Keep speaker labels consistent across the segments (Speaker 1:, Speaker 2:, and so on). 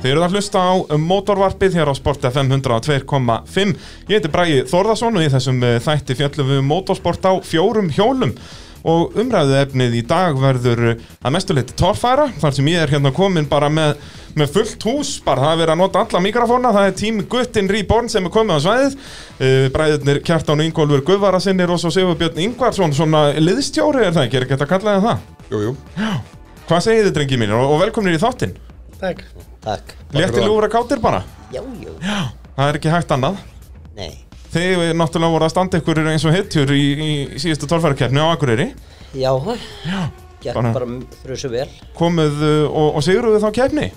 Speaker 1: Þið eruð að hlusta á motorvarpið hér á Sport FM 102.5 Ég heiti Bragi Þórðarsson og í þessum eh, þætti fjöllum við um motorsport á fjórum hjólum og umræðu efnið í dag verður eh, að mestuleiti torfæra þar sem ég er hérna komin bara með, með fullt hús, bara það er verið að nota alla mikrofóna það er tím Guttin Reborn sem er komið á svæðið Eh, bræðirnir Kjartán og Ingólfur Guðvarasinnir og svo Sigurbjörn Ingvarsson svona liðstjóri er það ekki, er ekki hægt að kalla það það
Speaker 2: Jú, jú,
Speaker 1: Hvað segir þið drengi mínir og, og velkomnir í þáttinn
Speaker 3: Takk.
Speaker 4: Takk.
Speaker 1: Létti
Speaker 2: góðan.
Speaker 1: lúfra kátir bara
Speaker 4: Já, já.
Speaker 1: Það er ekki hægt annað
Speaker 4: Nei.
Speaker 1: Þið er náttúrulega voru að standa ykkur eins og hittjur í, í síðustu torfærakeppni á Akureyri
Speaker 4: Já, já. Gekk
Speaker 1: bara-
Speaker 4: bara, bara frusu vel.
Speaker 1: komuð uh, og, og siguruðu þá keppni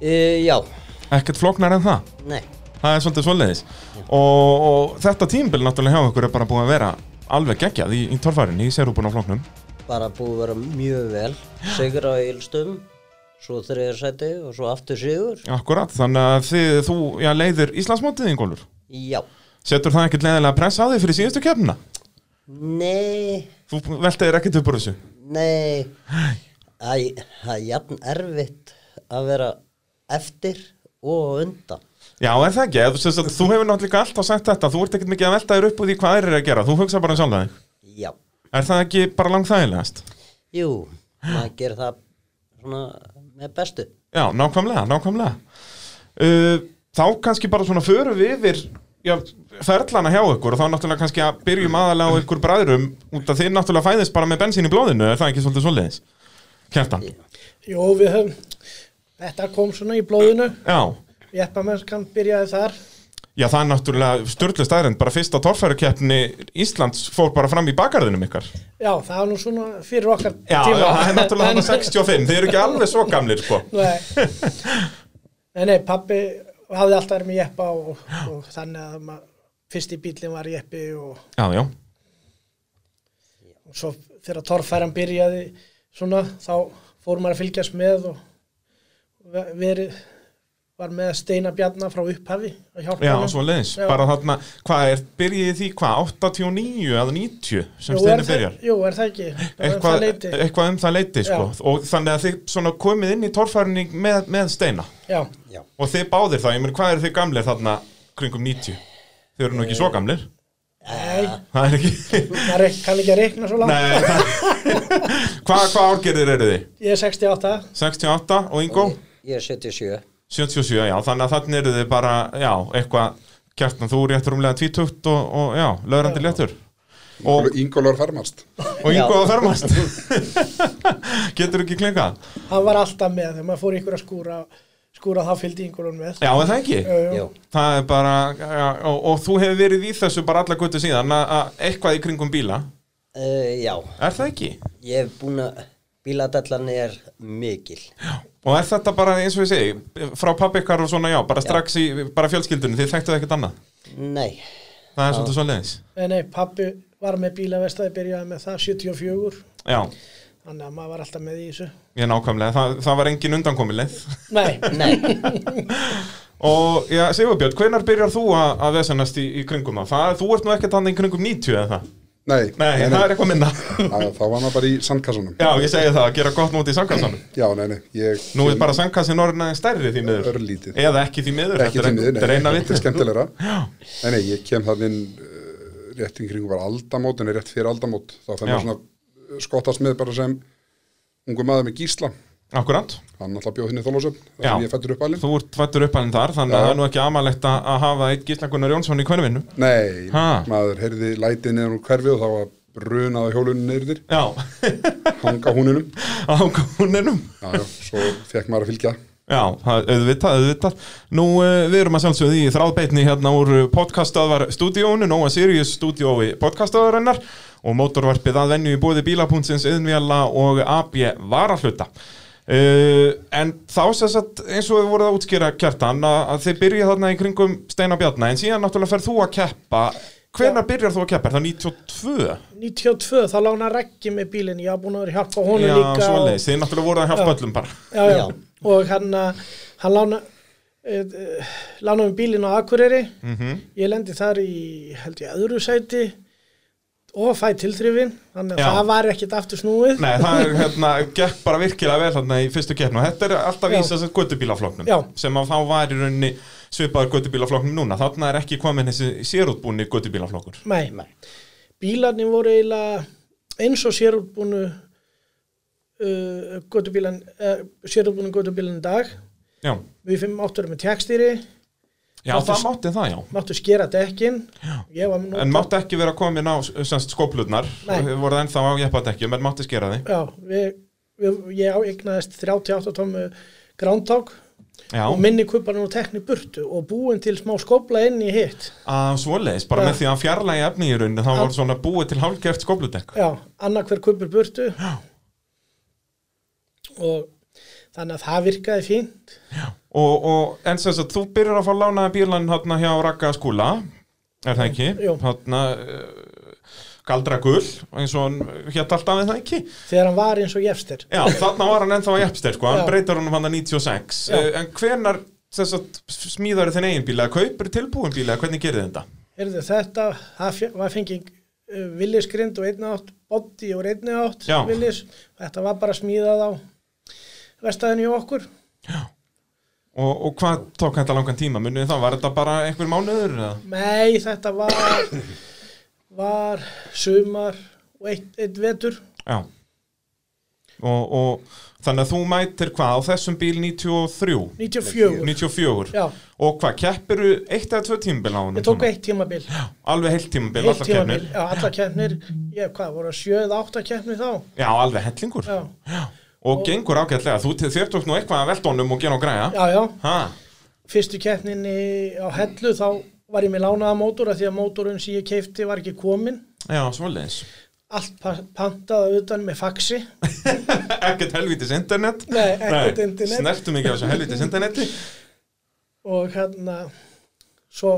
Speaker 4: Uh, já,
Speaker 1: ekkert flóknar en það
Speaker 4: nei.
Speaker 1: það er svolítið svoleiðis og, og þetta tímbil náttúrulega hjá ykkur er bara búið að vera alveg geggjað í, í torfærinni í serúbun á flóknum
Speaker 4: Bara búið að vera mjög vel. Sigur á eilstum, svo þriðarsæti og svo aftur sigur.
Speaker 1: akkurat, þannig að þið, þú já, leiðir Íslandsmótið Ingólfur
Speaker 4: Já.
Speaker 1: Setur það ekkert leðilega press á þig fyrir síðustu keppnina?
Speaker 4: Nei,
Speaker 1: Þú veltaðir ekkert upp úr þessu?
Speaker 4: nei. Æ, það er jafn erfitt að vera eftir og á undan.
Speaker 1: Já, er það ekki? Eða, sem sagt, Þú hefur náttúrulega alltaf sagt þetta, þú ert ekkert mikið að velta þér upp úr því hvað þeir eru að gera, þú hugsa bara um sjálf þig.
Speaker 4: Já.
Speaker 1: Er það ekki bara langþægilegast?
Speaker 4: Jú, maður gerir það svona með bestu.
Speaker 1: Já, nákvæmlega, nákvæmlega. Uh, þá kannski bara svona förum við yfir já, ferlana hjá ykkur og þá náttúrulega kannski að byrjum aðalega á ykkur bræðrum út af þið náttúrulega fæðist bara með bensín í blóðinu, er það ekki svolítið svoleiðis? Kjartan?
Speaker 3: Jó, við höfum, þetta kom svona í blóðinu,
Speaker 1: Já.
Speaker 3: jeppamennskan byrjaði þar.
Speaker 1: Já, það er náttúrulega störtlega stærend, bara fyrsta torfærukeppni Íslands fór bara fram í bakarðinum ykkar.
Speaker 3: Já, það var nú svona fyrir okkar
Speaker 1: Já,
Speaker 3: tíma.
Speaker 1: já, það er náttúrulega hann 65, þeir eru ekki alveg svo gamlir, sko.
Speaker 3: Nei, nei, nei pappi hafði alltaf verið með jeppa og, og þannig að maður, fyrsti bílinn var jeppi og,
Speaker 1: Já, já,
Speaker 3: og svo þegar torfæran byrjaði svona þá fór maður að fylgjast með og ve- verið var með Steina Bjarnar frá upphafi að hjálpa
Speaker 1: já,
Speaker 3: honum.
Speaker 1: svo leiðis.
Speaker 3: Já.
Speaker 1: Bara þarna, hvað er, byrjið því, hvað, 89 eða 90 sem
Speaker 3: Jú, er
Speaker 1: steinu
Speaker 3: það-
Speaker 1: byrjar?
Speaker 3: Jú, er það ekki? Bara um
Speaker 1: Eitthvað,
Speaker 3: það leyti.
Speaker 1: eitthvað um það leiti, sko. Og þannig að þið svona komið inn í torfærunni með, með steina
Speaker 3: Já,
Speaker 4: Já.
Speaker 1: og þið báðir það, ég meina, hvað eru þið gamlir þarna kringum 90? Þið eru nú ekki svo
Speaker 3: Eh.
Speaker 1: gamlir,
Speaker 3: nei,
Speaker 1: það er ekki...
Speaker 3: maður rek- kann ekki að reikna svo langt.
Speaker 1: Nei, það... Hvað hva árgerðir eru þið?
Speaker 3: Ég er 68,
Speaker 1: 68 og Ingo?
Speaker 4: Ég er 77.
Speaker 1: 77, já, þannig að þannig eru þið bara, já, eitthvað, kjartan, þú er réttur umlega 20 og, og já, lögrandi léttur. Og,
Speaker 2: Ingólfur fermast
Speaker 1: og Ingo að fermast. Getur ekki klingað?
Speaker 3: hann var alltaf með þegar maður fór ykkur að skúra, skúra þá fylgdi yngurinn með.
Speaker 1: Já, er það ekki?
Speaker 3: Jú, jú.
Speaker 4: Já.
Speaker 1: Það er bara, já, og, og þú hefur verið í þessu bara alla götu síðan að- að eitthvað í kringum bíla,
Speaker 4: Uh, já.
Speaker 1: er það ekki?
Speaker 4: Ég hef búin að bíladallan er mikil.
Speaker 1: Og er þetta bara, eins og ég segi, frá pappi ykkar og svona, já, bara strax í, bara fjölskyldunni, þið þekktuð ekkert annað?
Speaker 4: Nei,
Speaker 1: Það er svolítið svoleiðis.
Speaker 3: Nei, nei, pappi var með bílavestaði, byrjaði með það 74,
Speaker 1: Já,
Speaker 3: þannig að maður var alltaf með í þessu.
Speaker 1: ég nákvæmlega, það, það var engin undankomileg.
Speaker 3: Nei,
Speaker 4: nei,
Speaker 1: Og já, Sigurbjörn, hvenar byrjar þú að, að vesenast í, í kringum það? það? Þú ert nú ekkert hann í kringum 90 eða það?
Speaker 2: Nei,
Speaker 1: Nei, það er eitthvað minna.
Speaker 2: Að, Þá var maður bara í sandkassunum
Speaker 1: já, ég segi það, að gera gott móti í sangkassanum.
Speaker 2: Já, nei, nei ég,
Speaker 1: Nú er bara sangkassin orðin aðeins stærri því miður.
Speaker 2: Örlítið.
Speaker 1: Eða ekki því miður.
Speaker 2: Ekki til niður,
Speaker 1: Þetta er eina
Speaker 2: þetta er
Speaker 1: vitið.
Speaker 2: skemmtilegra Nei, nei, ég kem það inn uh, rétt í kringum var aldamót en rétt fyrir aldamót þá þegar
Speaker 1: Já.
Speaker 2: maður svona uh, skottast með bara sem ungu maður með gísla
Speaker 1: Akkurant.
Speaker 2: hann hérna alltaf bjóð henni þólasum
Speaker 1: Já.
Speaker 2: þannig ég fættur upp alveg
Speaker 1: Þú ert fættur upp hann þar, þannig að
Speaker 2: Já.
Speaker 1: það er nú ekki amalegt að að hafa eitt gíslakunnar Jónsson í hverfinu.
Speaker 2: Nei,
Speaker 1: Ha.
Speaker 2: maður heyrði lætið niður úr hverfi og þá var brunaði hjólunum neyrir
Speaker 1: Já,
Speaker 2: hanga húninum
Speaker 1: á kúninum.
Speaker 2: já, já, svo fekk maður að fylgja
Speaker 1: Já, það- auðvitað, auðvitað. Nú, eh, við erum að sjálfsögðu í þráðbeitni hérna úr podcastöðvar stúdíónu, Nóa Sirius stúdíói podcastöðarinnar og mótorvarpið að venju í bóði bílapúntsins, yðnvjala og AB varahluta. Uh, en þá sess að eins og við voruð að útskýra kjartan að, að þið byrjið þarna í kringum Steina Bjarna en síðan náttúrulega fer þú að keppa hvenær byrjar þú að keppa? Er það 92?
Speaker 3: 92, þá lána Raggi með bílinn, ég haf búin að vera að hjálpa honum
Speaker 1: Já,
Speaker 3: líka. og-
Speaker 1: svoleiðis, þið náttúrulega voruð að hjálpa
Speaker 3: Já.
Speaker 1: öllum bara
Speaker 3: Já, já,
Speaker 4: Já.
Speaker 3: og hann, að- hann lána, uh,
Speaker 1: Mhm.
Speaker 3: lána um bílinn á Akureyri, ég lendi þar í, held ég, öðru sæti og fæ tilþrifin þannig að
Speaker 1: Já.
Speaker 3: það var ekkit aftur snúið
Speaker 1: Nei, það er, hérna, gekk bara virkilega vel hérna í fyrstu keppnu og þetta er alltaf í
Speaker 3: Já.
Speaker 1: þess að göttubílafloknum
Speaker 3: Já.
Speaker 1: sem að þá var í rauninni svipaður göttubílafloknum núna þarna er ekki komin þessi sérútbúni göttubílaflokkur
Speaker 3: Nei. bílarnir voru eiginlega eins og sérútbúnu uh, götubílan uh, sérútbúnu götubílan í dag
Speaker 1: Já,
Speaker 3: við fimm átturum með tekstýri
Speaker 1: já
Speaker 3: Máttu-
Speaker 1: það mátti það, já
Speaker 3: máttu skera dekkin ég var nú
Speaker 1: En mátti ekki vera komin á semst, skóplutnar
Speaker 3: Nei.
Speaker 1: voru það ennþá á jeppadekkjum en mátti skera því
Speaker 3: já, við, við, ég áegnaðist 38 tómu gránták
Speaker 1: Já,
Speaker 3: og minni kuparinn og tekni burtu og búin til smá skópla inn í hitt
Speaker 1: að Ah, svoleiðis, bara
Speaker 3: Já.
Speaker 1: með því að fjarlægi efni í rauninni þá
Speaker 3: Já.
Speaker 1: var svona búið til hálfgert skópludekk
Speaker 3: já, annar hver kubur burtu já. og þannig að það virkaði fínt
Speaker 1: og, og en sem sagt, þú byrjar að fá lánaða bílan hérna hjá Raka skúla er það ekki?
Speaker 3: Jú.
Speaker 1: Hérna uh, galdra gull eins og hann hétt alltaf er það ekki?
Speaker 3: þegar hann var eins og jefstir
Speaker 1: Já, þarna var hann ennþá í Epstein sko, hann
Speaker 3: Já.
Speaker 1: breytar hann hann 96
Speaker 3: Já.
Speaker 1: uh, en hvenar sem sagt, smíðar þinn eigin bíla, kaupir tilbúin bíla hvernig gerir þetta?
Speaker 3: Heyrðu, þetta, það fe- var fengið uh, villisgrind og einni átt, boddi og einni átt
Speaker 1: Já.
Speaker 3: villis, þetta var bara smíðað á vestæðinu hjá okkur
Speaker 1: Og, og hvað tók þetta langan tíma? Munið það, var þetta bara einhver mánuður? eða?
Speaker 3: nei, þetta var var sumar og eitt, eitt vetur
Speaker 1: Já og, og þannig að þú mætir hvað á þessum bíl 93?
Speaker 3: 94,
Speaker 1: 94
Speaker 3: já,
Speaker 1: Og hvað, keppiru eitt eða tvö tímabil á honum?
Speaker 3: ég tók
Speaker 1: svona?
Speaker 3: eitt tímabil
Speaker 1: Alveg heilt tímabil,
Speaker 3: eitt
Speaker 1: allar
Speaker 3: tímabil,
Speaker 1: keppnir
Speaker 3: já, alla keppnir ég, hvað, voru sjöð átta keppnir þá
Speaker 1: Já, alveg hellingur
Speaker 3: já,
Speaker 1: Og gengur ágætlega, þú til þér tók nú eitthvað að veldónum og gera og græja
Speaker 3: já, já
Speaker 1: Ha,
Speaker 3: fyrstu keppninni á hellu þá var ég með lánaða mótor af því að mótorun sem ég keipti var ekki komin
Speaker 1: já, svoleiðis
Speaker 3: allt pa- pantað utan með faxi
Speaker 1: Ekkert helvítis internet
Speaker 3: Nei, ekkert internet.
Speaker 1: Snertum ekki á þessu helvítis interneti
Speaker 3: og hérna svo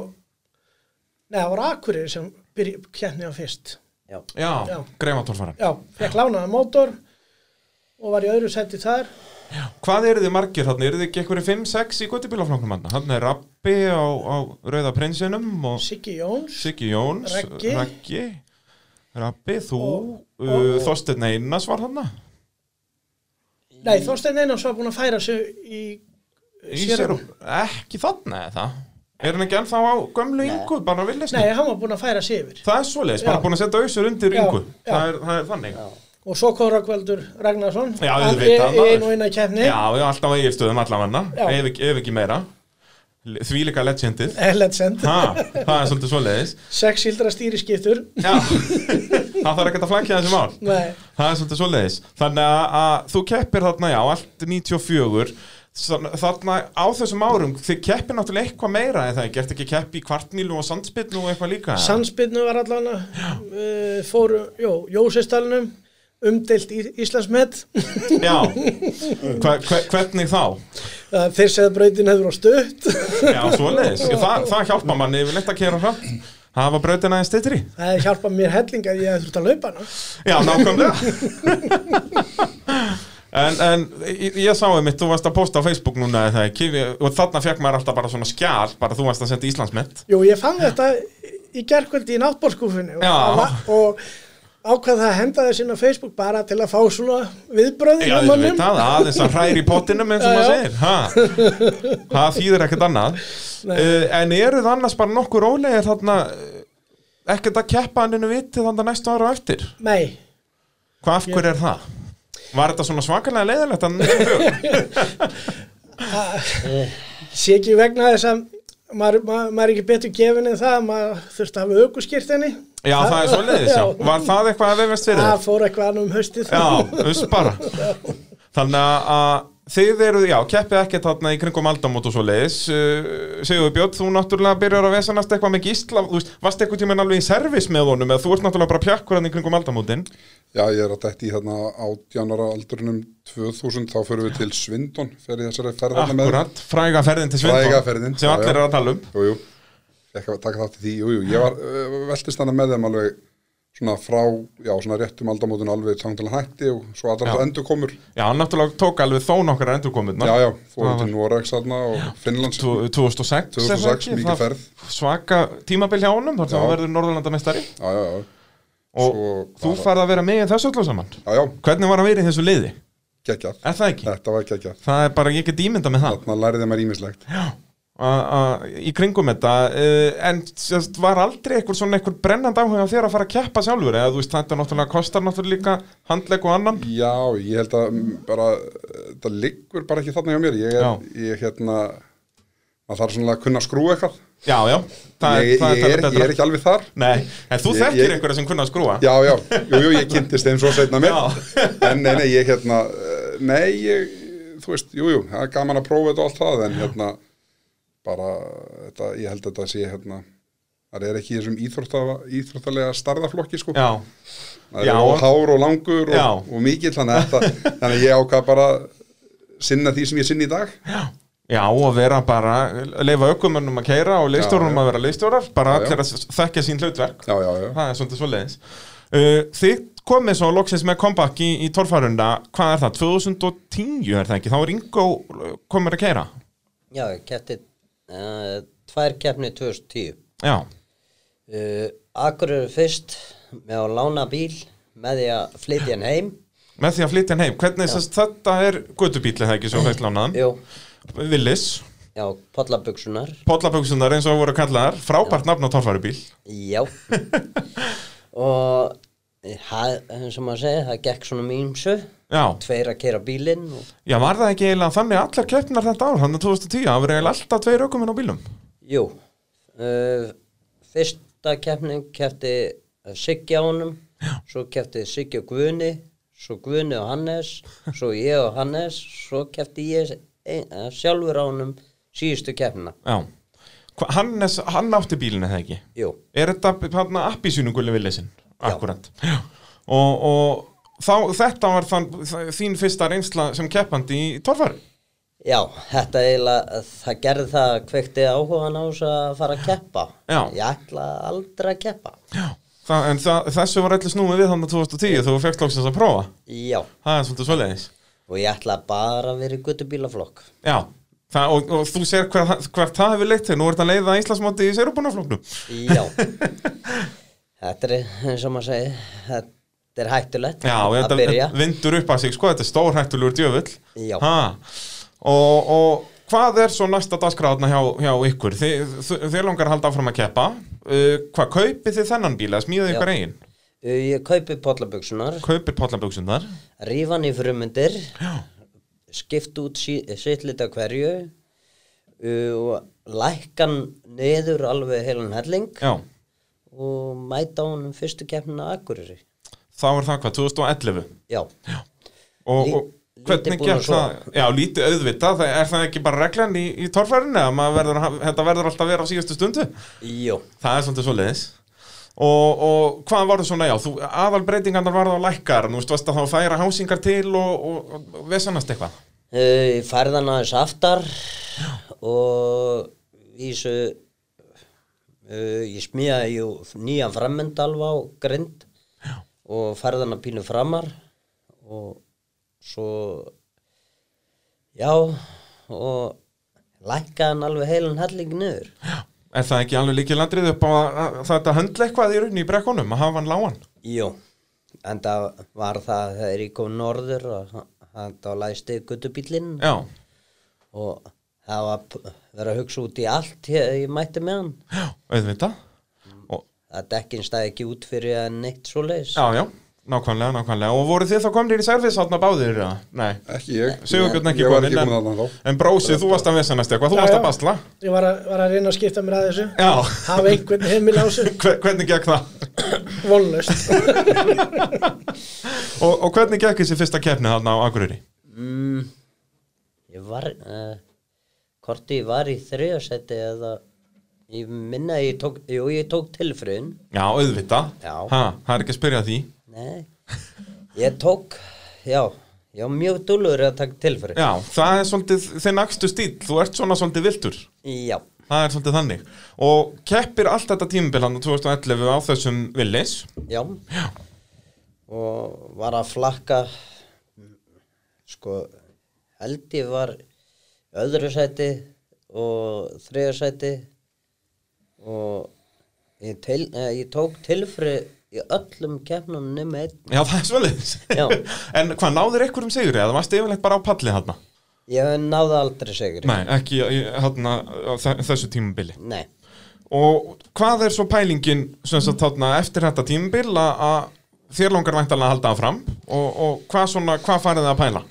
Speaker 3: neða, það var Akureyri sem byrja kjarni á fyrst
Speaker 4: Já.
Speaker 1: Já, já.
Speaker 3: Já.
Speaker 1: greifatólfara
Speaker 3: já, fekk lánaða mótor og var í öðru seti þar
Speaker 1: Hvað eru þið margir þarna? Eru þið ekki einhverju 5-6 í gotibílaflokkum hann? Hann er Rappi á, á Rauða prinsinum og
Speaker 3: Siggi Jóns
Speaker 1: Siggi Jóns
Speaker 3: Raggi.
Speaker 1: Raggi Rappi, þú
Speaker 3: Og-
Speaker 1: uh, Þorsteinn Einars var þarna
Speaker 3: nei, Þorstein Einars var búin að færa sig í
Speaker 1: Í
Speaker 3: Sérum.
Speaker 1: sérum. Ekki þarna eða það? Er hann ekki ennþá á gömlu yngu, bara villisni?
Speaker 3: nei, hann var búin að færa sig yfir
Speaker 1: Það er svoleiðis, bara
Speaker 3: Já.
Speaker 1: búin að setja auðsur undir
Speaker 3: Já,
Speaker 1: yngu
Speaker 3: já.
Speaker 1: það, er- það er þannig Já,
Speaker 3: og svo kom Rökkveldur Ragnarsson
Speaker 1: Já,
Speaker 3: Hann
Speaker 1: auðvitað,
Speaker 3: í- í
Speaker 1: maður.
Speaker 3: einu og eina kjarni
Speaker 1: já, já alltaf á eigilstöðum allavega
Speaker 3: Já.
Speaker 1: ef, ekki- ef ekki meira Því líka legendið
Speaker 3: Legend,
Speaker 1: ha, Það er svolítið svoleiðis
Speaker 3: sex hildra stýriskiptur
Speaker 1: Já, það þarf ekkert að flækja þessi mál
Speaker 3: nei,
Speaker 1: Það er svolítið svoleiðis Þannig að, að þú keppir þarna, já, allt 94 Sann- Þarna á þessum árum Þið keppir náttúrulega eitthvað meira en það ekki Ert ekki kepp í kvartmílu og sandspillu og eitthvað líka eða?
Speaker 3: Sandsbyrnu var allan uh, fóru, jó, Jósestalunum umdelt í, Íslandsmet
Speaker 1: Já, hva, hva, hvernig þá?
Speaker 3: Það þeir segðu að brautin hefur á stutt
Speaker 1: Já, svoleiðis, Þa, það hjálpa manni yfirleitt að kera hratt hafa brautina aðeins stittri
Speaker 3: Það hjálpa mér helling að ég hef þurft að laupa hana
Speaker 1: Já, nákvæmlega En, en ég, ég sá einmitt, þú varst að posta á Facebook núna eða ekki, Við- og þarna fekk maður alltaf bara svona skjál, bara þú varst að senda Íslandsmet
Speaker 3: Jú, ég fann þetta í gerkvöldi í náttbórskúfinu
Speaker 1: Já.
Speaker 3: og, og ákvað það að henda þess inn á Facebook bara til að fá svona viðbröði
Speaker 1: Já,
Speaker 3: hjá
Speaker 1: þú
Speaker 3: mönnum.
Speaker 1: veit það, aðeins að hræri í pottinum eins og
Speaker 3: Já,
Speaker 1: maður
Speaker 3: já.
Speaker 1: segir ha, Það þýðir ekkert annað
Speaker 3: Nei.
Speaker 1: uh, En eru það annars bara nokkur rólegir þarna eh, ekkert að keppa anninu viti þannig næstu ára á eftir
Speaker 3: Nei,
Speaker 1: Hvað af hverju er það? Var þetta svona svakalega leiðilegt að nefnum
Speaker 3: sé ekki vegna þess að maður, maður, maður er ekki betur gefin en það að maður þurfti að hafa aukuskirtinni
Speaker 1: Já, það er svoleiðis, já.
Speaker 3: Já.
Speaker 1: Var það eitthvað að vefast fyrir
Speaker 3: Það
Speaker 1: þér?
Speaker 3: fór eitthvað annað um haustið
Speaker 1: Já, uss bara. Þannig að- að þið eru, já, keppið ekkert þarna í kringum aldamót og svoleiðis. Uh, Sigur Björn, þú náttúrulega byrjar að vesanast eitthvað með gísla, þú veist, varst eitthvað tíminn alveg í servis með honum eða þú ert náttúrulega bara pjakkur hann í kringum aldamótin.
Speaker 2: Já, ég er að dætti í þarna átjanara aldurinnum 2000, þá förum við til Svindon fyrir þessari ferðarna með.
Speaker 1: Akkurat, fræga ferðin til Svindon.
Speaker 2: Fræga ferðin,
Speaker 1: Sem
Speaker 2: já,
Speaker 1: allir
Speaker 2: já.
Speaker 1: eru að tala um.
Speaker 2: Jú, jú, ekki að taka þátt í því, jú, jú, ég var uh, veltist hana með þeim alveg svona frá, já, svona réttum aldamótun alveg tangtala hætti og svo allra
Speaker 1: Já.
Speaker 2: endur komur.
Speaker 1: Já, hann náttúrulega tók alveg þó nokkar endurkominnar.
Speaker 2: Já, já, fórum
Speaker 1: Það
Speaker 2: til Noregs þarna og Finnlands,
Speaker 1: Tvo- 2006, er það
Speaker 2: 2006,
Speaker 1: ekki?
Speaker 2: mikið
Speaker 1: Það-
Speaker 2: ferð.
Speaker 1: Svaka tímabil hjá honum, þar sem
Speaker 2: Já.
Speaker 1: hann verður Norðurlandamestari
Speaker 2: já, já, já.
Speaker 1: og
Speaker 2: Svo
Speaker 1: þú
Speaker 2: bara-
Speaker 1: farð að vera með í þessu öllu saman
Speaker 2: Já, já,
Speaker 1: hvernig var að vera í þessu liði?
Speaker 2: geggjað.
Speaker 1: Er það ekki?
Speaker 2: Þetta var geggjað.
Speaker 1: Það er bara, ég get ímynda með það
Speaker 2: Þarna læriði maður ímislegt.
Speaker 1: a- a- í kringum þetta uh, en sérst, var aldrei einhver svona einhver brennand áhuga á þér að fara að keppa sjálfur eða þú veist þetta náttúrulega kostar náttúrulega líka handleg og annan
Speaker 2: Já, ég held að mm, bara, þetta liggur bara ekki þarna hjá mér. Ég er,
Speaker 1: Já.
Speaker 2: ég hérna, maður þarf svona að kunna skrú eitthvað.
Speaker 1: já já, það,
Speaker 2: ég,
Speaker 1: það
Speaker 2: ég, er,
Speaker 1: þetta
Speaker 2: ég er ekki alveg þar.
Speaker 1: Nei, en þú
Speaker 2: Ég-
Speaker 1: þekkir
Speaker 2: ég-
Speaker 1: einhverja sem kunna að skrúa
Speaker 2: Já, já, jú, jú, ég kynntist þeim svo setna mér.
Speaker 1: Já.
Speaker 2: En nei, nei, ég hérna, eh, nei, ég, þú veist, jú, jú, það er gaman að prófa þetta og allt það, en hérna, bara, þetta, ég held að þetta sé, hérna, það er ekki í þessum íþróttafa, íþróttalega starðaflokki, sko.
Speaker 1: Já,
Speaker 2: Það
Speaker 1: Já.
Speaker 2: er og hár og langur
Speaker 1: Já.
Speaker 2: og, og mikill þannig að, þetta, þannig að ég ákvað bara að sinna því sem ég sinni í dag
Speaker 1: já og vera bara leifa aukumönnum að keira og leistjórunum
Speaker 2: Já, já.
Speaker 1: að vera leistjórar bara
Speaker 2: Já, já.
Speaker 1: allir að s- þekkja sín hlutverk
Speaker 2: Já, já, já
Speaker 1: það er svona svo leiðis uh, Þið komið svo loksins með comeback í, í torfarunda hvað er það, 2010 er það ekki þá er Ingo uh, komur að keira
Speaker 4: Já, ég kefti uh, tvær keppni 2010.
Speaker 1: Já,
Speaker 4: Uh, Akureyri fyrst með að lána bíl með því að flytja hann heim.
Speaker 1: með því að flytja hann heim hvernig sérst þetta er gödubíl er það ekki svo fæst lánaðan
Speaker 4: Jú,
Speaker 1: Willis,
Speaker 4: já, pollabugsunar.
Speaker 1: pollaböksunar eins og voru kallaðar frábært nafn á torfarubíl
Speaker 4: Já. og það, eins og maður segir, það gekk svona mýmsu.
Speaker 1: Já,
Speaker 4: Tveir að kera bílinn og
Speaker 1: Já, var það ekki eiginlega þannig allar keppnar þetta ár, þannig að 2010, það verið eiginlega alltaf tveir aukuminn á bílum.
Speaker 4: Jú, uh, fyrsta keppnin kefti Siggi á honum, svo kefti Siggi og Guðni, svo Guðni og Hannes, svo ég og Hannes, svo kefti ég ein, eh, sjálfur á honum síðustu keppnina.
Speaker 1: Já. Hva, Hannes, hann átti bílinu eða ekki?
Speaker 4: Jú,
Speaker 1: Er þetta hann appi sínungulli villisinn? Akkurat. Já. Og, og þá, þetta var þann, þ- þín fyrsta reynsla sem keppandi í torfari.
Speaker 4: já, þetta eiginlega, það gerði það kveikti áhugan á þess að fara að keppa.
Speaker 1: Já.
Speaker 4: Ég ætla aldrei að keppa.
Speaker 1: Já. Það, en það, þessu var allir snúið við þannig 2010 þegar þú fekst lóksins að prófa.
Speaker 4: Já,
Speaker 1: Það er svolítið svoleiðis.
Speaker 4: og ég ætla bara að vera í guttubílaflokk.
Speaker 1: Já. Það, og, og þú sér hvert, hvert það hefur leitt til. Nú er þetta leiða Íslandsmóti í Seirubunaflóknum.
Speaker 4: Já Þetta er eins og maður segir Þetta er hættulegt
Speaker 1: Já,
Speaker 4: að
Speaker 1: þetta
Speaker 4: byrja
Speaker 1: vindur upp að sig, sko, þetta er stórhættulegur djöfull.
Speaker 4: Já.
Speaker 1: Ha. Og, og hvað er svo næsta dagskráðna hjá, hjá ykkur? Þi, þið langar að halda áfram að keppa. Uh, hvað, kaupið þið þennan bíl eða smíðið
Speaker 4: Já.
Speaker 1: ykkur eigin?
Speaker 4: Eh, Ég kaupi pollaböksunar
Speaker 1: Kaupið pollaböksum þar.
Speaker 4: Rífan í frumundir Skipt út sí, sitt lita hverju uh, og Lækkan niður alveg heilan helling
Speaker 1: Já.
Speaker 4: Og mæta honum fyrstu keppnina að Akureyri
Speaker 1: Þá er það hvað, 2011.
Speaker 4: Já,
Speaker 1: Og,
Speaker 4: Lí-
Speaker 1: og
Speaker 4: lítið
Speaker 1: hvernig
Speaker 4: búin að
Speaker 1: gekk það? Já, lítið auðvitað. Það, er það ekki bara reglan í, í torfærinu? að maður Verður, að hafa- þetta verður alltaf að vera á síðustu stundu?
Speaker 4: jú
Speaker 1: Það er svolítið svo leiðis og, og hvað var það svona, já, þú, aðal breytingarnar var það lækkar, nú veist, varst að þá færa hásingar til og, og, og vesanast eitthvað
Speaker 4: Uh, Ég færði hann aðeins aftar og vísu, uh, ég smíðaði jú nýja frammyndalva á grind og færði hann að pínu framar og svo, já, og lækkaði hann alveg heilan helling niður.
Speaker 1: Er það ekki alveg líkið landrið upp á að, að þetta höndla eitthvað í rauninni í brekkunum að hafa hann lágan?
Speaker 4: Jú, en það var það þegar ég kom norður og þá læsti guttubílinn
Speaker 1: Já,
Speaker 4: og það var p- verið að hugsa út í allt ég, ég mætti með hann.
Speaker 1: já, auðvitað og,
Speaker 4: að dekkin stæði ekki út fyrir að neitt svo leis
Speaker 1: Já, já, nákvæmlega, nákvæmlega og voru þið þá komnir í servis átna báðir? eða? Nei,
Speaker 2: Ekki ég,
Speaker 1: Sigurbjörn ekki
Speaker 2: ég var ekki
Speaker 1: kominn,
Speaker 2: komin þarna þá
Speaker 1: en, en brósið, þú varst að vesanast eitthvað,
Speaker 3: Já,
Speaker 1: þú varst
Speaker 3: já.
Speaker 1: að basla
Speaker 3: Ég var að, var að reyna að skipta mér að þessu
Speaker 1: Já,
Speaker 3: hafa einhvern heimil á þessu
Speaker 1: Hver- hvernig gekk það?
Speaker 3: vonlaust
Speaker 1: Og, og hvernig gekk þessi fyrsta keppni þarna á Akureyri?
Speaker 4: mm, ég var uh, hvort ég var í þriðasetti eða ég minna að ég tók jú ég tók tilfrun
Speaker 1: Já, auðvitað
Speaker 4: Já.
Speaker 1: ha, Það er ekki að spyrja að því
Speaker 4: nei ég tók já ég var mjög dúlur að taka tilfrun
Speaker 1: Já, það er svolítið þinn akstu stíl Þú ert svona svolítið viltur
Speaker 4: já
Speaker 1: Það er svolítið þannig Og keppir allt þetta tímabil hann á 2011 á þessum villis
Speaker 4: já og var að flakka sko held ég var í öðru sæti og þriða sæti og ég, til, eh, ég tók tilfri í öllum keppnum nema einn
Speaker 1: Já, það er svolítið.
Speaker 4: Já.
Speaker 1: en hvað, náður ykkur um sigri? Eða varst yfirleitt bara á palli þarna?
Speaker 4: ég náði aldrei segri
Speaker 1: Nei, ekki í- þarna á þe- þessu tímabili.
Speaker 4: Nei.
Speaker 1: Og hvað er svo pælingin sem sagt þarna eftir þetta tímabil að að þér langar væntalega að halda það fram og, og hvað svona, hvað farið það að pæla?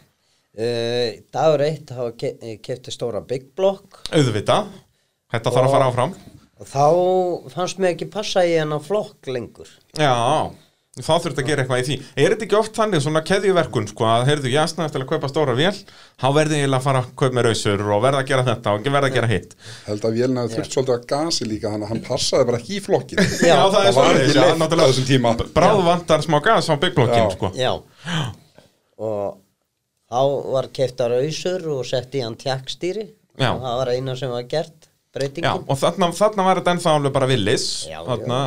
Speaker 4: Uh, dagur eitt hafa ke- kefti stóra big block
Speaker 1: Auðvitað, þetta þarf að fara áfram.
Speaker 4: og þá fannst mér ekki passa í hennar flokk lengur
Speaker 1: Já, þá þurft að gera eitthvað í því Er þetta ekki oft þannig svona keðjuverkun sko, að heyrðu, ég snæðist til að kaupa stóra vél þá verði ég eiginlega að fara að kaupa með rausur og verða að gera þetta og verða að gera hitt
Speaker 2: held að vélina hafi þurft svolítið að gasi líka hann, hann passaði bara ekki í flokkin
Speaker 4: Já,
Speaker 1: það er
Speaker 2: var
Speaker 1: svoleiðis,
Speaker 2: ekki
Speaker 1: já,
Speaker 2: leitt
Speaker 1: náttúrulega.
Speaker 2: á þessum tíma
Speaker 1: Bráð vantar smá gas á byggblokkin
Speaker 2: Já.
Speaker 1: sko.
Speaker 4: já og þá var keftar ausur og setti í hann tjakkstýri
Speaker 1: Já.
Speaker 4: og það var eina sem var gert
Speaker 1: Já,
Speaker 4: breytingum
Speaker 1: og þarna, þarna var þetta ennþá alveg bara villis
Speaker 4: Já, já.
Speaker 1: þarna,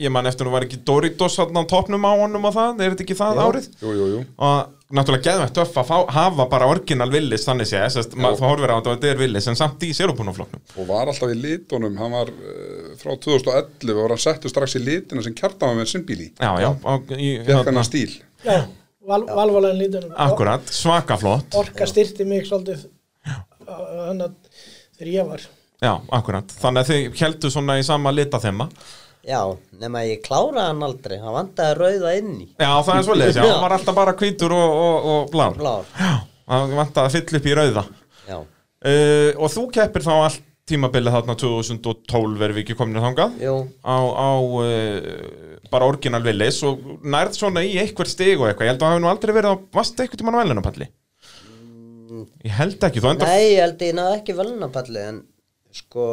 Speaker 1: Ég man eftir nú var ekki Doritos þarna á topnum á honum og það Er þetta ekki það
Speaker 4: Jú.
Speaker 1: árið?
Speaker 2: jú, jú, jú.
Speaker 1: og náttúrulega geðvægt töff að fá, hafa bara orginal villis þannig sé, sest, maður, þú horfir á þetta og þetta er villis en samt í sérupúnafloknum
Speaker 2: og var alltaf í litunum hann var uh, frá 2011 var hann settur strax í litina sem kjartan með sinnbíli
Speaker 1: Já, já, og, í, hérna,
Speaker 2: fekk hann að stíl
Speaker 3: Já, val, valvalegin lítunum
Speaker 1: Akkurat, svaka flott
Speaker 3: Orka styrti mig svolítið þannig að þegar ég var
Speaker 1: Já, akkurat, þannig að þið heldur svona í sama lita þemma
Speaker 4: já, nema ég kláraði hann aldrei hann vantaði rauða inn í
Speaker 1: Já, það er svoleiðis, já,
Speaker 4: Já.
Speaker 1: hann var alltaf bara hvítur og, og, og blár
Speaker 4: Blár.
Speaker 1: Já, hann vant að fylla upp í rauða
Speaker 4: já,
Speaker 1: uh, Og þú keppir þá allt tímabilið þarna 2012 verðum við ekki komin þangað
Speaker 4: jú,
Speaker 1: á, á uh, bara orginal villis og nærð svona í einhver stig og eitthvað, ég held að það hafi nú aldrei verið á vast eitthvað tímann á velunapalli Ég held ekki, þú endar,
Speaker 4: nei, ég held ég náði ekki velunapalli en sko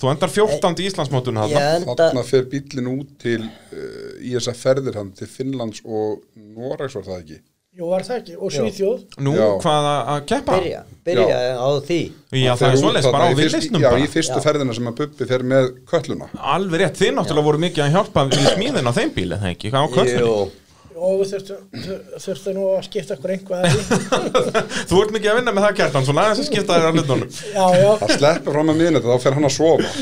Speaker 1: þú endar 14. í Íslandsmótuna
Speaker 4: ég
Speaker 1: þarna
Speaker 4: enda
Speaker 2: þarna fer bílin út til uh, í þessar ferðir hann til Finnlands og Noregs var það ekki
Speaker 3: Jú, var það ekki, og Svíþjóð
Speaker 1: Nú,
Speaker 2: Já.
Speaker 1: hvað að- að keppa?
Speaker 4: byrja, byrja á því
Speaker 1: Já,
Speaker 2: Hann
Speaker 1: það
Speaker 2: fer
Speaker 1: er
Speaker 2: út
Speaker 1: svoleiðis,
Speaker 2: þarna
Speaker 1: bara á
Speaker 2: í fyrst-
Speaker 1: villisnum
Speaker 2: já,
Speaker 1: bara
Speaker 2: í fyrstu
Speaker 4: Já.
Speaker 2: ferðina sem að Bubbi fer með kölluna
Speaker 1: Alveg rétt, þið náttúrulega voru mikið að hjálpa í smíðin á þeim bíli, það ekki, hvað á köllunni?
Speaker 4: Jú,
Speaker 3: og við þurftum þur- þurftum nú að skipta okkur einhvað að því
Speaker 1: Þú ert mikið að vinna með það kjartan, svona aðeins að skipta þér á hlutunum.
Speaker 3: Já, já,
Speaker 2: það sleppur fram að miðnætti, þá fer hann að sofa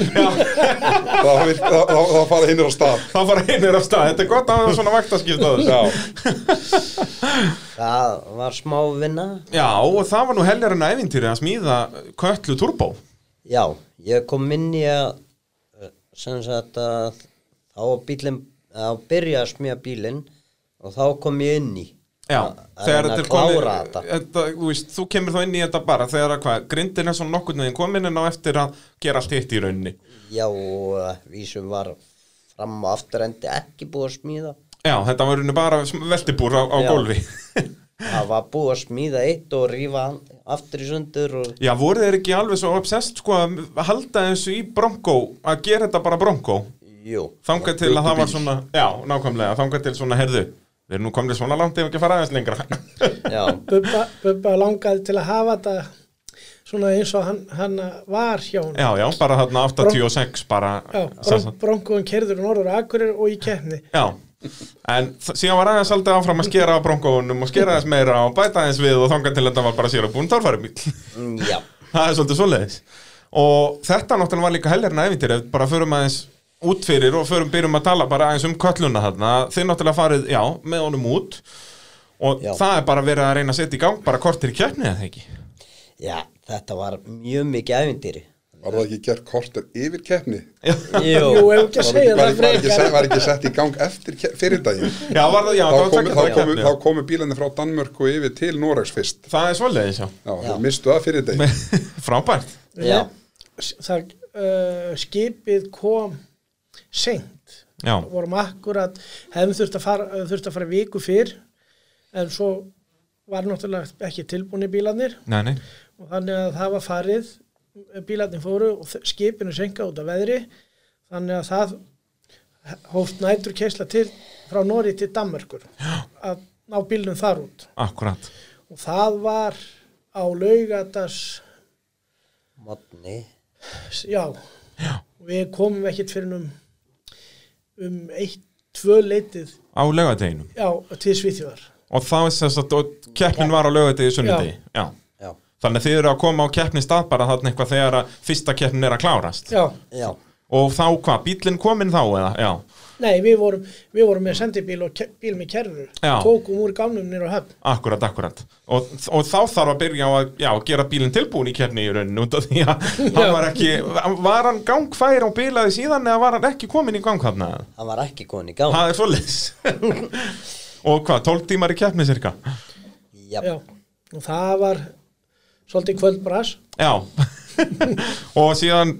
Speaker 2: þá, vir- þá, þá, þá fara hinnir á stað
Speaker 1: Þá fara einir af stað, þetta er gott að það er svona vaktaskipta þessu.
Speaker 4: það var smá vinna
Speaker 1: Já, og það var nú heljarinn ævintýri að smíða köllu turbo.
Speaker 4: Já, ég kom inn í að eh, sem sagt að þá var bílinn, þá byrjaði að smíða bílinn og þá kom ég inn í
Speaker 1: Já,
Speaker 4: að,
Speaker 1: þegar
Speaker 4: að
Speaker 1: þetta er
Speaker 4: komið
Speaker 1: komið,
Speaker 4: klára þetta
Speaker 1: þetta, þú veist, þú kemur þá inn í þetta bara þegar að hvað, grindin er svona nokkurn veginn komin en á eftir að gera allt hitt í rauninni.
Speaker 4: Já, og eh, vísum var fram og aftur endi ekki búið að smíða
Speaker 1: Já, þetta var í rauninni bara sm- veltibúr á, á
Speaker 4: Já.
Speaker 1: gólfi.
Speaker 4: það var búið að smíða eitt og rífa hann aftur í sundur og
Speaker 1: Já, voru þeir ekki alveg svo obsessed sko að halda þessu í bronco að gera þetta bara bronco
Speaker 4: jú,
Speaker 1: þangað til að það var svona, já, nákvæmlega þangað til svona, herðu, við erum nú komnir svona langt ef ekki að fara aðeins lengra
Speaker 4: já,
Speaker 3: Bubba, Bubba langaði til að hafa þetta svona eins og hann, hann var hjá hann
Speaker 1: Já, já, bara þarna 86 bara,
Speaker 3: Já,
Speaker 1: sem sagt.
Speaker 3: bronkuðum kerður og norður og akkurir og í keppni
Speaker 1: já En þ- síðan var aðeins aldrei áfram að skera á broncounum og skera aðeins meira og bæta aðeins við og þangað til þetta var bara sér að búin tórfærumíl
Speaker 4: mm, já
Speaker 1: það er svolítið svoleiðis og þetta náttúrulega var líka helgarna efintir ef bara förum aðeins út fyrir og förum byrjum að tala bara aðeins um kölluna þarna þið náttúrulega farið, já, með honum út og
Speaker 4: Já.
Speaker 1: það er bara verið að reyna að setja í gang bara kortir í keppni eða ekki
Speaker 4: Já, þetta var mjög mikið ævindýri
Speaker 2: var það ekki gert korter yfir keppni
Speaker 3: Jú,
Speaker 4: Jú,
Speaker 3: ef ekki að
Speaker 2: var
Speaker 3: segja
Speaker 2: ekki,
Speaker 3: það
Speaker 2: var, ekki, var, ekki,
Speaker 3: frekar
Speaker 2: sett- var ekki sett í gang eftir ke- fyrir daginn
Speaker 1: já, var það, já,
Speaker 2: þá
Speaker 1: það var
Speaker 2: komu,
Speaker 1: tveggja
Speaker 2: þá,
Speaker 1: daga
Speaker 2: komu,
Speaker 1: keppni.
Speaker 2: þá komu bílarnir frá Danmörku yfir til Noregs fyrst
Speaker 1: það er svoleiðis, já
Speaker 2: já,
Speaker 4: Já.
Speaker 2: já. mistu það fyrir daginn
Speaker 1: frábært,
Speaker 4: Já.
Speaker 3: það, uh, skipið kom seint
Speaker 1: já,
Speaker 3: vorum akkurat hefðum þurft að fara, þurft að fara viku fyrr en svo var náttúrulega ekki tilbúinni bílarnir
Speaker 1: nei, nei
Speaker 3: og þannig að það var farið bílarnir fóru og þ- skipinu senka út af veðri þannig að það hóft nætur keisla til frá Nóri til Danmörkur að ná bílnum þar út
Speaker 1: akkurat,
Speaker 3: og það var á laugatas
Speaker 4: modni
Speaker 3: já, við komum ekkit fyrir um um eitt, tvö leitið
Speaker 1: á laugadeginum
Speaker 3: já, til Svíþjóðar
Speaker 1: og þá er þess að og keppnin var á laugadegi sunnudegi, já,
Speaker 4: Já,
Speaker 1: þannig að þið eru að koma á keppni stað bara þarna eitthvað þegar að fyrsta keppnin er að klárast
Speaker 3: já,
Speaker 4: já
Speaker 1: Og þá hvað, bílinn kominn þá eða? Já,
Speaker 3: Nei, við vorum, við vorum með sendibíl og ke- bíl með kerru
Speaker 1: Já.
Speaker 3: tókum úr gámnum nýra höfn
Speaker 1: Akkurat, akkurat og, og þá þarf að byrja á að já, gera bílinn tilbúin í kefni í rauninu út af því að hann var ekki var hann gangfær og bilaði síðan eða var hann ekki komin í gang þarna
Speaker 4: hann var ekki komin í gang
Speaker 1: það er svoleiðis og hvað, 12 tímar í kefni cirka
Speaker 4: já,
Speaker 3: Já, og það var svolítið kvöldbras
Speaker 1: já og síðan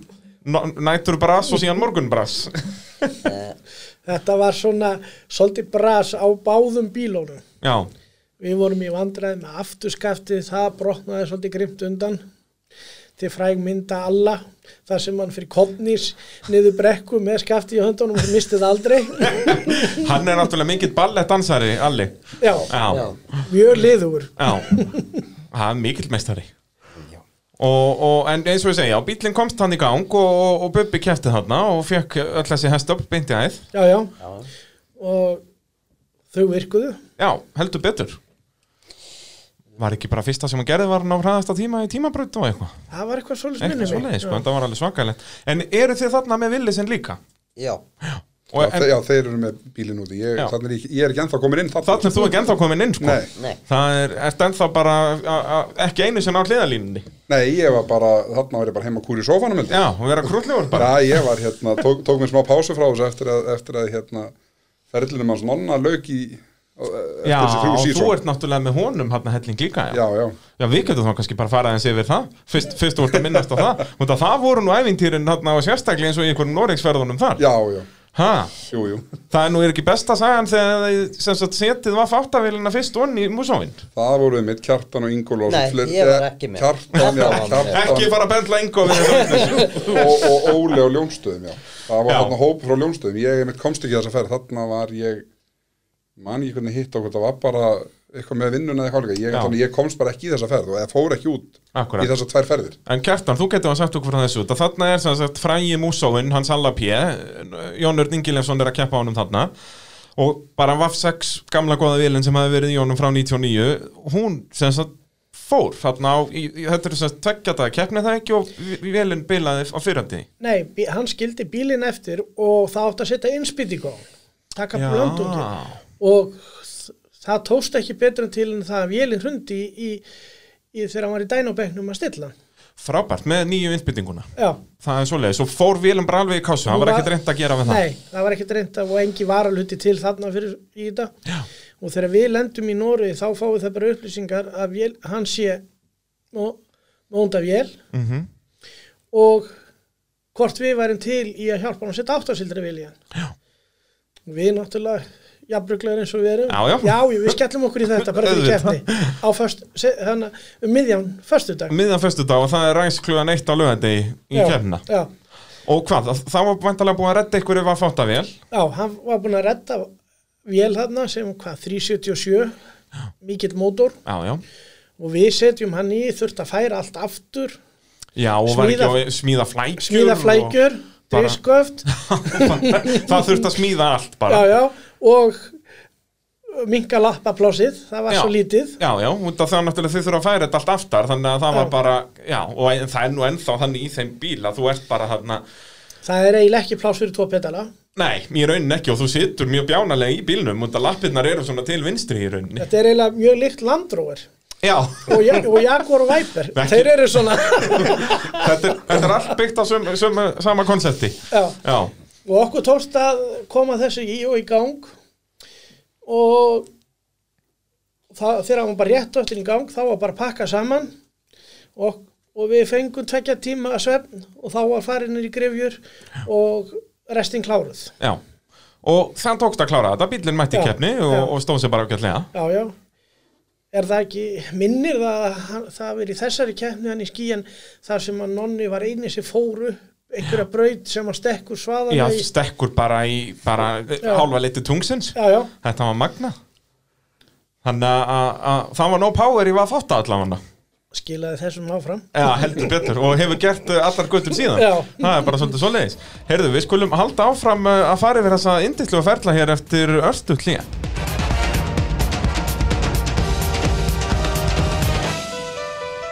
Speaker 1: no- nætur brass og síðan morgun brass
Speaker 3: Þetta var svona svolítið bras á báðum bílónum
Speaker 1: já,
Speaker 3: Við vorum í vandræði með afturskaftið, það brotnaði svolítið grimt undan til fræg mynda alla, þar sem hann fyrir kottnís niður brekku með skaftið í höndunum og mistið aldrei.
Speaker 1: hann er náttúrulega mikill ballettdansari, Alli
Speaker 3: Já,
Speaker 4: já.
Speaker 1: já,
Speaker 3: mjög liður.
Speaker 1: Já, það er mikill meistari
Speaker 4: Já.
Speaker 1: og, og en eins og ég segja, bílinn komst hann í gang og, og, og Bubbi kæfti þarna og fekk öll þessi hestöp beinti æð
Speaker 3: Já, já,
Speaker 4: já.
Speaker 3: og þau virkuðu.
Speaker 1: Já, heldur betur Var ekki bara fyrsta sem hann gerði var hann á hraðasta tíma í tímabraut og eitthvað
Speaker 3: Það var eitthvað svolítið
Speaker 1: Eitthvað
Speaker 3: minnum
Speaker 1: svoleiðis, sko, en það var alveg svakalegt En eru þið þarna með villisinn líka?
Speaker 4: já.
Speaker 1: Og
Speaker 2: já,
Speaker 1: en,
Speaker 2: þe- já, þeir eru með bílinn úti ég,
Speaker 1: Já.
Speaker 2: þarna er ég, ég er ekki ennþá komin inn þarna.
Speaker 1: þarna er þú ekki ennþá komin inn, sko
Speaker 2: Nei.
Speaker 4: Nei.
Speaker 1: Það er, ert ennþá bara a, a, ekki einu sinna á hliðalínunni
Speaker 2: Nei, ég var bara, þarna var ég bara heima kúri í sófanum held ég.
Speaker 1: Já, og vera krullegur bara
Speaker 2: Já, ég var hérna, tók, tók mér smá pásu frá þessu eftir að, eftir að hérna, ferðlinum hans nonna lauk í á- eh, eftir
Speaker 1: Já,
Speaker 2: þessi
Speaker 1: og
Speaker 2: þrjú
Speaker 1: þú
Speaker 2: sísón.
Speaker 1: ert náttúrulega með honum hann helling líka
Speaker 2: Já, já,
Speaker 1: Já, við getum þá kannski bara farað eins yfir það Fyrst, fyrst þú ert að minnast á það Út að það voru nú ævintýrin þarna á sérstaklega eins og í einhverjum Noregsferðunum þar
Speaker 2: já, já,
Speaker 1: ha,
Speaker 2: jú, jú.
Speaker 1: Það er nú er ekki besta sagan þegar þið sem sagt setið var fáttavélina fyrst onni í músóin
Speaker 2: Það voru mitt Kjartan og Ingóla
Speaker 4: Nei, ég var ekki með.
Speaker 2: Kjartan, já,
Speaker 4: Kjartan var með.
Speaker 1: Ekki
Speaker 2: Kjartan
Speaker 1: fara að bendla engu við þetta.
Speaker 2: og, og Óli á Ljónstöðum, já. Það var
Speaker 1: Já.
Speaker 2: hérna hóp frá Ljónstöðum. Ég mitt komst ekki þess að ferð, þarna var ég, man ekki hvernig hitt okkur, það var bara eitthvað með vinnuna eða hálfleika. Ég,
Speaker 1: Já.
Speaker 2: þannig, ég komst bara ekki í þessa ferð og eða fór ekki út
Speaker 1: Akkúrat.
Speaker 2: í þessar tvær ferðir.
Speaker 1: En Kjartan, þú getur að sagt okkur frá þessu út að Þarna er sem sagt frægi músóin, hans alla pjö Jónur Dingilefsson er að keppa á honum þarna Og bara Vaf6 gamla góða vilin sem hafi verið í honum frá 99 Hún sem sagt fór þarna á, í, í, þetta eru sem sagt tveggjata keppni er það ekki og vilin bilaði á fyrrandi
Speaker 3: Nei, bí- hann skildi bílinn eftir og það átti að setja innspýtingu á hann, taka
Speaker 1: Já.
Speaker 3: blöndungi og þ- það tókst ekki betur en til en það að vélinn hrundi í, í þegar hann var í dænabegnum að stilla. hann.
Speaker 1: Frábært, með nýju innbyttinguna
Speaker 3: Já.
Speaker 1: Það er svoleiðis, og fór vilin bara alveg í kásu Hann var ekkert reynd að gera við það
Speaker 3: Nei, það var ekkert reynd að og engi varaluti til þarna fyrir í þetta. Já. Og þegar við lendum í Nóri þá fáum það bara upplýsingar að vél, hann sé nónda vél
Speaker 1: mm
Speaker 3: og hvort við værum til í að hjálpa hann að setja áttasildri viljan já. við náttúrulega jafnbruglegar eins og við erum
Speaker 1: Já, já.
Speaker 3: við skellum okkur í þetta bara fyrir
Speaker 1: Auðvitað.
Speaker 3: kefni á föst, se, hana, um miðjan föstudag
Speaker 1: Miðan föstudag og það er ræs klugan eitt á lögandi í, í
Speaker 3: Já,
Speaker 1: keppna
Speaker 3: já,
Speaker 1: Og hvað, þá- þá var vantalega búið að redda ykkur ef að fátt að vel
Speaker 3: já, hann var búin að redda vél þarna sem hvað 377 mikill mótor
Speaker 1: Já, já
Speaker 3: og við setjum hann í þurft að færa allt aftur
Speaker 1: Já, og var
Speaker 3: Smíða-
Speaker 1: ekki að smíða flækjur
Speaker 3: smíða flækjur,
Speaker 1: bara-
Speaker 3: driftsköft
Speaker 1: og... Það þurfti að smíða allt bara
Speaker 3: já, já, og minka lappaplásið, það var
Speaker 1: Já.
Speaker 3: svo lítið
Speaker 1: Já, já, út af það náttúrulega þið þurfa að færa þetta allt aftar Þannig að það var
Speaker 3: Já.
Speaker 1: bara, já, og en- það er nú ennþá þannig í þeim bíl að þú ert bara þarna
Speaker 3: Það er eiginlega ekki pláss fyrir tvo pedala.
Speaker 1: Nei, í raunin ekki og þú situr mjög bjánalega í bílnum út af lappirnar eru svona til vinstri í rauninni
Speaker 3: Þetta er eiginlega mjög líkt Land Rover
Speaker 1: Já,
Speaker 3: og, ja og Jaguar og Viper.
Speaker 1: Ekki.
Speaker 3: Þeir eru svona,
Speaker 1: þetta er, þetta er allt byggt á sömu, sömu, sama konsepti
Speaker 3: já.
Speaker 1: Já,
Speaker 3: Og okkur tókst að koma þessu í og í gang og það, þegar hann var bara rétt öttin í gang þá var bara að pakka saman og, og við fengum tvekja tíma að svefn og þá var farinir í grefjur og restin kláruð.
Speaker 1: já Og þann tókst að klára þetta, bílinn mætti í
Speaker 3: Já,
Speaker 1: keppni og,
Speaker 3: já.
Speaker 1: og stóð sér bara ágætlega
Speaker 3: Já, já. Er það ekki, minnir það að hann- það hafi verið í þessari keppni hann í skíin þar sem að nonni var eini sem fóru einhverja braut sem að stekkur svaðan
Speaker 1: Já,
Speaker 3: í,
Speaker 1: stekkur bara í bara hálfa liti tungsins
Speaker 3: já, já,
Speaker 1: Þetta var magna Þannig að- að að það var no power í að þátt allavega
Speaker 3: skilaði þessum áfram.
Speaker 1: Já, heldur betur og hefur gert uh, allar guttum síðan
Speaker 3: Já.
Speaker 1: Það er bara svolítið svoleiðis Heyrðu, við skulum halda áfram uh, að fara yfir þessa indislu að ferla hér eftir örstu klíja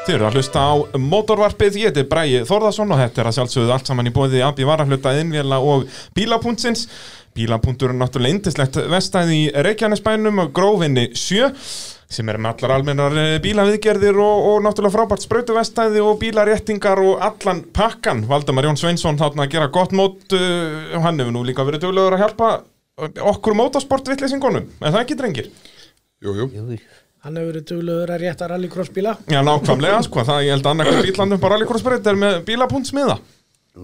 Speaker 1: Þið eru að hlusta á mótorvarpið, ég heiti Bræi Þórðarsson og þetta er að sjálfsögðu allt saman í bóði AB Varahluta, Innvjela og Bílapuntsins. Bílapuntur er náttúrulega indislegt vestæði í Reykjanesbænum og grófinni 7 sem er með allar almennar eh, bílaviðgerðir og, og náttúrulega frábært sprautuvestæði og bílaréttingar og allan pakkan. Valdamar Jón Sveinsson þarna að gera gott mót, eh, hann hefur nú líka verið duglegur að hjálpa eh, okkur mótorsportvittlesingunum, en það ekki drengir.
Speaker 2: Jú, jú.
Speaker 4: Jú,
Speaker 3: Hann hefur verið duglegur að rétta rallycross bíla.
Speaker 1: Já, nákvæmlega, sko, það ég held að annarkvæm bílandum bara alíkrossbreyt er með bílapuntsmiða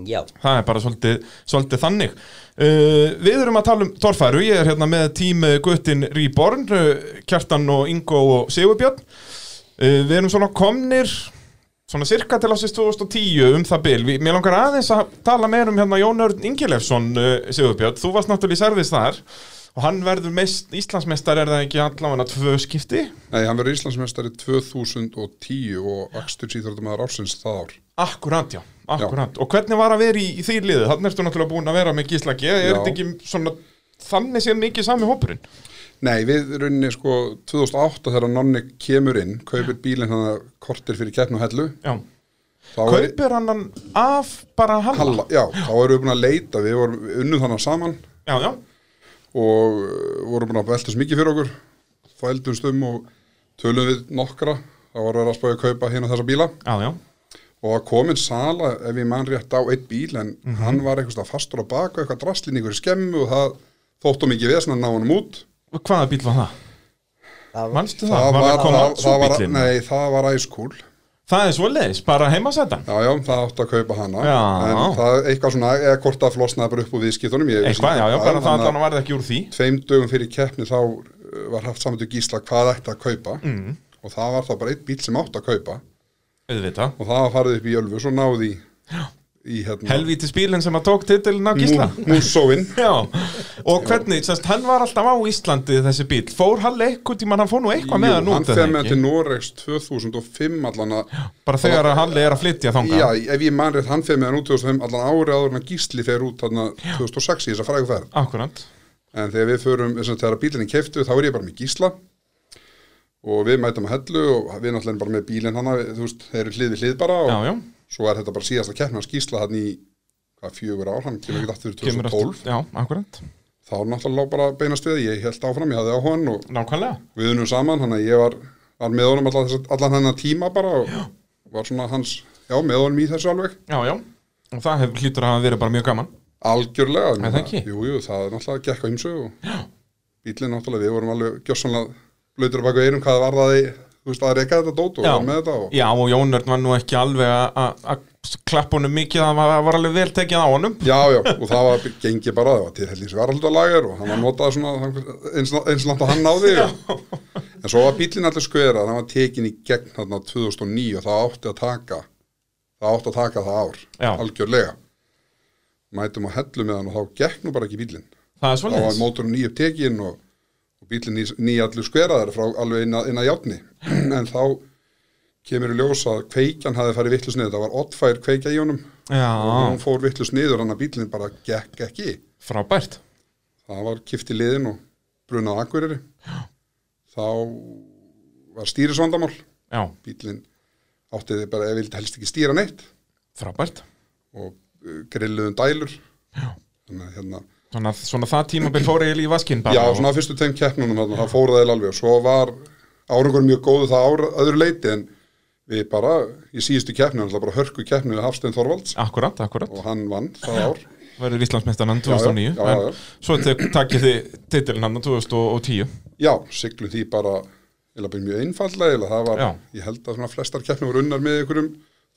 Speaker 4: já,
Speaker 1: það er bara svolítið, svolítið þannig uh, Við erum að tala um Torfæru, ég er hérna með tím eh, Guttin Rýborn, uh, Kjartan og Ingo og Sigurbjörn uh, Við erum svona komnir svona cirka til ásins 2010 um það bil Við, Mér langar aðeins að tala meir um hérna Jón Örn Ingilefsson uh, Sigurbjörn, þú varst náttúrulega í servis þar og hann verður mest, Íslandsmeistar er það ekki allavega tvö skipti
Speaker 2: Nei, hann verður Íslandsmeistari 2010 og akstur síþróttumæður ársins það ár.
Speaker 1: Akkurát, já, akkurát Og hvernig var að vera í, í því liðið? Þannig ertu náttúrulega búin að vera með Gísla G Er
Speaker 2: Já.
Speaker 1: þetta ekki svona Þannig séð mikið sami hópurinn?
Speaker 2: Nei, við rauninni sko 2008 þegar Nonni kemur inn, kaupir bílinn hann að kortir fyrir keppn og hellu.
Speaker 1: Já
Speaker 2: Þá er-
Speaker 1: Kaupir hann hann af bara hann
Speaker 2: Halla, já, þá erum við búin að leita, við vorum við unnum þannig saman
Speaker 1: Já, já,
Speaker 2: og uh, vorum búin að veltast mikið fyrir okkur, þvældumst um og tölum við nokkra, þá var verið að spája að kaupa hérna þessa bíla
Speaker 1: já, já
Speaker 2: og að komin sala ef ég mann rétt á eitt bíl en
Speaker 1: Mhm.
Speaker 2: hann var eitthvað fastur á baka, eitthvað drastlinn í einhverju skemmu og það þóttum ekki vesna að ná hann út.
Speaker 1: Og Hvaða bíl var það?
Speaker 4: það var
Speaker 1: Manstu það? Var að koma
Speaker 2: það, það, var,
Speaker 1: súbíllinn?
Speaker 2: nei, það var æskúl
Speaker 1: Það er svoleiðis, bara heimasætan
Speaker 2: Já, já, það átti að kaupa hana
Speaker 1: Já.
Speaker 2: En það eitthvað svona, eða hvort það flosnaði bara upp úr viðskiptunum ég vissi
Speaker 1: Eitthvað, já, já,
Speaker 2: hvað,
Speaker 1: bara það
Speaker 2: þannig
Speaker 1: allan varði ekki úr því
Speaker 2: að Tveim dögum fyrir keppni þá uh, var haft saman til gísla hvað ætti að kaupa mm. Og það var þá bara einn bíl sem átti að kaupa
Speaker 1: Auðvitað
Speaker 2: Og það var farið upp í Ölfus og náði í, í hérna
Speaker 1: Helvítis bílinn sem að tók titilin af Gísla
Speaker 2: Músóin
Speaker 1: Já, og hvernig, sérst, hann var alltaf á Íslandi þessi bíl Fór hann eitthvað tíma, hann fór nú eitthvað með hann
Speaker 2: hann
Speaker 1: út eða
Speaker 2: fer með
Speaker 1: ekki?
Speaker 2: til Noregs 2005 allan að
Speaker 1: Bara þegar að Halli er að flytja þangað
Speaker 2: Já, ef ég mann rétt hann fer með hann út 2005 allan ári áður en að Gísli fer út þarna 2006 í þessa frægu ferð
Speaker 1: Akkurant
Speaker 2: En þegar við förum, þess að þegar bílinni keftu, þá er ég bara með gísla og við mætum að hellu og við náttúrulega erum bara með bílinn hana, við- þú veist, þeir eru hlið við hlið bara og
Speaker 1: Já, já.
Speaker 2: svo er þetta bara síðasta keppni hans gísla hann í hvað, fjögur ár, hann kemur ekki aftur
Speaker 1: Kemur
Speaker 2: 2012.
Speaker 1: aftur- Já, akkurant
Speaker 2: Þá náttúrulega lá bara beinast við, ég held áfram, ég hafði á hann og
Speaker 1: Nákvæmlega
Speaker 2: við unum saman, hann að ég var, var með honum allan, þess, allan hennar tíma bara og var svona hans, já, með honum í þessu alveg.
Speaker 1: Já, já Og það hef, hlýtur að hafa verið bara mjög gaman
Speaker 2: Algjörlega,
Speaker 1: Er það
Speaker 2: meina,
Speaker 1: ekki?
Speaker 2: jú, jú, það er náttúrulega gekk á himsu og bílinn náttúrulega, við vorum alveg gjössanlega blöytur baka eirum hvað var það í, þú veist, að reka þetta dót og
Speaker 1: Já.
Speaker 2: var með þetta og
Speaker 1: Já, og Jónörn var nú ekki alveg að- að að klappa honum mikið Það var, var alveg vel tekið á honum
Speaker 2: Já, já, og það var gengið bara, það var til helgins varaldalager og hann var notað svona þang- eins, eins langt að hann náði og, en svo var bílinn allir skverað, hann var tekin í gegn þarna 2009 og það átti að taka það átti að taka það ár
Speaker 1: Já.
Speaker 2: algjörlega mætum að hellu með hann og þá gekk nú bara ekki bílinn
Speaker 1: Það er
Speaker 2: þá var
Speaker 1: svolítið
Speaker 2: mótorinn nýjöf tekin og, og bílinn ný, nýjallur skveraðar frá alveg inn að, inn að játni en þá kemur í ljós að kveikjan hafi farið vittlust niður, það var oddfær kveikja í honum og
Speaker 1: Já,
Speaker 2: hún fór vittlust niður hann að bílinn bara gekk ekki
Speaker 1: frábært
Speaker 2: það var kift í liðin og brunað á akkuriri þá var stýrisvandamál
Speaker 1: Já,
Speaker 2: bílinn átti þið bara eða vildi helst ekki stýra neitt
Speaker 1: frábært
Speaker 2: og uh, grilluðum dælur
Speaker 1: Já.
Speaker 2: þannig að hérna
Speaker 1: Svona, svona það tímabil fór eiginlega í vaskinn bara
Speaker 2: Já, svona á fyrstu tveim keppnunum þarna, það fór það eiginlega alveg og svo var árangur mjög góðu það ára, öðru leiti en við bara í síðustu keppnum, alltaf bara hörku keppnum við Hafstein Þorvalds
Speaker 1: Akkurat, akkurat
Speaker 2: og hann vann það ár.
Speaker 1: Verður Íslandsmeistarann 2009
Speaker 2: já, já, já.
Speaker 1: En svo tek- takkið þið titilin hann 2010
Speaker 2: Já, siglu því bara, eiginlega bara mjög einfallega, eiginlega það var,
Speaker 1: Já.
Speaker 2: ég held að svona flestar keppnum voru unnar með ykkurum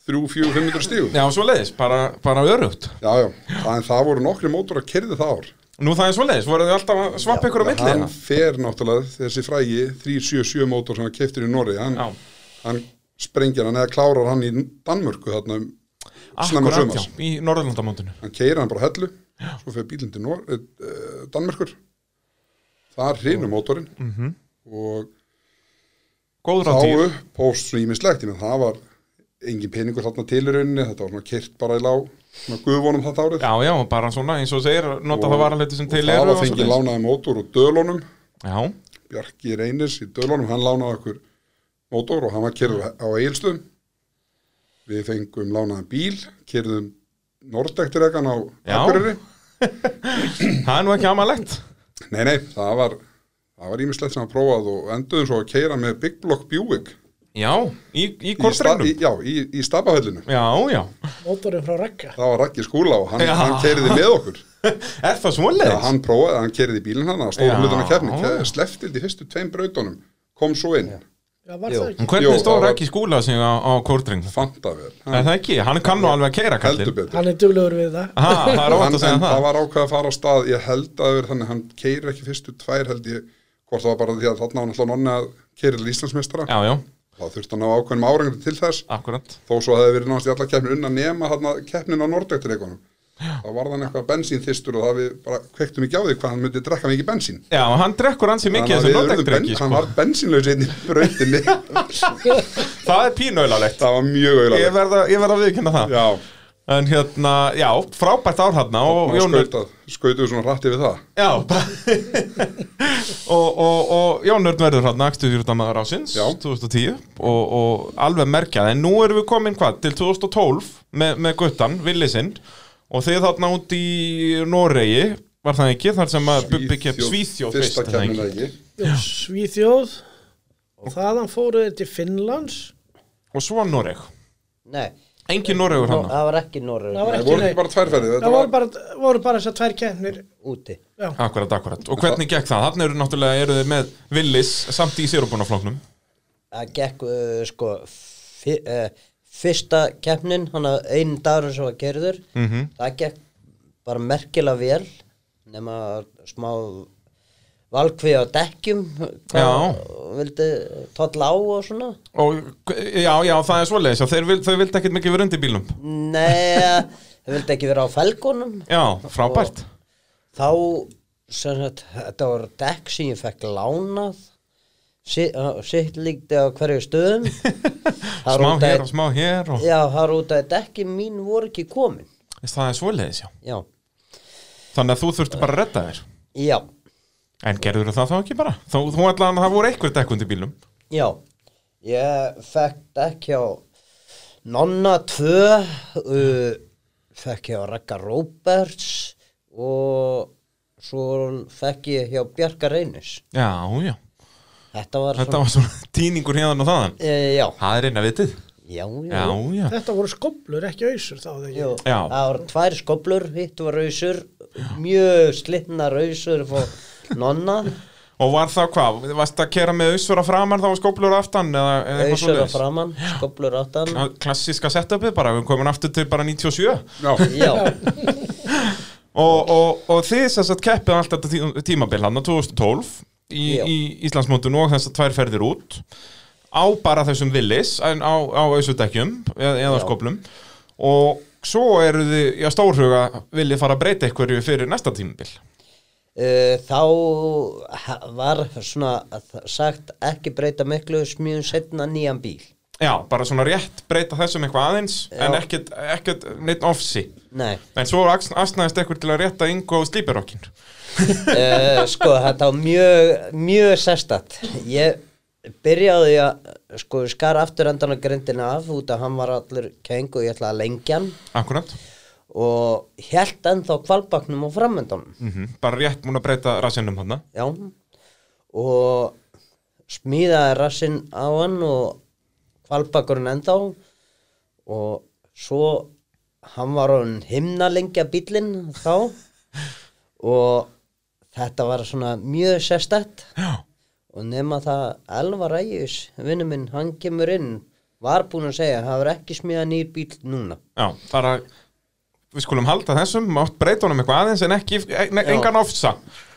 Speaker 2: 3-4-500 stígum.
Speaker 1: Já, svo leiðis, bara, bara örugt
Speaker 2: Já, já, það, en það voru nokkri mótor að kerði það ár.
Speaker 1: Nú það er svo leiðis, voruð þið alltaf að svappa ykkur á milli
Speaker 2: hann
Speaker 1: eða?
Speaker 2: fer náttúrulega þessi frægi 377 mótor sem hann keftir í Norri, hann,
Speaker 1: Já.
Speaker 2: hann sprengir hann eða klárar hann í Danmörku þarna um snemma
Speaker 1: Akkurat,
Speaker 2: sumars.
Speaker 1: já, í Norðurlandamótinu
Speaker 2: hann keiri hann bara á hellu svo fyrir bílinn til Nor uh, Danmerkur þar hrinu mótorinn og
Speaker 1: Góður á
Speaker 2: þá
Speaker 1: Mhm. dýr
Speaker 2: upp póst svo ímislegt en það var engin peningur þarna til í rauninni þetta var svona kert bara í lá svona guðvonum þetta árið
Speaker 1: Já, já, bara svona eins og segir nota það varaleiti sem til
Speaker 2: og
Speaker 1: eru
Speaker 2: það
Speaker 1: og
Speaker 2: var fengið
Speaker 1: svoleiðis.
Speaker 2: lánaði mótor úr dölunum
Speaker 1: Já,
Speaker 2: Bjarki Reynis í dölunum hann lánaði okkur mótor og hann var kerður á Egilstöðum við fengum lánaðan bíl, kyrðum norðdektiregan á
Speaker 1: Já.
Speaker 2: Akureyri.
Speaker 1: Það er nú ekki amalegt
Speaker 2: Nei, nei, það var, það var ímislegt sem að prófað og enduðum svo að keira með Big Block Buick.
Speaker 1: Já, í, í
Speaker 2: Í sta-
Speaker 1: kortregnum
Speaker 2: í- Já, í, í stabahöllinu.
Speaker 1: Já, já
Speaker 3: mótorinn frá Ragga
Speaker 2: Það var Raggi Skúla og hann,
Speaker 1: Já.
Speaker 2: hann keiriði með okkur.
Speaker 1: Er það
Speaker 2: Já,
Speaker 1: svoleiðis?
Speaker 2: hann prófaði, hann keiriði bílinn hann, að stóra
Speaker 1: Já.
Speaker 2: hlutan að kefni, sleftild í fyrstu tveim brautunum, kom svo inn,
Speaker 3: Já, var
Speaker 4: Jú.
Speaker 1: En
Speaker 3: það ekki?
Speaker 2: Jú,
Speaker 1: Hvernig
Speaker 2: það
Speaker 1: stóður
Speaker 2: var-
Speaker 1: ekki skúla sig á, á kortregnum?
Speaker 2: fantavel.
Speaker 1: Er það ekki? Hann kann nú alveg að keira
Speaker 2: Heldur
Speaker 1: kallir
Speaker 2: betur.
Speaker 3: Hann er duglegur við það
Speaker 1: Aha, það er
Speaker 2: hann,
Speaker 1: óvænt að segja
Speaker 2: en það
Speaker 1: það
Speaker 2: var ákveð að fara á stað ég held að vera þannig, hann keirir ekki fyrstu tvær held ég, hvort það var bara því að þarna var náttúrulega nonni að keirir til Íslandsmeistara
Speaker 1: Já, já,
Speaker 2: þá þurfti hann á ákveðnum árangri til þess
Speaker 1: akkurat
Speaker 2: þó svo að það verið náttúrulega allar keppnir unna nema þarna keppnin á Nordektireikunum þá var þannig eitthvað bensínþistur og það við bara kvektum ekki á því hvað hann myndi drekka mikið bensín
Speaker 1: Já, hann drekkur hans í mikið þessum
Speaker 2: Þannig að við urðum ben,
Speaker 1: nótækdrengi
Speaker 2: hann
Speaker 1: sko.
Speaker 2: var bensinlaus einn í brautinni
Speaker 1: Það er pínaulalegt
Speaker 2: það var mjög
Speaker 1: Ég
Speaker 2: auðvitað
Speaker 1: verð að, ég verð að viðkynna það
Speaker 2: já,
Speaker 1: En hérna, já, frábært ár hérna og
Speaker 2: og
Speaker 1: Jónur
Speaker 2: skautað, skautuðu svona rætti við það
Speaker 1: Já bara- og, og, og Jónur verður hérna Akstu hjúrtamaður ásins,
Speaker 2: Já.
Speaker 1: 2010 og, og alveg merkjað En nú erum við komin hvað, til 2012 með, með guttan, Villisinn Og þið þarna út í Noregi Var það ekki, þar sem að Bubbi kepp Svíþjóð fyrst,
Speaker 2: fyrsta
Speaker 1: er það ekki?
Speaker 2: keppnin ekki
Speaker 3: Jú, Svíþjóð og þaðan fóruð þeir til Finnlands
Speaker 1: Og svo Noreg
Speaker 4: Nei,
Speaker 1: Engin Noregur
Speaker 4: Nó-
Speaker 1: hann
Speaker 4: það var ekki Norröð
Speaker 3: Það var
Speaker 2: Nei,
Speaker 3: ekki,
Speaker 2: voru
Speaker 3: nei,
Speaker 2: ekki bara tværferðið þetta
Speaker 3: það
Speaker 2: var-
Speaker 3: voru bara, voru bara þessar tvær kemnir
Speaker 4: úti
Speaker 3: Já,
Speaker 1: Akkurat, akkurat Og hvernig gekk það? Þannig eru náttúrulega eru þið með Willis samt í sérubunaflóknum
Speaker 4: Það gekk uh, sko fi, uh, fyrsta keppnin hann að einn dagur sem var gerður
Speaker 1: Mhm.
Speaker 4: -hmm. það gekk bara merkilega vel nema smá valkvið á dekkjum hvað vildi tolla á og svona
Speaker 1: Og já, já, það er svoleiðis Já, þeir vil- Þau vildi ekkert mikið vera undir bílum
Speaker 4: Nei, það vildi ekki vera á felgunum
Speaker 1: Já, frábært
Speaker 4: þá sem sagt, þetta var dekk sem ég fekk lánað sitt, sitt líkti á hverju stöðum Það
Speaker 1: Smá
Speaker 4: er út að-
Speaker 1: hér og smá hér og...
Speaker 4: Já, það er út að dekkin mín voru ekki komin
Speaker 1: Það er svoleiðis, já
Speaker 4: Já,
Speaker 1: Þannig að þú þurfti bara að redda þér
Speaker 4: já,
Speaker 1: En gerður það þá ekki bara? Þá, þú ætlaðan að það voru eitthvað dekk undir bílum
Speaker 4: já Ég fekk dekk hjá Nonna 2 uh, Fekk hjá Ragga Róberts Og svo fekk ég hjá Bjarkar Einis
Speaker 1: Já, já
Speaker 4: Þetta var
Speaker 1: Þetta var svona tíningur hérna og þaðan
Speaker 4: e, Já,
Speaker 1: Það er eina vitið
Speaker 4: já, já,
Speaker 1: Já, já
Speaker 3: þetta voru skoblur, ekki ausur þá þegar
Speaker 4: Jú,
Speaker 3: ekki
Speaker 1: Já.
Speaker 4: það voru tvær skoblur, hitt var rausur, mjög slitna rausur fór nonna,
Speaker 1: Og var það hvað? Varst að kera með ausur að framar þá og skóplur að aftan? Eða, eða eitthvað
Speaker 4: rausur að
Speaker 1: svoleiðis?
Speaker 4: framann, skoblur áttan.
Speaker 1: Kla- klassíska setupið bara, við komum aftur til bara 97 og,
Speaker 2: Já,
Speaker 4: Já,
Speaker 1: og, og þið sem sagt keppið allt þetta tí- tímabil hann 2012 í,
Speaker 4: Já.
Speaker 1: í Íslandsmótun og þess að tvær ferðir út á bara þessum villis en á, á auðsutekjum eða, eða
Speaker 4: Já.
Speaker 1: skoplum og svo eru þið í að stórhuga viljið fara að breyta einhverju fyrir næsta tímabil
Speaker 4: uh, þá ha- var svona að- sagt ekki breyta miklu smjöðum setna nýjan bíl.
Speaker 1: Já, bara svona rétt breyta þessum eitthvað aðeins en
Speaker 4: Já.
Speaker 1: ekkert, ekkert neitt ofsi
Speaker 4: Nei,
Speaker 1: en svo aks- asnaðist ekkur til að rétta yngu á slíperokkin
Speaker 4: uh, sko þetta var mjög, mjög sestat. Ég byrjaði að, sko, skar aftur endan á grindina af út að hann var allur keng og ég ætlaði að lengja hann
Speaker 1: Akkurat,
Speaker 4: og held ennþá kvalbaknum og framöndanum.
Speaker 1: mm bara rétt múin að breyta um rassinnum hann
Speaker 4: Já, og smíðaði rassinn á hann og kvalbakurinn ennþá og svo hann var hann himna lengja bílinn þá og þetta var svona mjög sérstætt
Speaker 1: Já
Speaker 4: og nema það Elvar Ægis, vinnu minn, hann kemur inn var búinn að segja, það var ekki smíðað nýr bíl núna
Speaker 1: Já, bara við skulum halda þessum, mátt breyta honum eitthvað aðeins en ekki, e, ne,
Speaker 4: Já.
Speaker 1: engan ofsa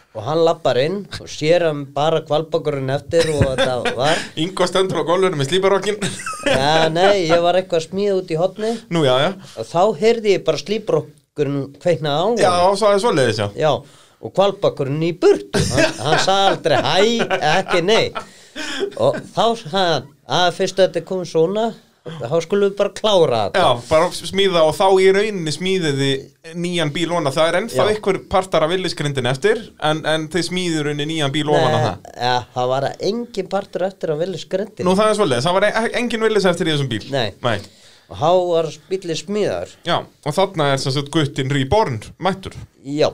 Speaker 4: og hann lappar inn og sér hann bara kvalbakurinn eftir og þetta var
Speaker 1: Ingo stendur á gólfinu með slíparokkin
Speaker 4: Já, nei, ég var eitthvað smíð út í hotni
Speaker 1: Nú, já, já
Speaker 4: og þá heyrði ég bara slíbrokkurinn kveikna á
Speaker 1: Já,
Speaker 4: honum.
Speaker 1: svo aðeins svoleiðis, já
Speaker 4: Já, og kvalbakkurinn í burtu hann, hann sagði aldrei hæ, ekki nei og þá sagði hann að fyrst þetta kom svona þá skulum við bara klára þetta
Speaker 1: Já, bara smíða og þá í rauninni smíðiði nýjan bíl ofan að það er ennþá
Speaker 4: Já.
Speaker 1: einhver partar af villisgrindin eftir en, en þið smíðið í rauninni nýjan bíl ofan að það
Speaker 4: ja, það var engin partur eftir að vilja skrendi
Speaker 1: Nú, það er svoleiðis, það var e- engin villis e, eftir í þessum bíl
Speaker 4: Nei.
Speaker 1: Nei.
Speaker 4: og há var bíllið smíðar
Speaker 1: Já, og þarna er sem sagt guttin Reborn mættur.
Speaker 4: já,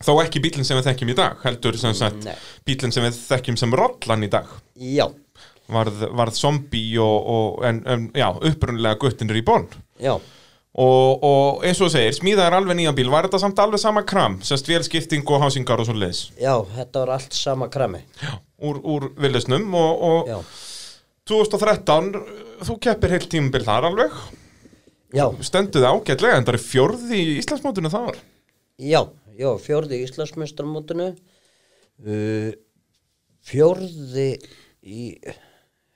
Speaker 1: Þó ekki bílinn sem við þekkjum í dag, heldur sem sagt
Speaker 4: Nei.
Speaker 1: bílinn sem við þekkjum sem rollan í dag.
Speaker 4: já,
Speaker 1: Varð, varð zombi og, og en, en, já, upprunnilega guttin Reborn.
Speaker 4: já
Speaker 1: Og, og eins og þú segir, smíðaðir alveg nýjan bíl, var þetta samt alveg sama kram, sérst vélskipting og hásingar og svo leiðis.
Speaker 4: já, þetta var allt sama krami
Speaker 1: Úr, úr villisnum og,
Speaker 4: já,
Speaker 1: og 2013, þú keppir heilt tímabil þar alveg.
Speaker 4: já,
Speaker 1: Stenduð ágætlega, en það er fjórði í Íslandsmótinu það var.
Speaker 4: já, já fjórði í Íslandsmeistarmótinu uh, fjórði í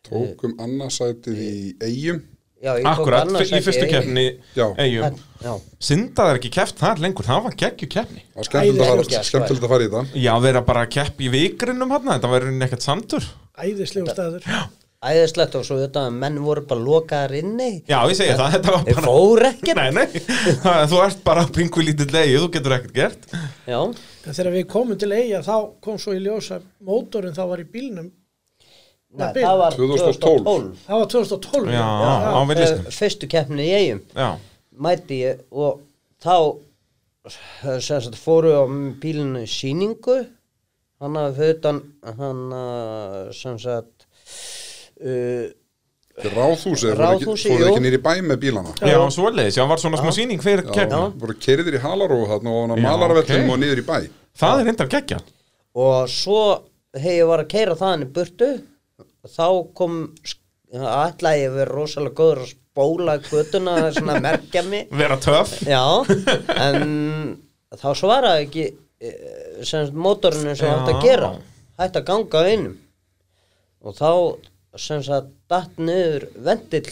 Speaker 2: Tókum annarsætið í eigum
Speaker 4: já, ég tók
Speaker 1: Akkurat,
Speaker 4: annað
Speaker 1: í
Speaker 4: sæti
Speaker 1: fyrstu
Speaker 4: í-
Speaker 1: keppni
Speaker 2: Já.
Speaker 1: eigum.
Speaker 4: já,
Speaker 1: Synda þær ekki keppt þar lengur, það var geggju keppni.
Speaker 2: Það er skemmtilegt að
Speaker 4: Æðislegt.
Speaker 2: fara- skemmtilegt að fara í það
Speaker 1: Já, vera bara að kepp í vikrinum hann, þetta var nekkert samtur.
Speaker 3: æðislegu staður
Speaker 4: æðislegt og svo þetta að menn voru bara lokaðar inni
Speaker 1: Já, ég segi það, þetta var
Speaker 4: þeir
Speaker 1: bara...
Speaker 4: fór ekkert
Speaker 1: Nei, nei, þú ert bara pingu lítið leið, þú getur ekkert gert.
Speaker 4: já,
Speaker 3: en þegar við komum til eiga þá kom svo í ljósa mótorinn þá var í bílnum
Speaker 4: Nei,
Speaker 3: bíl.
Speaker 4: það var
Speaker 2: 2012.
Speaker 4: 2012
Speaker 3: það var 2012
Speaker 1: Já, á villisnum.
Speaker 4: Eh, fyrstu keppni í eigum
Speaker 1: Já,
Speaker 4: mæti ég og þá eh, sem sagt, fóru á bílinu síningu hann að utan hann að sem sagt uh,
Speaker 2: Til Ráðhúsið, fóru ekki,
Speaker 4: Ráðhúsið,
Speaker 2: fóru
Speaker 4: jú.
Speaker 2: ekki nýri bæ með bílana
Speaker 1: já, svoleiðis, já, var svona smá síning fyrir
Speaker 2: Já,
Speaker 1: keppni.
Speaker 2: voru kerðir í Halaróf þarna og á
Speaker 1: Já,
Speaker 2: Malaravellinum
Speaker 1: ok.
Speaker 2: og niður í bæ
Speaker 1: Það er reyndar geggja.
Speaker 4: og svo hef ég var að keira þaðan í burtu þá kom alltaf ég verið rosalega góður að spóla göttuna það er svona að merkja mig
Speaker 1: Vera töf.
Speaker 4: Já, en þá svaraði ekki eh, sem sagt mótorinn eins og
Speaker 1: Já.
Speaker 4: hann átti að gera hætti að ganga á einum og þá sem sagt datt niður vendill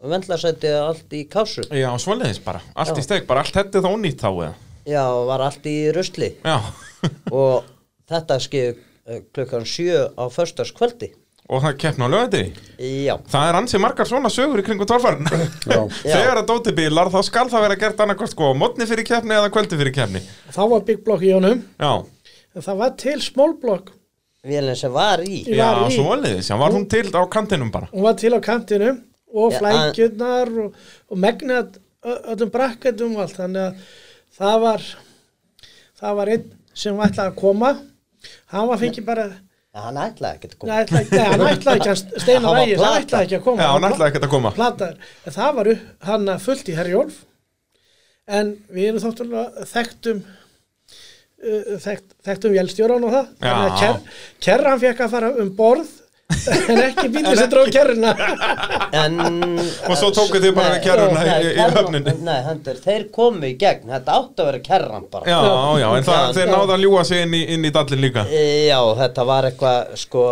Speaker 4: og vendlasætti allt í kásu
Speaker 1: Já, svoleiðis bara, allt
Speaker 4: Já.
Speaker 1: í steg, bara allt þetta þá nýtt þá eða.
Speaker 4: já, og var allt í rusli
Speaker 1: Já,
Speaker 4: og þetta skeið eh, klukkan sjö á föstaskvöldi
Speaker 1: og það er keppna á lögandi.
Speaker 4: já,
Speaker 1: Það er ansið margar svona sögur í kringum torfarn
Speaker 2: Já.
Speaker 1: Þegar að dóti bílar þá skal það vera gert annarkvort sko á mótni fyrir keppni eða kvöldi fyrir keppni
Speaker 3: þá var Big Block í honum
Speaker 1: Já,
Speaker 3: en það var til Small Block
Speaker 4: vélinn sem var í
Speaker 3: Ég
Speaker 1: já
Speaker 3: var í-
Speaker 1: svoleiðis, já var hún til á kantinum bara
Speaker 3: hún var til á kantinum og
Speaker 4: Já,
Speaker 3: flækjurnar og, og megnat ö- öllum brakketum og allt þannig að það var það var einn sem ætlaði að koma hann var fengið bara nei,
Speaker 4: hann ætlaði ekkert að koma
Speaker 3: ætlaði, nei, hann ætlaði ekki að
Speaker 4: Hann
Speaker 3: steina
Speaker 4: var
Speaker 3: rægis hann
Speaker 4: plata.
Speaker 3: ætlaði ekki að koma
Speaker 1: Já, hún ætlaði ekkert að koma
Speaker 3: plataður, en það var upp, hann að fullt í Herjólf en við erum þáttulega þekktum uh, þekkt, þekktum vélstjóran og það þannig að
Speaker 1: Já.
Speaker 3: ker, kerran fekk að fara um borð en ekki bílið sem dróð kerruna
Speaker 4: en,
Speaker 1: Og svo tókuð þið bara
Speaker 4: Nei,
Speaker 1: við kerruna
Speaker 4: nei,
Speaker 1: í- í
Speaker 4: kerran-
Speaker 1: höfninni.
Speaker 4: Nei, hendur, þeir komu í gegn, þetta átti að vera kerran bara
Speaker 1: Já, já, en það, þeir náðu að ljúa sig inn í, inn í dallin líka
Speaker 4: E, Já, þetta var eitthvað sko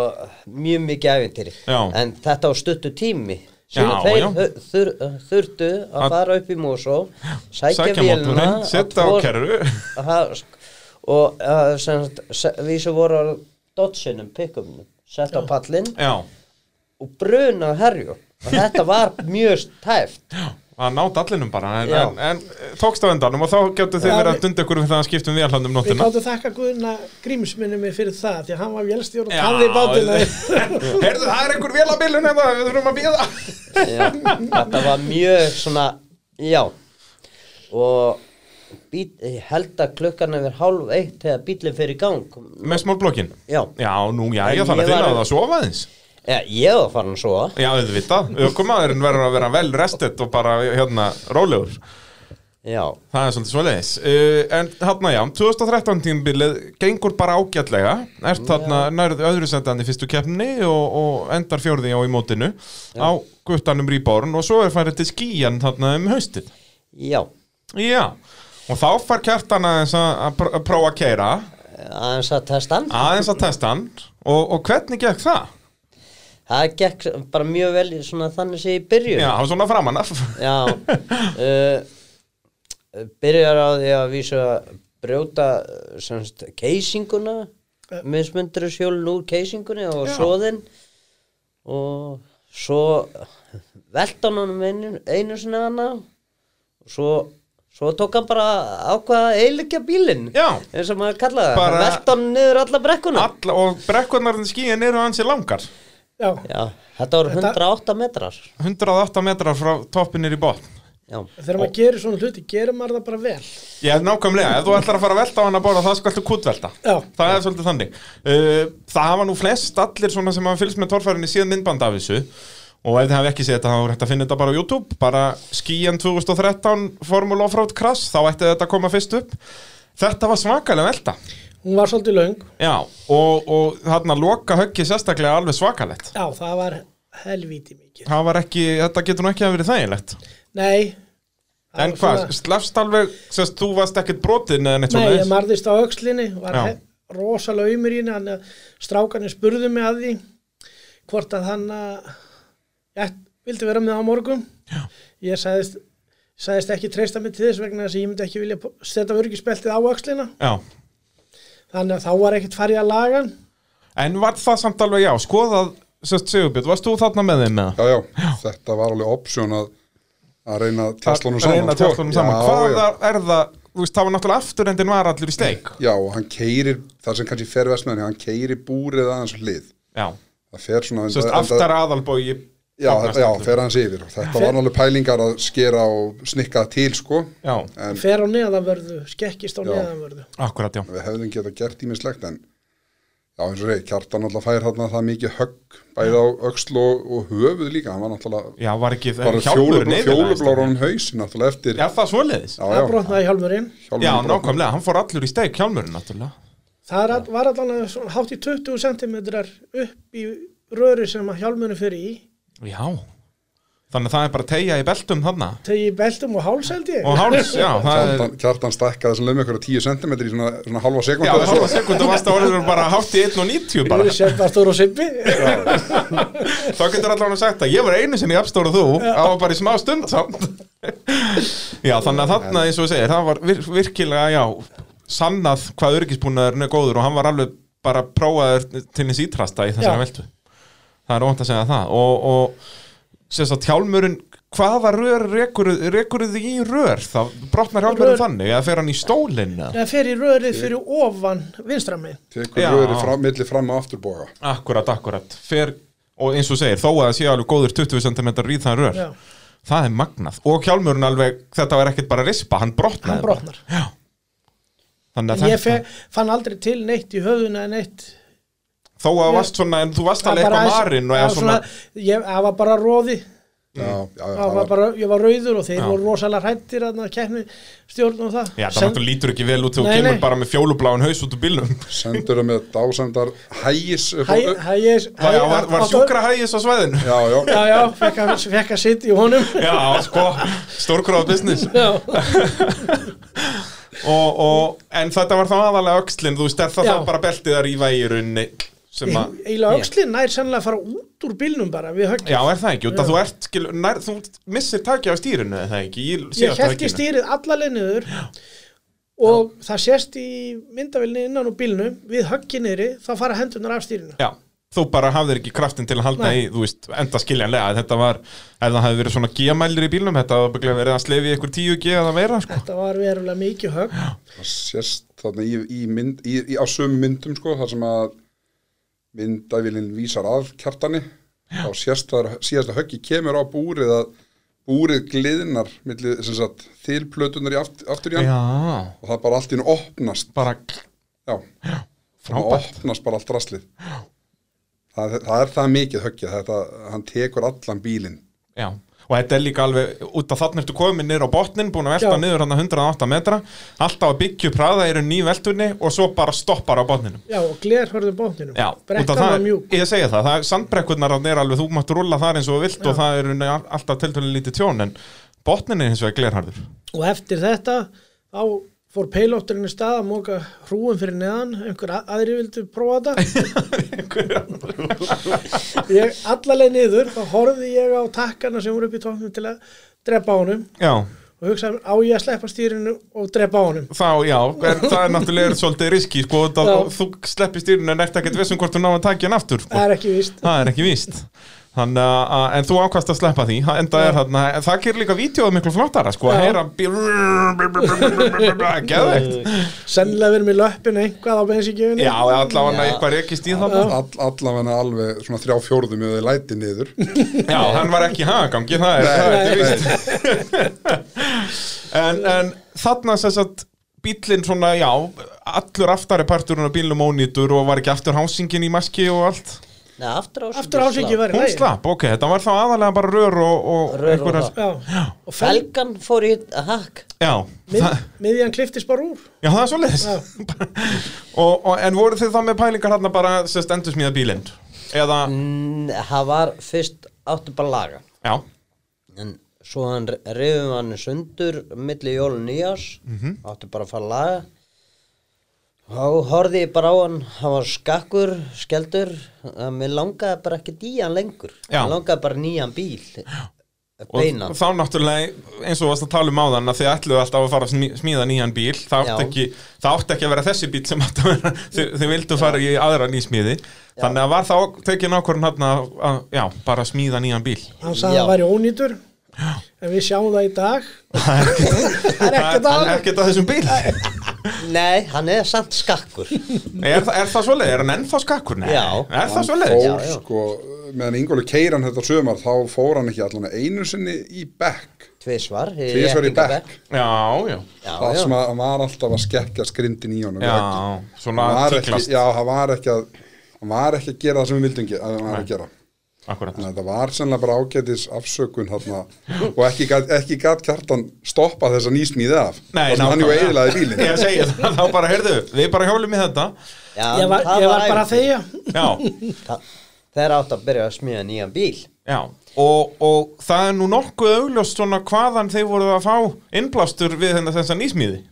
Speaker 4: mjög mikið ævintýri
Speaker 1: Já.
Speaker 4: en þetta var stuttu tími
Speaker 1: Já,
Speaker 4: Svín- þeir
Speaker 1: já.
Speaker 4: þur- Þur, þurftu að
Speaker 1: Að-
Speaker 4: fara upp í Mosó sækja,
Speaker 1: Sækja
Speaker 4: vélina
Speaker 1: mótorinn, setja á
Speaker 4: að tvo-
Speaker 1: kerru
Speaker 4: að það- sk- og uh, sem, sem, við sem voru á dotsinum, pikkumnum sett á pallinn
Speaker 1: Já,
Speaker 4: og bruna herjum og þetta var mjög tæft
Speaker 1: að ná dallinum bara En,
Speaker 4: Já.
Speaker 1: en, en tókst á endanum og þá gætu þið
Speaker 3: Já,
Speaker 1: verið að
Speaker 3: við-
Speaker 1: dunda ykkur við það að skiptum við allandum
Speaker 3: við
Speaker 1: nóttina
Speaker 3: gáttum þakka Guðna Grímsminni mig fyrir það því að hann var vélstjóran
Speaker 1: Já.
Speaker 3: og talði í bátina
Speaker 1: Heyrðu, það er einhver vélabilun eða hérna, við þurfum að bíða
Speaker 4: já, þetta var mjög svona já og bít, ég held að klukkan er verið hálf eitt þegar bílinn fer í gang
Speaker 1: Með smólblokkin
Speaker 4: Já.
Speaker 1: Já, nú, já,
Speaker 4: En
Speaker 1: ég þarf
Speaker 4: ég
Speaker 1: að til
Speaker 4: var-
Speaker 1: að það sofa aðeins
Speaker 4: ja, ég var farin að sofa
Speaker 1: Já, auðvitað, aukumaðurinn verður að vera vel restet og bara, hérna, rólegur
Speaker 4: já,
Speaker 1: Það er svolítið svoleiðis uh, En þarna, já, 2013 tímbilið gengur bara ágætlega Ert þarna nærðu öðru sendandi í fyrstu keppni og, og endar fjórði á í mótinu á guttanum Rýborn og svo er færið til skíjan þarna um haustið
Speaker 4: já
Speaker 1: Já, og þá fær kjartan aðeins að, að pr- að prófa að keira
Speaker 4: aðeins að testa hann
Speaker 1: aðeins að testa hann og, og hvernig gekk það?
Speaker 4: það gekk bara mjög vel í svona þannig sé ég byrju
Speaker 1: Já, hann svona framan af
Speaker 4: já uh, byrjar á því að vísa að brjóta eh, semst keisinguna mismundur sjólun úr keisingunni og svoðinn og svo velta hann honum einu, einu sinni hana og svo, svo tók hann bara ákvaða eiligja bílinn
Speaker 1: Já.
Speaker 4: eins og maður kallaði það,
Speaker 1: Bara-
Speaker 4: velta hann niður alla brekkuna
Speaker 1: Alla, og brekkurnar skíin eru hansi langar
Speaker 3: já,
Speaker 4: Já, þetta voru
Speaker 3: Þetta-
Speaker 4: 108 metrar.
Speaker 1: 108 metrar frá toppinir í botn
Speaker 4: Já,
Speaker 3: þegar maður gerir svona hluti, gerir maður það bara vel
Speaker 1: Já, nákvæmlega, ef þú ætlar að fara að velta á hana bara þá skaltu kútvelta
Speaker 3: Já.
Speaker 1: Það er svolítið þannig Uh, Það hafa nú flest allir svona sem hafa fylgst með torfærinni síðan myndband af þessu og ef þið hafa ekki séð þetta þá er hægt að finna þetta bara á YouTube bara skíjan 2013 Formula Offroad Crash, þá ætti þetta að koma fyrst upp Þetta var svakalega velta
Speaker 3: hún var svolítið löng,
Speaker 1: Já, og, og þarna loka höggið sérstaklega alveg svakalegt
Speaker 3: já, það var helvíti mikið,
Speaker 1: Það var ekki, þetta getur nú ekki að verið þægilegt
Speaker 3: nei það
Speaker 1: En
Speaker 3: var
Speaker 1: hvað,
Speaker 3: svona-
Speaker 1: slefst alveg, sérst þú varst ekkert brotin eða neitt
Speaker 3: Nei,
Speaker 1: svoleiðis?
Speaker 3: ég marðist á aukslinni var
Speaker 1: Já.
Speaker 3: he- rosalega umur í henni hann að strákanir spurðu mig að því hvort að hann að ég vildi vera með á morgun Já. ég sagðist, sagðist ekki treysta mig til þess vegna þess að ég myndi ekki vilja po- setja vörgisbeltið á aukslina
Speaker 1: Já,
Speaker 3: þannig að þá var ekkert farið að laga hann
Speaker 1: En var það samt alveg, já, skoðað Sest Sigurbjörn, varst þú þarna með þeim með það?
Speaker 2: já, já, þetta var alveg option að, að reyna tjáslunum
Speaker 1: Að
Speaker 2: saman
Speaker 1: reyna
Speaker 2: sko.
Speaker 1: tjáslunum saman
Speaker 2: já,
Speaker 1: Hvað
Speaker 2: já.
Speaker 1: er það, þú veist, það var náttúrulega afturendin var allur í steik
Speaker 2: já, og hann keirir, það sem kannski fer vestmenni hann keirir búrið aðeins á hlið
Speaker 1: Já,
Speaker 2: það fer svona
Speaker 1: sest
Speaker 2: enda-
Speaker 1: aftar aðalbói
Speaker 2: já, þetta- já, fer hans yfir og þetta var alveg pælingar að skera og snikka til sko
Speaker 1: Já,
Speaker 2: en
Speaker 3: fer á neðanvörðu, skekkist á
Speaker 2: Já.
Speaker 3: neðanvörðu
Speaker 1: akkurat, já
Speaker 2: við hefðum getað gert ímislegt en já eins og reyð, Kjartan alltaf fær hérna það mikið högg bæði á öxl og, og höfuð líka hann var náttúrulega
Speaker 1: Já, var ekki
Speaker 2: bara fjólubl- fjólublára honum haus náttúrulega eftir
Speaker 1: sko. Já, það svoleiðis Já,
Speaker 2: já,
Speaker 3: það brotnaði hjálmurinn
Speaker 2: hjálmurinn brotnaði.
Speaker 1: nákvæmlega, hann fór allur í steik, hjálmurinn náttúrulega
Speaker 3: það er all- var allan að svona hátt í 20 cm upp í röri sem að hjálmurinn fyrir í
Speaker 1: Já Þannig að það er bara tegja í beltum þarna
Speaker 3: tegi í beltum og háls held ég
Speaker 1: Og háls, já, það er
Speaker 2: Kjartan, kjartan stækkaði sem lögum ykkur 10 cm í svona, svona halva
Speaker 1: Já,
Speaker 2: sekundu
Speaker 1: hálfa sekundu varst að orðið bara hátt í 1.90 bara
Speaker 3: Við setjum aftur á Sibbi
Speaker 1: Þá getur allan að sagt að ég var einu sinni jafnstóra þú á bara í smá stund samt Já, þannig að þarna eins og ég segir það var vir virkilega, já sannað hvað örgisbúnaðurinn er góður og hann var alveg bara prófaður til hins ítrasta í þessari
Speaker 3: Já.
Speaker 1: veltu Það er ónt að segja það og, og sem sagt hjálmurinn hvaða rör rekuruð rekuruð þið í rör? Það brotnar hjálmurinn
Speaker 3: Rör-
Speaker 1: þannig eða fer hann í stólinn eða?
Speaker 3: Það fer í rörið fyrir ofan vinstra megin
Speaker 2: tekur
Speaker 1: Já.
Speaker 2: röðri fram, milli fram og afturboga
Speaker 1: Akkurat, akkurat fer, og eins og segir, þó að það sé alveg góður 20 cm í þann rör
Speaker 3: Já.
Speaker 1: það er magnað, og kjálmurinn alveg þetta var ekkert bara rispa, hann brotnaði
Speaker 3: Hann brotnar.
Speaker 1: bara. Já. þannig að
Speaker 3: Ég
Speaker 1: þetta,
Speaker 3: fe, fann aldei til neitt í höfðuna en neitt
Speaker 1: þó að þú varst svona en þú varst
Speaker 3: Það
Speaker 1: alveg eitthvað
Speaker 3: bara aðeins-
Speaker 1: marinn og
Speaker 3: það
Speaker 1: eða
Speaker 3: var
Speaker 1: svona,
Speaker 3: ég, Það var bara róði
Speaker 1: Mm.
Speaker 2: já, já, já,
Speaker 3: það var bara, Ég var rauður og þeir
Speaker 1: Já.
Speaker 3: voru rosalega hrættir að keppni stjórn og það
Speaker 1: já það
Speaker 3: Sen-
Speaker 1: náttúrulega lítur ekki vel út þegar
Speaker 3: Nei,
Speaker 1: þú kemur
Speaker 3: nei.
Speaker 1: bara með fjólubláin haus út úr bílnum
Speaker 2: sendur það með dásendar hægis upp á-
Speaker 3: Hæ-
Speaker 2: upp-
Speaker 3: hægis-
Speaker 1: var,
Speaker 3: hæ-
Speaker 1: var, var
Speaker 3: á-
Speaker 1: sjúkra hægis á svæðinu
Speaker 2: já, já,
Speaker 3: Já, já, fekk að, fekk að sitja í honum
Speaker 1: já, sko, stórgráða business
Speaker 3: Já,
Speaker 1: og, og, en þetta var þá aðalega öxlin, þú veist, er það
Speaker 3: Já.
Speaker 1: þá bara beltið að rífa í runni sem að
Speaker 3: eiginlega öxlinn nær sennilega að fara út úr bílnum bara við höggið
Speaker 1: Já, er það ekki? Út að þú ert, skil, nær, þú missir takja á stýrinu, er það ekki?
Speaker 3: ég held í stýrið allaleg niður og það sést í myndavilni innan úr bílnum við höggi niðri, þá fara hendunar af stýrinu
Speaker 1: Já, þú bara hafðir ekki kraftin til að halda
Speaker 3: Nei.
Speaker 1: í, þú veist, enda skiljanlega að Þetta var, ef það hefði verið svona G-mælir í bílnum Þetta var bygglega verið að slefi ykkur 10G eða meira, sko
Speaker 3: þetta var verulega mikið högg
Speaker 2: það sést þarna í, í mynd, í, í, á sömu myndum sko, þar sem að myndavillin vísar að kjartani þá sést það síðasta höggi kemur á búrið að búrið gliðnar milli, sem sagt, þilplötunar í aftur, aftur í hann
Speaker 1: Já,
Speaker 2: og það bara allt í hennu opnast
Speaker 1: bara
Speaker 2: já, það
Speaker 1: frábært
Speaker 2: opnast bara allt rastlið það, það er það mikið höggja þetta, hann tekur allan bílinn
Speaker 1: Já, og þetta er líka alveg út af þannig ertu komin niður á botnin, búin að velta
Speaker 3: Já.
Speaker 1: niður hann 108 metra, alltaf að byggja upp hraða eru ný veltunni og svo bara stoppar á botninum
Speaker 3: já, og gler hörðu bókninum
Speaker 1: Já, út af
Speaker 3: brekkan
Speaker 1: það,
Speaker 3: var mjúk
Speaker 1: ég segi það, það sandbrekkurnar þarna er alveg, þú mátt rúlla þar eins og þú vilt og það er alltaf tiltölu lítið tjón en botnin er hins vegar glerharður
Speaker 3: og eftir þetta þá fór peilótturinn í stað að móka hrúum fyrir neðan einhver a- aðri vildu prófa þetta ég allaleg niður þá horfði ég á takkana sem voru upp í tóknum til að drepa á honum
Speaker 1: Já,
Speaker 3: og hugsaði á ég að sleppa stýrinu og drepa á honum
Speaker 1: þá, já, er, það er náttúrulega er svolítið riski, sko, það,
Speaker 3: Já.
Speaker 1: um þú sleppir styrun en ert ekkert vissum hvort þú náðu að taka hann aftur, sko,
Speaker 3: það er ekki víst
Speaker 1: það er ekki víst Þannig að- að, en þú ákvæmst að sleppa því Ha- enda er þarna, en það gerir líka vídeoð miklu flottara, sko, að
Speaker 3: Já.
Speaker 1: heyra geðveikt
Speaker 3: sennilega verið með löppin eitthvað á bensinkjöfunni
Speaker 1: Já, allavega
Speaker 4: Já.
Speaker 1: eitthvað rekist í það bara.
Speaker 2: all, allavega alveg svona þrjá fjórðum ef þið læti niður
Speaker 1: Já, hann var ekki í hagagangi, það er, það er, það er víst en, en þarna sem sagt bíllinn svona, já, allur aftari parturinn af bílnum ónýtur og var ekki aftur hásingin í maski og allt
Speaker 4: Nei, aftur ásöki
Speaker 3: aftur ásvikið verið
Speaker 1: Hún slapp, ok, þetta var þá aðalega bara rör og, og
Speaker 4: Rör og
Speaker 1: einhverjar-
Speaker 4: það.
Speaker 3: já. og fel,
Speaker 4: Felgan fór í hakk
Speaker 1: Já,
Speaker 3: mið,
Speaker 1: það,
Speaker 3: miðjan kliftist bara úr
Speaker 1: já, það er svo leis og, og, En voru þið þá með pælingar hérna bara sem stendur smíða bílinn? Eða,
Speaker 4: Mm, Það var fyrst áttu bara að laga
Speaker 1: já,
Speaker 4: En svo hann reyðum hann sundur milli jól og nýjás
Speaker 1: Mhm.
Speaker 4: Áttu bara að fara að laga Þá horfði ég bara á hann Hann var skakkur, skeldur að Mér langaði bara ekki dýjan lengur
Speaker 1: Já.
Speaker 4: Mér langaði bara nýjan bíl
Speaker 1: og
Speaker 4: Beinan
Speaker 1: þá náttúrulega eins og varst að tala um áðan að þið ætluðu alltaf að fara að smí- smíða nýjan bíl það átti,
Speaker 4: Já.
Speaker 1: ekki, það átti ekki að vera þessi bíl sem átti að vera, þið, þið vildu fara í aðra nýsmíði þannig að var þá tekin ákvörðin hérna að, að, já, bara að smíða nýjan bíl
Speaker 3: hann sagði að
Speaker 4: Já.
Speaker 3: það væri ónýtur en við sjáum það í dag það er ekkert
Speaker 1: Það
Speaker 3: að
Speaker 1: er ekkert að þessum bíl er,
Speaker 4: Nei, hann er samt skakkur
Speaker 1: það- er það svoleið? Er hann ennþá skakkur? Nei.
Speaker 4: Já.
Speaker 1: Er það
Speaker 2: fór
Speaker 1: svoleið?
Speaker 4: Já, já.
Speaker 2: sko meðan Ingóli keiran þetta sömar þá fór hann ekki allan einu sinni í bekk
Speaker 4: Tvisvar í
Speaker 2: tvisvar í
Speaker 4: Réttingabekk.
Speaker 2: bekk
Speaker 1: Já, já
Speaker 4: Já,
Speaker 2: það
Speaker 4: já.
Speaker 2: sem að hann var alltaf að skekkja skrindin í honum
Speaker 1: Já,
Speaker 2: Það-
Speaker 1: svona
Speaker 2: hann var ekki,
Speaker 1: tíklast.
Speaker 2: já, hann var ekki að hann var ekki að gera það sem við vildum ge- að hann var að gera
Speaker 1: Akkurat
Speaker 2: þannig að þetta var sennilega bara ágætis afsökun þarna og ekki gat, ekki gat kjartan stoppa þessa nýsmíði af
Speaker 1: Nei,
Speaker 2: Það sem hann jú
Speaker 1: nákvæmlega.
Speaker 2: eiginlega bílinn
Speaker 1: Ég segi það, þá bara, heyrðu, við bara hjólum í þetta
Speaker 4: Já,
Speaker 3: ég var,
Speaker 4: það
Speaker 3: ég var bara
Speaker 4: ævintýri.
Speaker 3: að þegja
Speaker 1: Já,
Speaker 4: Þa- Þeir átt að byrja að smíða nýjan bíl
Speaker 1: Já, og, og það er nú nokkuð augljóst svona hvaðan þeir voru að fá innblástur við þennan þessa nýsmíði.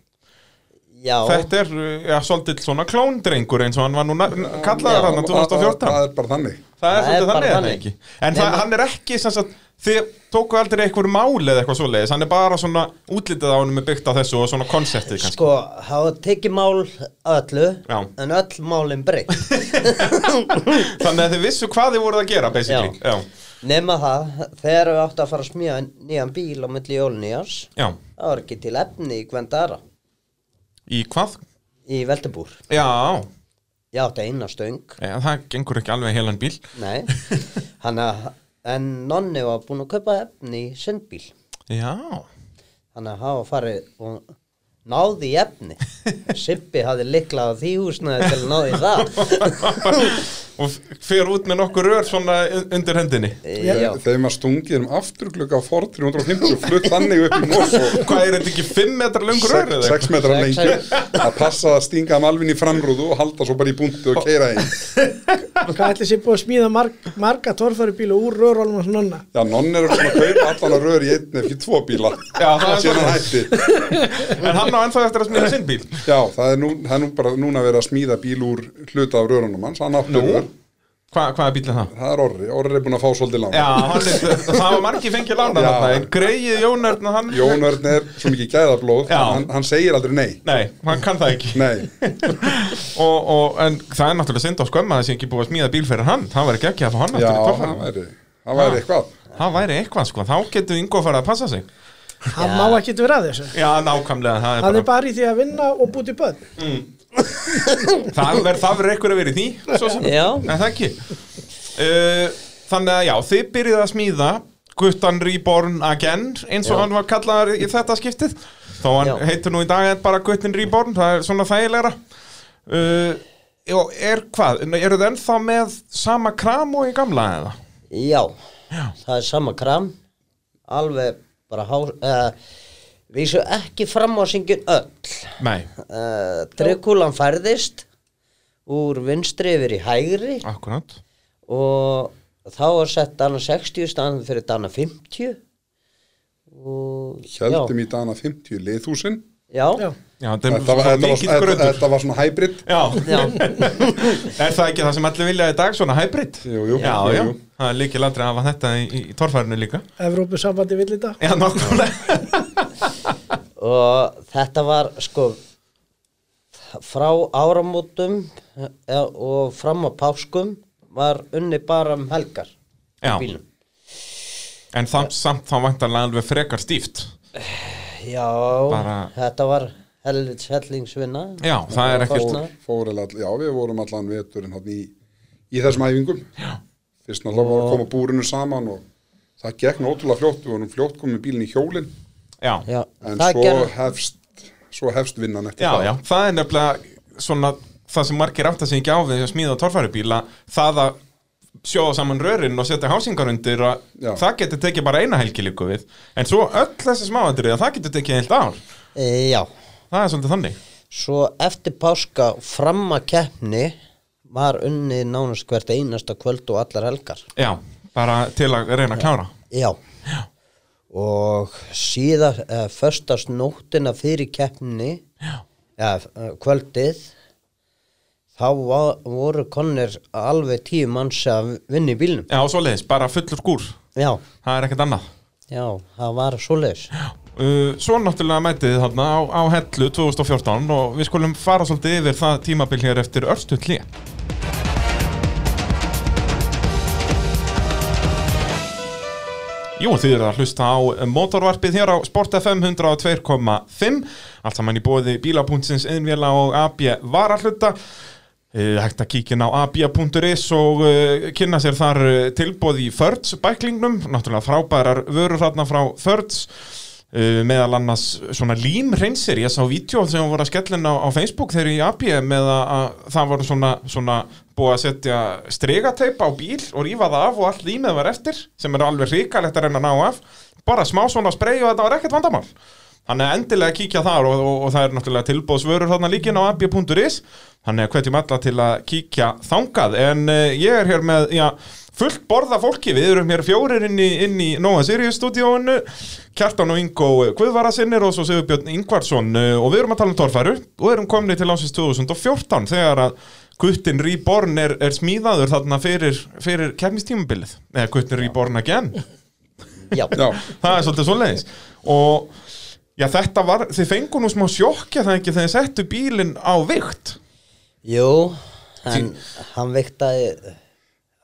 Speaker 4: Já,
Speaker 1: Þetta er, uh, já, svolítið svona klóndrengur eins og hann var nú na- n- kallaður hann
Speaker 2: Og- og-
Speaker 1: 2014.
Speaker 2: það er bara þannig
Speaker 1: Það er
Speaker 4: það er
Speaker 1: svolítið
Speaker 4: bara
Speaker 1: þannig eða
Speaker 4: þannig.
Speaker 1: ekki. En
Speaker 4: Nei,
Speaker 1: það,
Speaker 4: ma-
Speaker 1: hann er ekki, sem sagt, þið tóku aldrei einhver máli eða eitthvað svoleiðis, hann er bara svona útlitið á honum er byggt á þessu og svona konseptið kannski.
Speaker 4: sko, það var tekið mál öllu
Speaker 1: Já.
Speaker 4: En öll málin breytt
Speaker 1: Þannig að þið vissu hvað þið voruð að gera, basically. Já,
Speaker 4: Nefna það, þegar við átt að fara að smíða nýjan bíl á milli jólnýjans
Speaker 1: já.
Speaker 4: Það var ekki til efni í Gvendara
Speaker 1: Í hvað?
Speaker 4: Í Veldibúr
Speaker 1: Já,
Speaker 4: Ég átti eina stöng
Speaker 1: já það gengur ekki alveg heilan bíl.
Speaker 4: Nei, hann að En nonni var búin að kaupa efni í sundbíl
Speaker 1: Já,
Speaker 4: Þannig að hafa farið og náði í efni. Sippi hafði liklað á því húsnaði til að náði það.
Speaker 1: og f- fer út með nokkur rör svona un- undir hendinni
Speaker 4: Eh, Já,
Speaker 2: þeim að stungið um afturglugga á Ford 350 og flutt þannig upp í Mosó
Speaker 1: hvað er þetta ekki 5 metra lungur rör eða
Speaker 2: 6
Speaker 1: eitthvað?
Speaker 2: metrar
Speaker 4: Sex-
Speaker 2: lengi að passa að stinga malvin í framrúðu og halda svo bara í búntu og keira einn
Speaker 3: hvað ætli sér búið að smíða marg, marga torfærubíla úr rörólum hans nonna
Speaker 2: Já, nonn er svona að kaupa allan að rör í einn ef ekki tvo bíla
Speaker 1: Já, það er
Speaker 2: síðan hann
Speaker 1: svoleiðis.
Speaker 2: hætti
Speaker 1: en hann á ennþá eftir að smíða sinn bíl
Speaker 2: Já, það er, nú, það er nú bara núna verið að smíða bíl úr hluta af rörunum hans, hann átti rör
Speaker 1: Hva, hvaða bíl er það?
Speaker 2: Það er Orri, Orri er búin að fá svolítið langt
Speaker 1: Já, hann er, það var margi fengið lána
Speaker 2: Já.
Speaker 1: þarna en greið Jónörn hann,
Speaker 2: Jón Örn er svo mikið gæðablóð
Speaker 1: Já.
Speaker 2: hann, hann segir aldrei nei
Speaker 1: nei, hann kann það ekki
Speaker 2: Nei,
Speaker 1: og, og, en það er náttúrulega synd á skömma þessi ekki búið að smíða bíl fyrir hann það væri ekki ekki að fá hann
Speaker 2: já,
Speaker 1: aftur í
Speaker 2: hann
Speaker 1: torfærum
Speaker 2: væri, hann væri eitthvað
Speaker 1: það væri eitthvað sko, þá getur Ingo farið að passa sig
Speaker 3: hann má ekki vera að þessu
Speaker 1: já, nákvæmlega, það er
Speaker 3: hann
Speaker 1: bara,
Speaker 3: er bara í því að vinna og búti börn
Speaker 1: það verður það verður eitthvað að vera í því svo sem
Speaker 4: já,
Speaker 1: Nei, það ekki uh, Þannig að já, þið byrjuð að smíða Guttan Reborn Again eins og
Speaker 4: Já.
Speaker 1: hann var kallaðar í þetta skiptið þó hann
Speaker 4: Já.
Speaker 1: heitir nú í dag bara Guttin Reborn það er svona þægilegra uh, og er hvað, eru þið ennþá með sama kram og í gamla eða?
Speaker 4: já. Það er sama kram. Alveg bara há... Uh, Vísu ekki fram á syngin öll.
Speaker 1: Nei,
Speaker 4: Uh, Drekkúlan færðist úr vinstri yfir í hægri
Speaker 1: akkurat
Speaker 4: og þá var sett dana 60 staðan fyrir dana 50 og
Speaker 2: Hjöldum í dana 50 liðhúsin
Speaker 4: já, já,
Speaker 3: já,
Speaker 1: Já, þetta er
Speaker 2: Þetta var,
Speaker 1: svona
Speaker 2: þetta, var,
Speaker 1: mikill
Speaker 2: þetta,
Speaker 1: grötur
Speaker 2: þetta var svona hybrid
Speaker 1: Já,
Speaker 4: já.
Speaker 1: er það ekki það sem allir vilja í dag, svona hybrid?
Speaker 2: Jú, jú.
Speaker 1: já,
Speaker 2: Jú,
Speaker 1: já,
Speaker 2: jú.
Speaker 1: það er líkil aldrei að hafa þetta í, í, í torfærinu líka
Speaker 3: Evrópusambandi vill þetta
Speaker 1: Já, nákvæmlega
Speaker 4: og þetta var sko frá áramótum eh, og fram á páskum var unni bara um helgar
Speaker 1: Já.
Speaker 4: á bílnum
Speaker 1: En samt, samt þá vantarlega alveg frekar stíft
Speaker 4: Já,
Speaker 1: Bara-
Speaker 4: þetta var helvits hellingsvinna
Speaker 1: Já, það er ekkert-
Speaker 4: kostnað.
Speaker 2: fórið all, já við vorum allan veturinn hann í, í þessum æfingum já. fyrst náttúrulega var að koma búrinu saman og það gekk náttúrulega fljótt við vorum fljótt komið bílinn í hjólinn
Speaker 1: Já,
Speaker 4: Já,
Speaker 2: en
Speaker 4: það
Speaker 2: svo
Speaker 4: gerði
Speaker 2: hefst svo hefst vinnan eftir
Speaker 1: já,
Speaker 2: það
Speaker 1: já, það er nefnilega svona það sem margir átt að segja ekki á við að smíða torfærubíla, það að sjóða saman rörin og setja hásingar undir að
Speaker 2: Já.
Speaker 1: það getur tekið bara eina helgi líku við en svo öll þessi smáandrið að það getur tekið heilt ár,
Speaker 4: e, Já,
Speaker 1: það er svolítið þannig
Speaker 4: svo eftir páska fram að keppni var unnið nánast hvert einasta kvöld og allar helgar
Speaker 1: Já, bara til að reyna að klára
Speaker 4: Já, já. og síðan eh, föstast nóttina fyrir keppni já. eða eh, kvöldið þá var, voru konir alveg tíu manns að vinna í bílnum
Speaker 1: Já, og svoleiðis, bara fullur skúr
Speaker 4: Já,
Speaker 1: það er ekkert annað
Speaker 4: já, það var svoleiðis
Speaker 1: uh, Svo náttúrulega mætið þið þarna á, á hellu 2014 og við skulum fara svolítið yfir það tímabil hér eftir örstu hlið Jú, þið eru að hlusta á motorvarpið hér á Sport FM 102.5 allt saman í bóði bíla.sins innvila og AB varahluta Eh, hægt að kíkja inn á abia.is og uh, kynna sér þar uh, tilbóð í Förds bæklingnum, náttúrulega frábærar vörur þarna frá Förds uh, meðal annars svona límreinsir ég sá vídeo sem voru að skellin á, á Facebook þegar í AB með að, að það voru svona, svona búið að setja stregateipa á bíl og rífa það af og allt límið var eftir sem er alveg ríkalegt að reyna að ná af bara smá svona spray og þetta var ekkert vandamál Þannig að endilega kíkja þar og, og, og það er náttúrulega tilbóðsvörur þarna líkin á abj.is Þannig að hvetjum alla til að kíkja þangað En uh, ég er hér með, já, fullt borða fólki Við erum hér fjórir inn í, inn í Nóa Sirius stúdíóinu Kjartan og Ingo Guðvarasinnir og svo Sigurbjörn Ingvarsson uh, Og við erum að tala um torfæru og erum komni til ásins 2014 Þegar að Guttin Reborn er, er smíðaður þarna fyrir, fyrir kemmistímabilið Eða Guttin Reborn again
Speaker 4: Já,
Speaker 2: já,
Speaker 1: það er svolítið svoleiðis og já, þetta var, þið fengu nú smá sjokkja það ekki þegar þið settu bílinn á vikt
Speaker 4: jú en hann viktaði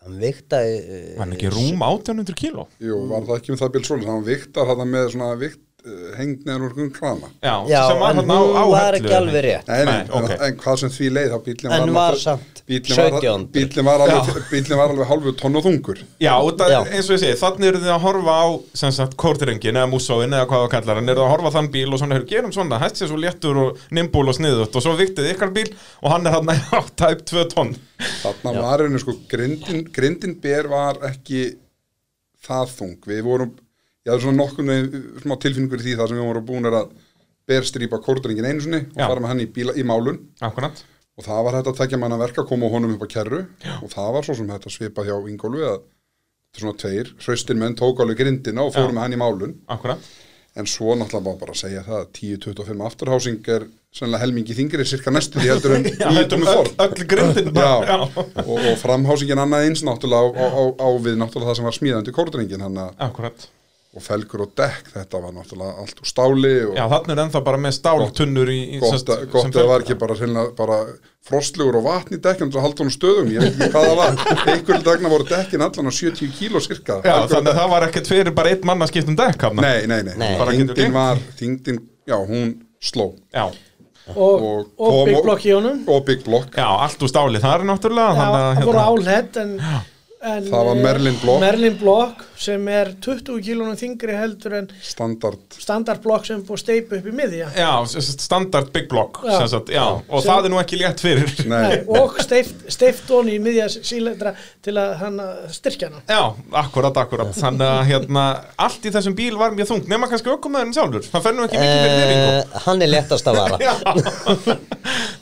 Speaker 4: hann viktaði eh,
Speaker 1: var hann ekki rúm 1800 kíló
Speaker 2: jú, var það ekki um það bíl svona hann viktar hann með svona vikt uh, hengd neður úr um krana
Speaker 1: já,
Speaker 4: Já,
Speaker 1: sem var
Speaker 4: en
Speaker 1: hann á,
Speaker 4: hún
Speaker 1: á
Speaker 4: var
Speaker 1: hellu,
Speaker 4: ekki alveg rétt
Speaker 2: Nei, nei,
Speaker 1: Nei, ok.
Speaker 2: en, en hvað sem því leið þá
Speaker 4: En
Speaker 2: bílinn var,
Speaker 4: var
Speaker 2: náttúrulega-
Speaker 4: samt
Speaker 2: bíllinn var,
Speaker 4: 1700.
Speaker 2: bíllinn var, alveg-
Speaker 1: Já.
Speaker 2: bíllinn var alveg hálfu tonn og þungur
Speaker 1: Já, það,
Speaker 4: Já.
Speaker 1: eins og ég segi, þannig eru þið að horfa á sem sagt kórtirengin eða mússóin eða hvað það kallar en eru þið að horfa á þann bíl og svona, heyrðu, gerum svona hætt sér svo léttur og nimbúl og sniðut og svo viktið ykkar bíl og hann er hann á tæp 2 tonn
Speaker 2: Þarna var einu sko, grindin, grindin ber var ekki það þung. Við vorum, ég hafði svona nokkurnu smá tilfinningur í því það sem við vorum búin er að berstrýpa kórdringin einu sinni og
Speaker 1: Já.
Speaker 2: fara með hann í, bíla, í málun
Speaker 1: Akkurat
Speaker 2: og það var þetta að tekja manna verka að koma honum upp á kerru og það var svo sem þetta svipa hjá Ingólfi að þetta er svona tveir, hraustin menn tók alveg grindina og fórum með hann í málun
Speaker 1: Akkurat
Speaker 2: en svo náttúrulega má bara segja það að 10-25 afturhásing er sennilega helmingi þingri cirka næstu því heldur en
Speaker 1: Já,
Speaker 2: nýtum
Speaker 1: öll,
Speaker 2: við fór
Speaker 1: öll grindin
Speaker 2: já.
Speaker 1: já.
Speaker 2: og, og framhásingin annað eins náttúrulega á, á, á, á við náttúrulega það sem var smíðandi kórdrengin hann að-
Speaker 1: Akkurat
Speaker 2: og felgur og dekk þetta var náttúrulega allt úr stáli og
Speaker 1: Já, þannig er ennþá bara með stáltunnur í, í
Speaker 2: gott, að- gott að það var ekki bara, hreinlega bara frostlugur og vatn í dekkjum til að halda honum stöðum, ég veit ekki hvað það var einhverjum dagna voru dekkin allan á 70 kíló cirka
Speaker 1: Já,
Speaker 2: Felgur-
Speaker 1: þannig að það var ekkert fyrir bara einn mann að skipta um dekk hafna
Speaker 2: nei, nei, nei,
Speaker 4: Nei.
Speaker 1: Bara getur
Speaker 2: þingdin
Speaker 1: gengt.
Speaker 2: var þingdin, já, hún sló
Speaker 1: Já,
Speaker 3: og, og, og
Speaker 2: kom
Speaker 3: Big Block í honum
Speaker 2: og Big Block,
Speaker 1: já, allt úr stáli þar náttúrulega
Speaker 3: Já,
Speaker 1: þannig að, hérna-
Speaker 3: það voru álhett en, en
Speaker 2: Það var
Speaker 3: eh,
Speaker 2: Merlin blokk.
Speaker 3: Merlin blokk sem er 20 kílónum þingri heldur en
Speaker 2: standard
Speaker 3: standardblokk sem er búið að steipa upp í miðja
Speaker 1: Já, sem sagt, standard big block
Speaker 3: Já.
Speaker 1: sem sagt, já, og
Speaker 3: Sem-
Speaker 1: það er nú ekki létt fyrir
Speaker 2: nei,
Speaker 3: og steift, steift honi í miðja sílendra til að hann að styrkja hana
Speaker 1: Já, akkurat, akkurat Þannig að hérna, allt í þessum bíl var mjög þungt nema kannski ökkumæðurinn sjálfur Það fer nú ekki mikið fyrir nefningu
Speaker 4: Eh, hann er léttast að vara
Speaker 1: Já,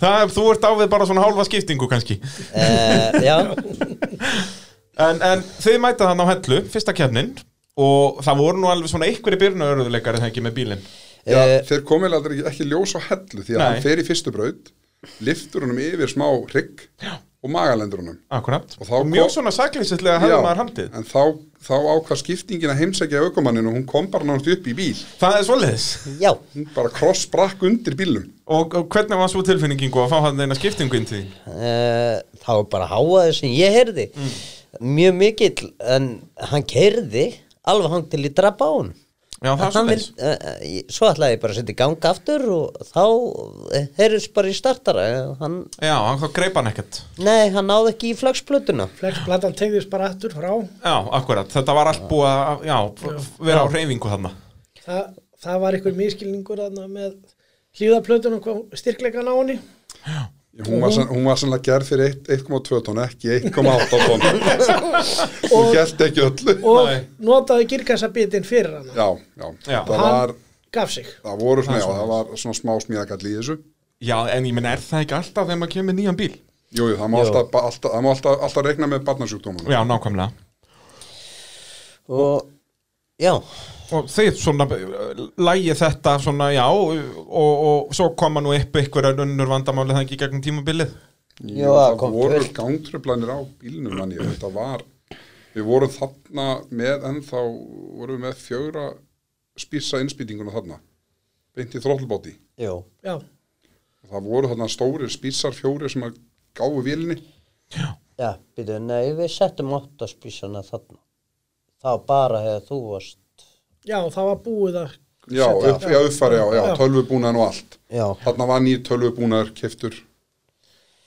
Speaker 1: það, er- þú ert á við bara svona hálfa skiptingu kannski
Speaker 4: uh, Já,
Speaker 1: En, en þið mætið hann á hellu, fyrsta kefnin og það voru nú alveg svona einhverju byrnaörðuleikar en það ekki með bílinn
Speaker 2: Já, þeir komið aldrei ekki, ekki ljós á hellu því að
Speaker 1: Nei.
Speaker 2: hann fer í fyrstu braut liftur honum yfir smá hrygg og magalendur honum
Speaker 1: Akkurat, og,
Speaker 2: Og þá
Speaker 1: mjög
Speaker 2: kom-
Speaker 1: svona sakleysislega
Speaker 2: Já,
Speaker 1: hefði maður handið
Speaker 2: en þá, þá ákvað skiptingin að heimsækja aukumanninu og hún kom bara náttúrulega upp í bíl
Speaker 1: Það er svoleiðis
Speaker 4: já
Speaker 2: hún bara krossbrakk undir bílnum
Speaker 1: og, og hvernig var svo
Speaker 4: Eh,
Speaker 1: tilfinningingu að fá hann eina skiptingu inn til þín? Mm.
Speaker 4: uh, Það var bara háaði sem ég heyrði mjög mikill en hann keirði alveg hang til í drapa á hún
Speaker 1: Já, það er
Speaker 4: Hann
Speaker 1: svoleiðis.
Speaker 4: vildi- eh, eh, ég- svo ætlaði ég bara að setja í gang aftur og þá eh, heyrðist bara í startara eh, hann,
Speaker 1: Já, hann þá greip hann ekkert
Speaker 4: nei, hann náði ekki í flagsplötuna
Speaker 3: Flexplatan tegðist bara aftur frá.
Speaker 1: Já, akkurat, þetta var allt búið að já, vera á reyfingu þarna
Speaker 3: Þa, það var einhver miskilningur þarna með hlýðaplötunum kom styrkleikan á henni.
Speaker 2: Hún var, sann- hún var sannlega gerð fyrir eitt- 1,2 tonn, ekki 1,8 tonn. Hún gælt ekki öllu.
Speaker 3: og
Speaker 1: Nei.
Speaker 3: notaði girkassabitin fyrir hana.
Speaker 2: Já, já.
Speaker 1: Já.
Speaker 2: Það,
Speaker 3: Hann
Speaker 2: var,
Speaker 3: gaf sig.
Speaker 2: það voru svona, já, það var svona smá smíðagall í þessu.
Speaker 1: Já, en ég menn, er það ekki alltaf þegar maður kemur nýjan bíl?
Speaker 2: Jú, jú, það má,
Speaker 4: Jú.
Speaker 2: alltaf, ba- alltaf, það má alltaf, alltaf regna með barnasjúkdómanum.
Speaker 1: Já, nákvæmlega
Speaker 4: og já,
Speaker 1: og þið svona lægi þetta svona já og, og, og svo koma nú upp einhverja önnur vandamáli það ekki í gegnum tímabilið
Speaker 4: Já,
Speaker 2: það
Speaker 4: kom
Speaker 2: voru
Speaker 4: fullt.
Speaker 2: gangtröflanir á bílnum, mann ég, þetta var, við vorum þarna með, en þá vorum við með fjögra spýsa innspýtinguna þarna, beint í þróttlbóti.
Speaker 4: já,
Speaker 3: Já,
Speaker 2: Það voru þarna stórir spýsar fjóri sem að gáfu vélinni.
Speaker 4: já, byrju, nei við settum áttaspísana þarna þá bara hefði þú varst
Speaker 3: já, það var búið að
Speaker 2: Já, upp, já, uppfæri, já, já, tölvubúnaðan og allt.
Speaker 4: já,
Speaker 2: Þarna var nýr tölvubúnaðar, keftur,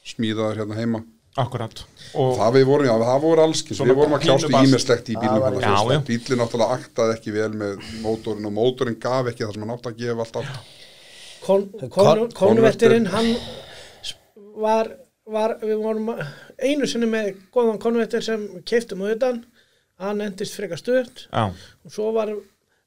Speaker 2: smíðaður hérna heima.
Speaker 1: akkurat og
Speaker 2: Það við vorum, já, það voru allskins,
Speaker 1: Svona
Speaker 2: við vorum að
Speaker 1: pínu
Speaker 2: kljást í
Speaker 1: bast.
Speaker 2: ímestlegt í bílnum
Speaker 1: já,
Speaker 2: hann að
Speaker 1: já.
Speaker 2: bílinn náttúrulega aktaði ekki vel með mótorinn og mótorinn gaf ekki það sem hann átt að gefa alltaf.
Speaker 3: kon, kon,
Speaker 4: Kon-
Speaker 3: konvertirinn, hann s- var, var, við vorum að- einu sinni með góðan konvertir sem keiftum auðvitaðan, hann endist frekar stuðt
Speaker 1: já,
Speaker 3: og svo var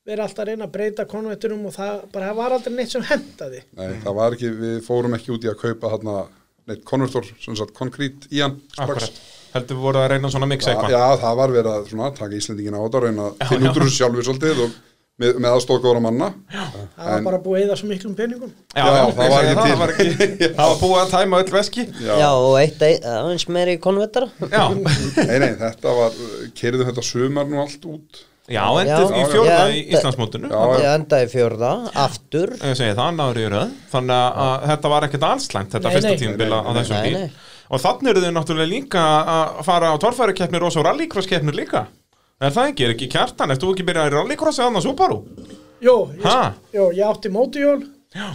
Speaker 3: verið alltaf að reyna að breyta konvertirum og það bara það var aldrei neitt sem hendaði.
Speaker 2: Nei, það var ekki, við fórum ekki út í að kaupa þarna neitt konvertor, sem sagt konkrít í hann strax.
Speaker 1: akkurat heldur við voru að reyna svona miksa
Speaker 2: Það,
Speaker 1: eitthvað
Speaker 2: já, það var verið að svona, taka Íslendingina á þetta, reyna að
Speaker 1: já.
Speaker 2: finna út úr þessu sjálfur svolítið og með, með aðstóð góðra manna. Já,
Speaker 3: Það var bara búið að eða svo miklum peningum.
Speaker 2: já,
Speaker 1: já,
Speaker 2: það
Speaker 1: ég
Speaker 2: var
Speaker 1: segi
Speaker 2: ekki til.
Speaker 1: það var, ekki, það var búið að tæma öll veski
Speaker 4: já. og eitt ei- aðeins meiri konvetara
Speaker 1: já,
Speaker 2: Nei, nei, þetta var, keiriðu þetta sumar nú allt út.
Speaker 1: já endið
Speaker 4: Já.
Speaker 1: í fjórða
Speaker 4: Já,
Speaker 1: í
Speaker 4: enda-
Speaker 1: Íslandsmótinu
Speaker 2: Já, já.
Speaker 4: ég endaði fjórða, aftur
Speaker 1: ég segi það, náður í röð þannig að, að þetta var ekkert allslæmt þetta
Speaker 3: Nei,
Speaker 1: fyrsta
Speaker 3: nei.
Speaker 1: tímabila
Speaker 2: Nei,
Speaker 1: á
Speaker 2: nei,
Speaker 1: þessum
Speaker 4: nei,
Speaker 1: bíl
Speaker 4: nei.
Speaker 1: og þannig eru þau náttúrulega líka að fara á torfærukeppnir og svo rallycrosskeppnir líka er það ekki, er ekki kjartan, ert þú ekki byrjað í rallycrossi eða annars Subaru?
Speaker 3: Jó, ég,
Speaker 1: Ha?
Speaker 3: jó, ég átti mótujól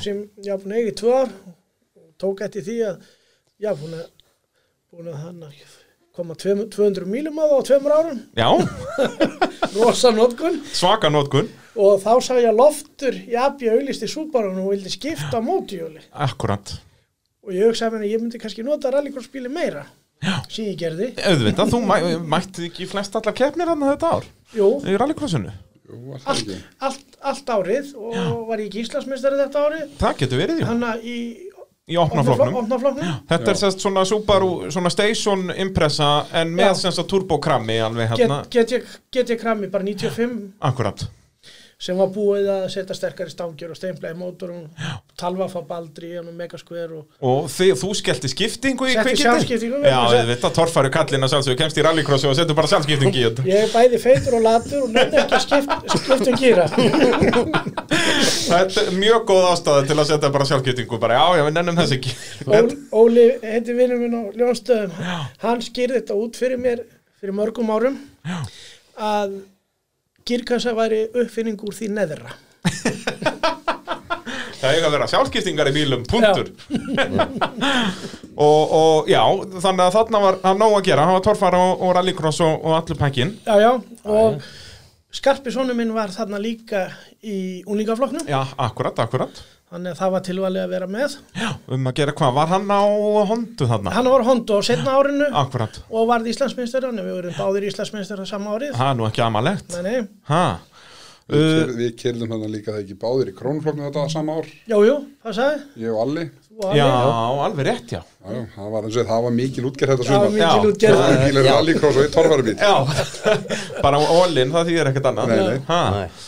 Speaker 3: sem ég var búin að eiga í tvö ár og tók eftir því að ég var búin að, búin að hann að koma tveim- 200 mílum á það á tveimur árum,
Speaker 1: Já,
Speaker 3: rosa notkun
Speaker 1: svaka nótkun
Speaker 3: og þá sá ég að loftur í abbi auðlist í súbarunum og vildi skipta á mótujóli
Speaker 1: Akkurat
Speaker 3: og ég hugsaði mér að ég myndi kannski nota rallycrossbíli meira sem ég gerði,
Speaker 1: Auðvitað, þú mæ, mætti ekki flest allar keppnir hann þetta ár
Speaker 3: jú,
Speaker 1: Í rallycrossinu
Speaker 2: Jú, alltaf
Speaker 3: allt,
Speaker 2: ekki.
Speaker 3: allt, allt árið og var ég ekki Íslandsmeistari þetta árið
Speaker 1: Það getur verið, jú,
Speaker 3: hann að í
Speaker 1: í opnafloknum
Speaker 3: opnafloknum
Speaker 1: Þetta er sérst svona Subaru, svona station impressa En með
Speaker 3: Já.
Speaker 1: sérst að turbokrammi alveg
Speaker 3: get,
Speaker 1: hérna
Speaker 3: get, ég, get ég kramið bara 95
Speaker 1: Akkurat
Speaker 3: sem var búið að setja sterkari stangjur og steinflæði mótorum, talvafab aldri og megaskver og
Speaker 1: Og þið, þú skellti skiptingu í
Speaker 3: Setti
Speaker 1: kvikindi Já,
Speaker 3: sjálfskiptingu, vegna þess að-
Speaker 1: auðvitað, torfæru kallina sjálfsög Kemst í rallycrossi og setur bara sjálfskiptingu í þetta
Speaker 3: ég er bæði feitur og latur og nefnir ekki að um skipt, skiptum gýra
Speaker 1: Þetta er mjög góð ástæða til að setja bara sjálfskiptingu Bara já, já, við nennum þess ekki
Speaker 3: Óli, Óli heiti vinnum minn á Ljónstöðum hann skýrði þetta út fyrir mér fyrir mörgum árum Já. að gýrkassa væri uppfinning úr því neðra
Speaker 1: Það eiga að vera sjálfskiptingar í bílum, punktur og, og já, þannig að þarna var að nóg að gera, hann var torfara og, og rallycross og, og allur pakkin
Speaker 3: já, já, og skarpi sonu minn var þarna líka í unlingafloknum
Speaker 1: Já, akkurat, akkurat
Speaker 3: þannig að það var tilvalið að vera með
Speaker 1: Um að gera hvað, var hann á hondu þarna?
Speaker 3: hann var hondo á setna árinu
Speaker 1: Akkurat,
Speaker 3: og varð Íslandsmeinstur þannig að við vorum báðir Íslandsmeinstur á sama árið
Speaker 1: það er nú ekki amalegt
Speaker 3: nei, nei,
Speaker 1: Ha,
Speaker 2: Við
Speaker 1: uh,
Speaker 2: keyrðum- Við keirðum hérna líka það ekki báðir í krónfloknum þetta sama ár,
Speaker 3: jú, jú, það sagði
Speaker 2: ég og Alli.
Speaker 3: þú og
Speaker 1: já,
Speaker 3: Alli.
Speaker 1: alveg rétt, já
Speaker 2: Já, já, það var eins og það var mikil útgerð þetta
Speaker 3: það var
Speaker 2: sumar.
Speaker 1: Já.
Speaker 3: mikil
Speaker 2: Það
Speaker 3: útgerð
Speaker 2: var mikil
Speaker 4: Já.
Speaker 2: rallycross og eitt torfærubíl.
Speaker 1: Já, bara á ólinn, það þýðir ekkert annað
Speaker 2: Nei, nei.
Speaker 1: Ha,
Speaker 4: Nei.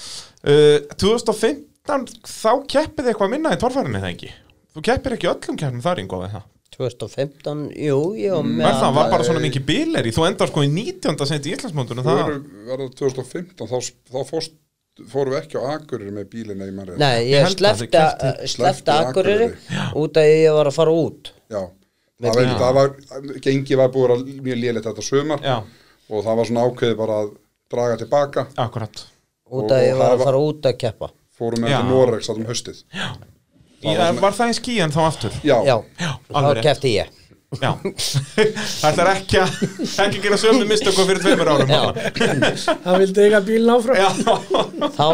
Speaker 1: uh, 2015, þá keppið eitthvað minna í torfærinni það ekki? Þú keppir ekki í öllum keppnum þar, Ingo, við það?
Speaker 4: 2015, jú, ég var með
Speaker 1: Er það Mm. var bara
Speaker 2: nei.
Speaker 1: svona mikið bíleri Þú endar sko í 19. sent í Íslandsmóndunum
Speaker 2: Það
Speaker 1: það...
Speaker 2: voru, var það 2015, þá, þá fórst, fórum við ekki á Akureyri með bílinni í mannrið.
Speaker 4: Nei,
Speaker 1: Ég
Speaker 4: ég
Speaker 1: held að þið
Speaker 4: slefti
Speaker 1: keyptuð-
Speaker 2: slepptu
Speaker 4: slefti Akureyri út að ég var að fara út
Speaker 2: Já, það var,
Speaker 1: Já.
Speaker 2: það var, gengi var búið að vera mjög lélegt þetta sumar
Speaker 1: Já,
Speaker 2: og það var svona ákveðið bara að draga tilbaka
Speaker 1: akkurat
Speaker 4: út að
Speaker 2: Og
Speaker 4: ég var að
Speaker 2: hafa-
Speaker 4: fara út að keppa
Speaker 2: fórum með
Speaker 1: Já.
Speaker 2: til Noregs þarna um haustið já,
Speaker 1: Í,
Speaker 2: var
Speaker 1: var,
Speaker 2: svona-
Speaker 1: það í skíjan þá aftur?
Speaker 2: já,
Speaker 4: já, þá
Speaker 1: alveg rétt.
Speaker 4: keppti ég
Speaker 1: Já Það ætlar ekki að ekki að gera sömu mistökum fyrir tveimur árum
Speaker 4: Já.
Speaker 3: hann vildi eiga bílinn áfram
Speaker 1: Já.
Speaker 4: þá,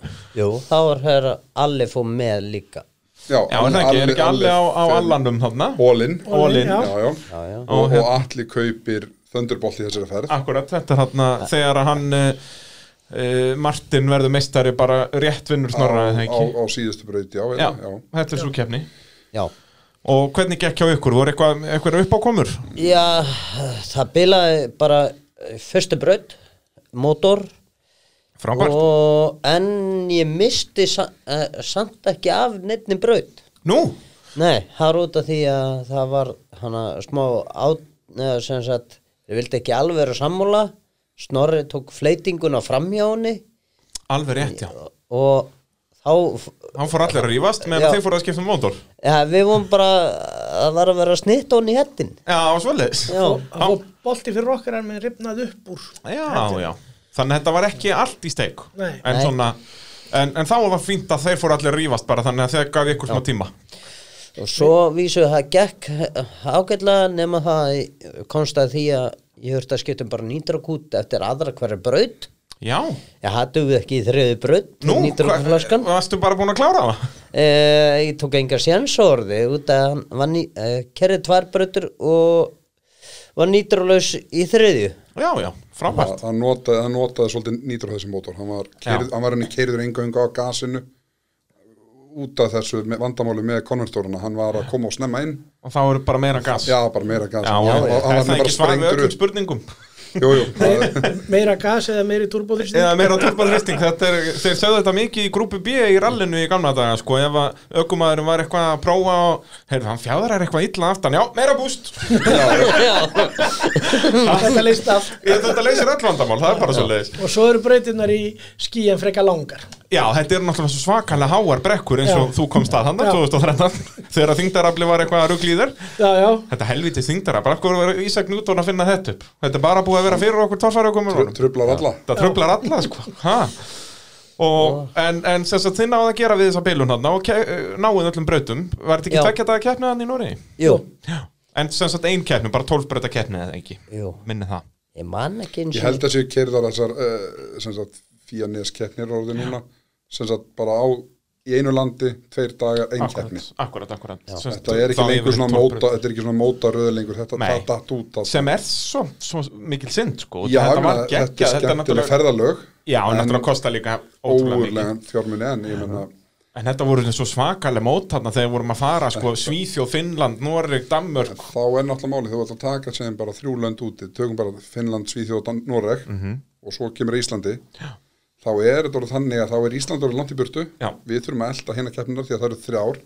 Speaker 4: jú, þá var hér Alli fór með líka
Speaker 2: já,
Speaker 1: Já, en það ekki, er ekki allir á, á allanum þarna
Speaker 2: Hólin
Speaker 1: All-in.
Speaker 3: Já.
Speaker 2: já, já.
Speaker 4: já, já,
Speaker 2: Og,
Speaker 1: hérna-
Speaker 2: og allir kaupir Thunderbolt í þessari ferð
Speaker 1: Akkurat, þetta er þarna þegar að hann uh, uh, Martin verður meistari bara rétt vinnur snorra eða
Speaker 2: á,
Speaker 1: ekki
Speaker 2: á síðustu braut, já,
Speaker 1: Já,
Speaker 2: eða, já.
Speaker 1: þetta er svo kefni
Speaker 4: já
Speaker 1: Og hvernig gekk hjá ykkur? Voru eitthvað, eitthvað uppákomur?
Speaker 4: Já, það bilaði bara eh, fyrstu braut, mótor
Speaker 1: Frábært
Speaker 4: og, en ég misti sa, eh, samt ekki af neittni braut.
Speaker 1: Nú?
Speaker 4: Nei, það er út af því að það var hana smá át, neða, sem sagt, ég vildi ekki alveg vera sammála, Snorri tók fleitinguna fram hjá henni
Speaker 1: Alveg rétt, já
Speaker 4: og þá, f-
Speaker 1: Hann fór allir að rífast meðan
Speaker 4: Já.
Speaker 1: þeir fóru að skipta um mótor
Speaker 4: ja, við vorum bara, það var að vera snitt henni í hettin.
Speaker 1: Já, svoleiðis
Speaker 4: Já,
Speaker 3: hann fór bolti fyrir okkar en með ripnað upp úr
Speaker 1: Já, já, þannig að þetta var ekki allt í steik
Speaker 3: Nei.
Speaker 1: En
Speaker 4: Nei.
Speaker 1: svona En, en þá var fínt að þeir fóru allir að rífast bara þannig að þeir gaf ykkur smá tíma
Speaker 4: og svo vísu það gekk ágætlega nema það komst að því að ég hörst að skipta um bara nýtrakút eftir aðra hverja braut
Speaker 1: Já,
Speaker 4: ég hattu við ekki í þriði braut
Speaker 1: nú, hva-
Speaker 4: nýtrakflaskan
Speaker 1: varstu bara búin að klára það?
Speaker 4: e, ég tók enga sénsorði út að hann var ný, e, kerið tvær brautur og var nýtralaus í þriðju
Speaker 1: Já, já,
Speaker 2: Það,
Speaker 1: frábært
Speaker 2: það, notaði, það notaði svolítið nýtur þessi mótor hann var, keyrð, hann var henni keirður engöngu á gasinu út af þessu me- vandamáli með konvertoruna hann var að koma og snemma inn
Speaker 1: Og þá eru bara meira gas
Speaker 2: já, bara meira gas
Speaker 1: já,
Speaker 2: hann,
Speaker 1: já,
Speaker 2: hann,
Speaker 1: já.
Speaker 2: hann
Speaker 1: er
Speaker 2: var
Speaker 1: það
Speaker 2: bara
Speaker 1: ekki svar við
Speaker 2: sprengdur
Speaker 1: öllum
Speaker 2: upp
Speaker 1: spurningum?
Speaker 2: jú, jú, það,
Speaker 3: meira gas eða meiri turbóðrýsting
Speaker 1: Eða meira turbanristing, þetta er, þeir sögðu þetta mikið í grúpu B í rallinu í gamla daga sko, ef að ökumæðurinn var eitthvað að prófa og, heyrðu, hann fjáðar er eitthvað illa aftan, já, meira búst
Speaker 4: já,
Speaker 3: þetta leist allt
Speaker 1: Þetta leysir öll vandamál, það er bara svo leiðis
Speaker 3: og svo eru breytinnar í skíin frekar langar
Speaker 1: Já, þetta eru náttúrulega svo svakalega háar brekkur eins og
Speaker 3: Já.
Speaker 1: þú komst að handa
Speaker 3: Já.
Speaker 1: 2013 þegar að þyngdarafli var eitthvað að rugla í þér
Speaker 3: já, já,
Speaker 1: Þetta helviti þyngdarafli, af hverju var Ísak Newton að finna þetta upp? Þetta er bara búið að vera fyrir okkur torfæraugum
Speaker 2: tru- truflar alla
Speaker 1: Þetta tröflar alla, sko ha. Og, En, en sem sagt, þið náðu að gera við þessa bilun hann og ke- náið öllum brautum Var þetta ekki
Speaker 4: Já.
Speaker 1: tvekja daga keppnið hann í Núri?
Speaker 4: jú
Speaker 1: Já En sem sagt ein keppni, bara 12 brauta keppni eða ekki
Speaker 4: Jú.
Speaker 1: Minni það
Speaker 4: ég man ekki eins
Speaker 2: ég held að séu keirðar þessar uh, sem sagt, fíjarnes keppnir orðið núna sem sagt, bara á í einu landi, tveir dagar, ein
Speaker 1: Akkurat,
Speaker 2: keppni
Speaker 1: akkurat, akkurat Sem sagt,
Speaker 2: þetta er
Speaker 1: þá
Speaker 2: ekki lengur
Speaker 1: yfir
Speaker 2: svona
Speaker 1: 12 brautir.
Speaker 2: móta þetta er ekki svona móta röð lengur þetta
Speaker 1: Nei.
Speaker 2: það datt út að
Speaker 1: sem er svo, svo mikil synd sko.
Speaker 2: Já,
Speaker 1: þetta var
Speaker 2: meina, þetta
Speaker 1: geggjað
Speaker 2: er
Speaker 1: þetta
Speaker 2: skemmtileg
Speaker 1: náttúrulega,
Speaker 2: ferðalög
Speaker 1: já, en
Speaker 2: en
Speaker 1: náttúrulega kosta líka ótrúlega mikið
Speaker 2: óurlega fjármunni en ég menna
Speaker 1: en þetta voru svo svakaleg mót þarna þegar við vorum að fara sko, Svíþjóð, Finnland, Noreg, Danmörk
Speaker 2: þá er náttúrulega málið þú ætlar að taka sem bara þrjú lönd úti tökum bara Finnland, Svíþjóð, Dan- Noreg
Speaker 1: Mhm.
Speaker 2: og svo kemur Íslandi já. þá er þetta orðið þannig að þá er Ísland orðið langt í burtu
Speaker 1: Já.
Speaker 2: við þurfum að elda hérna keppnina því að það eru þrjár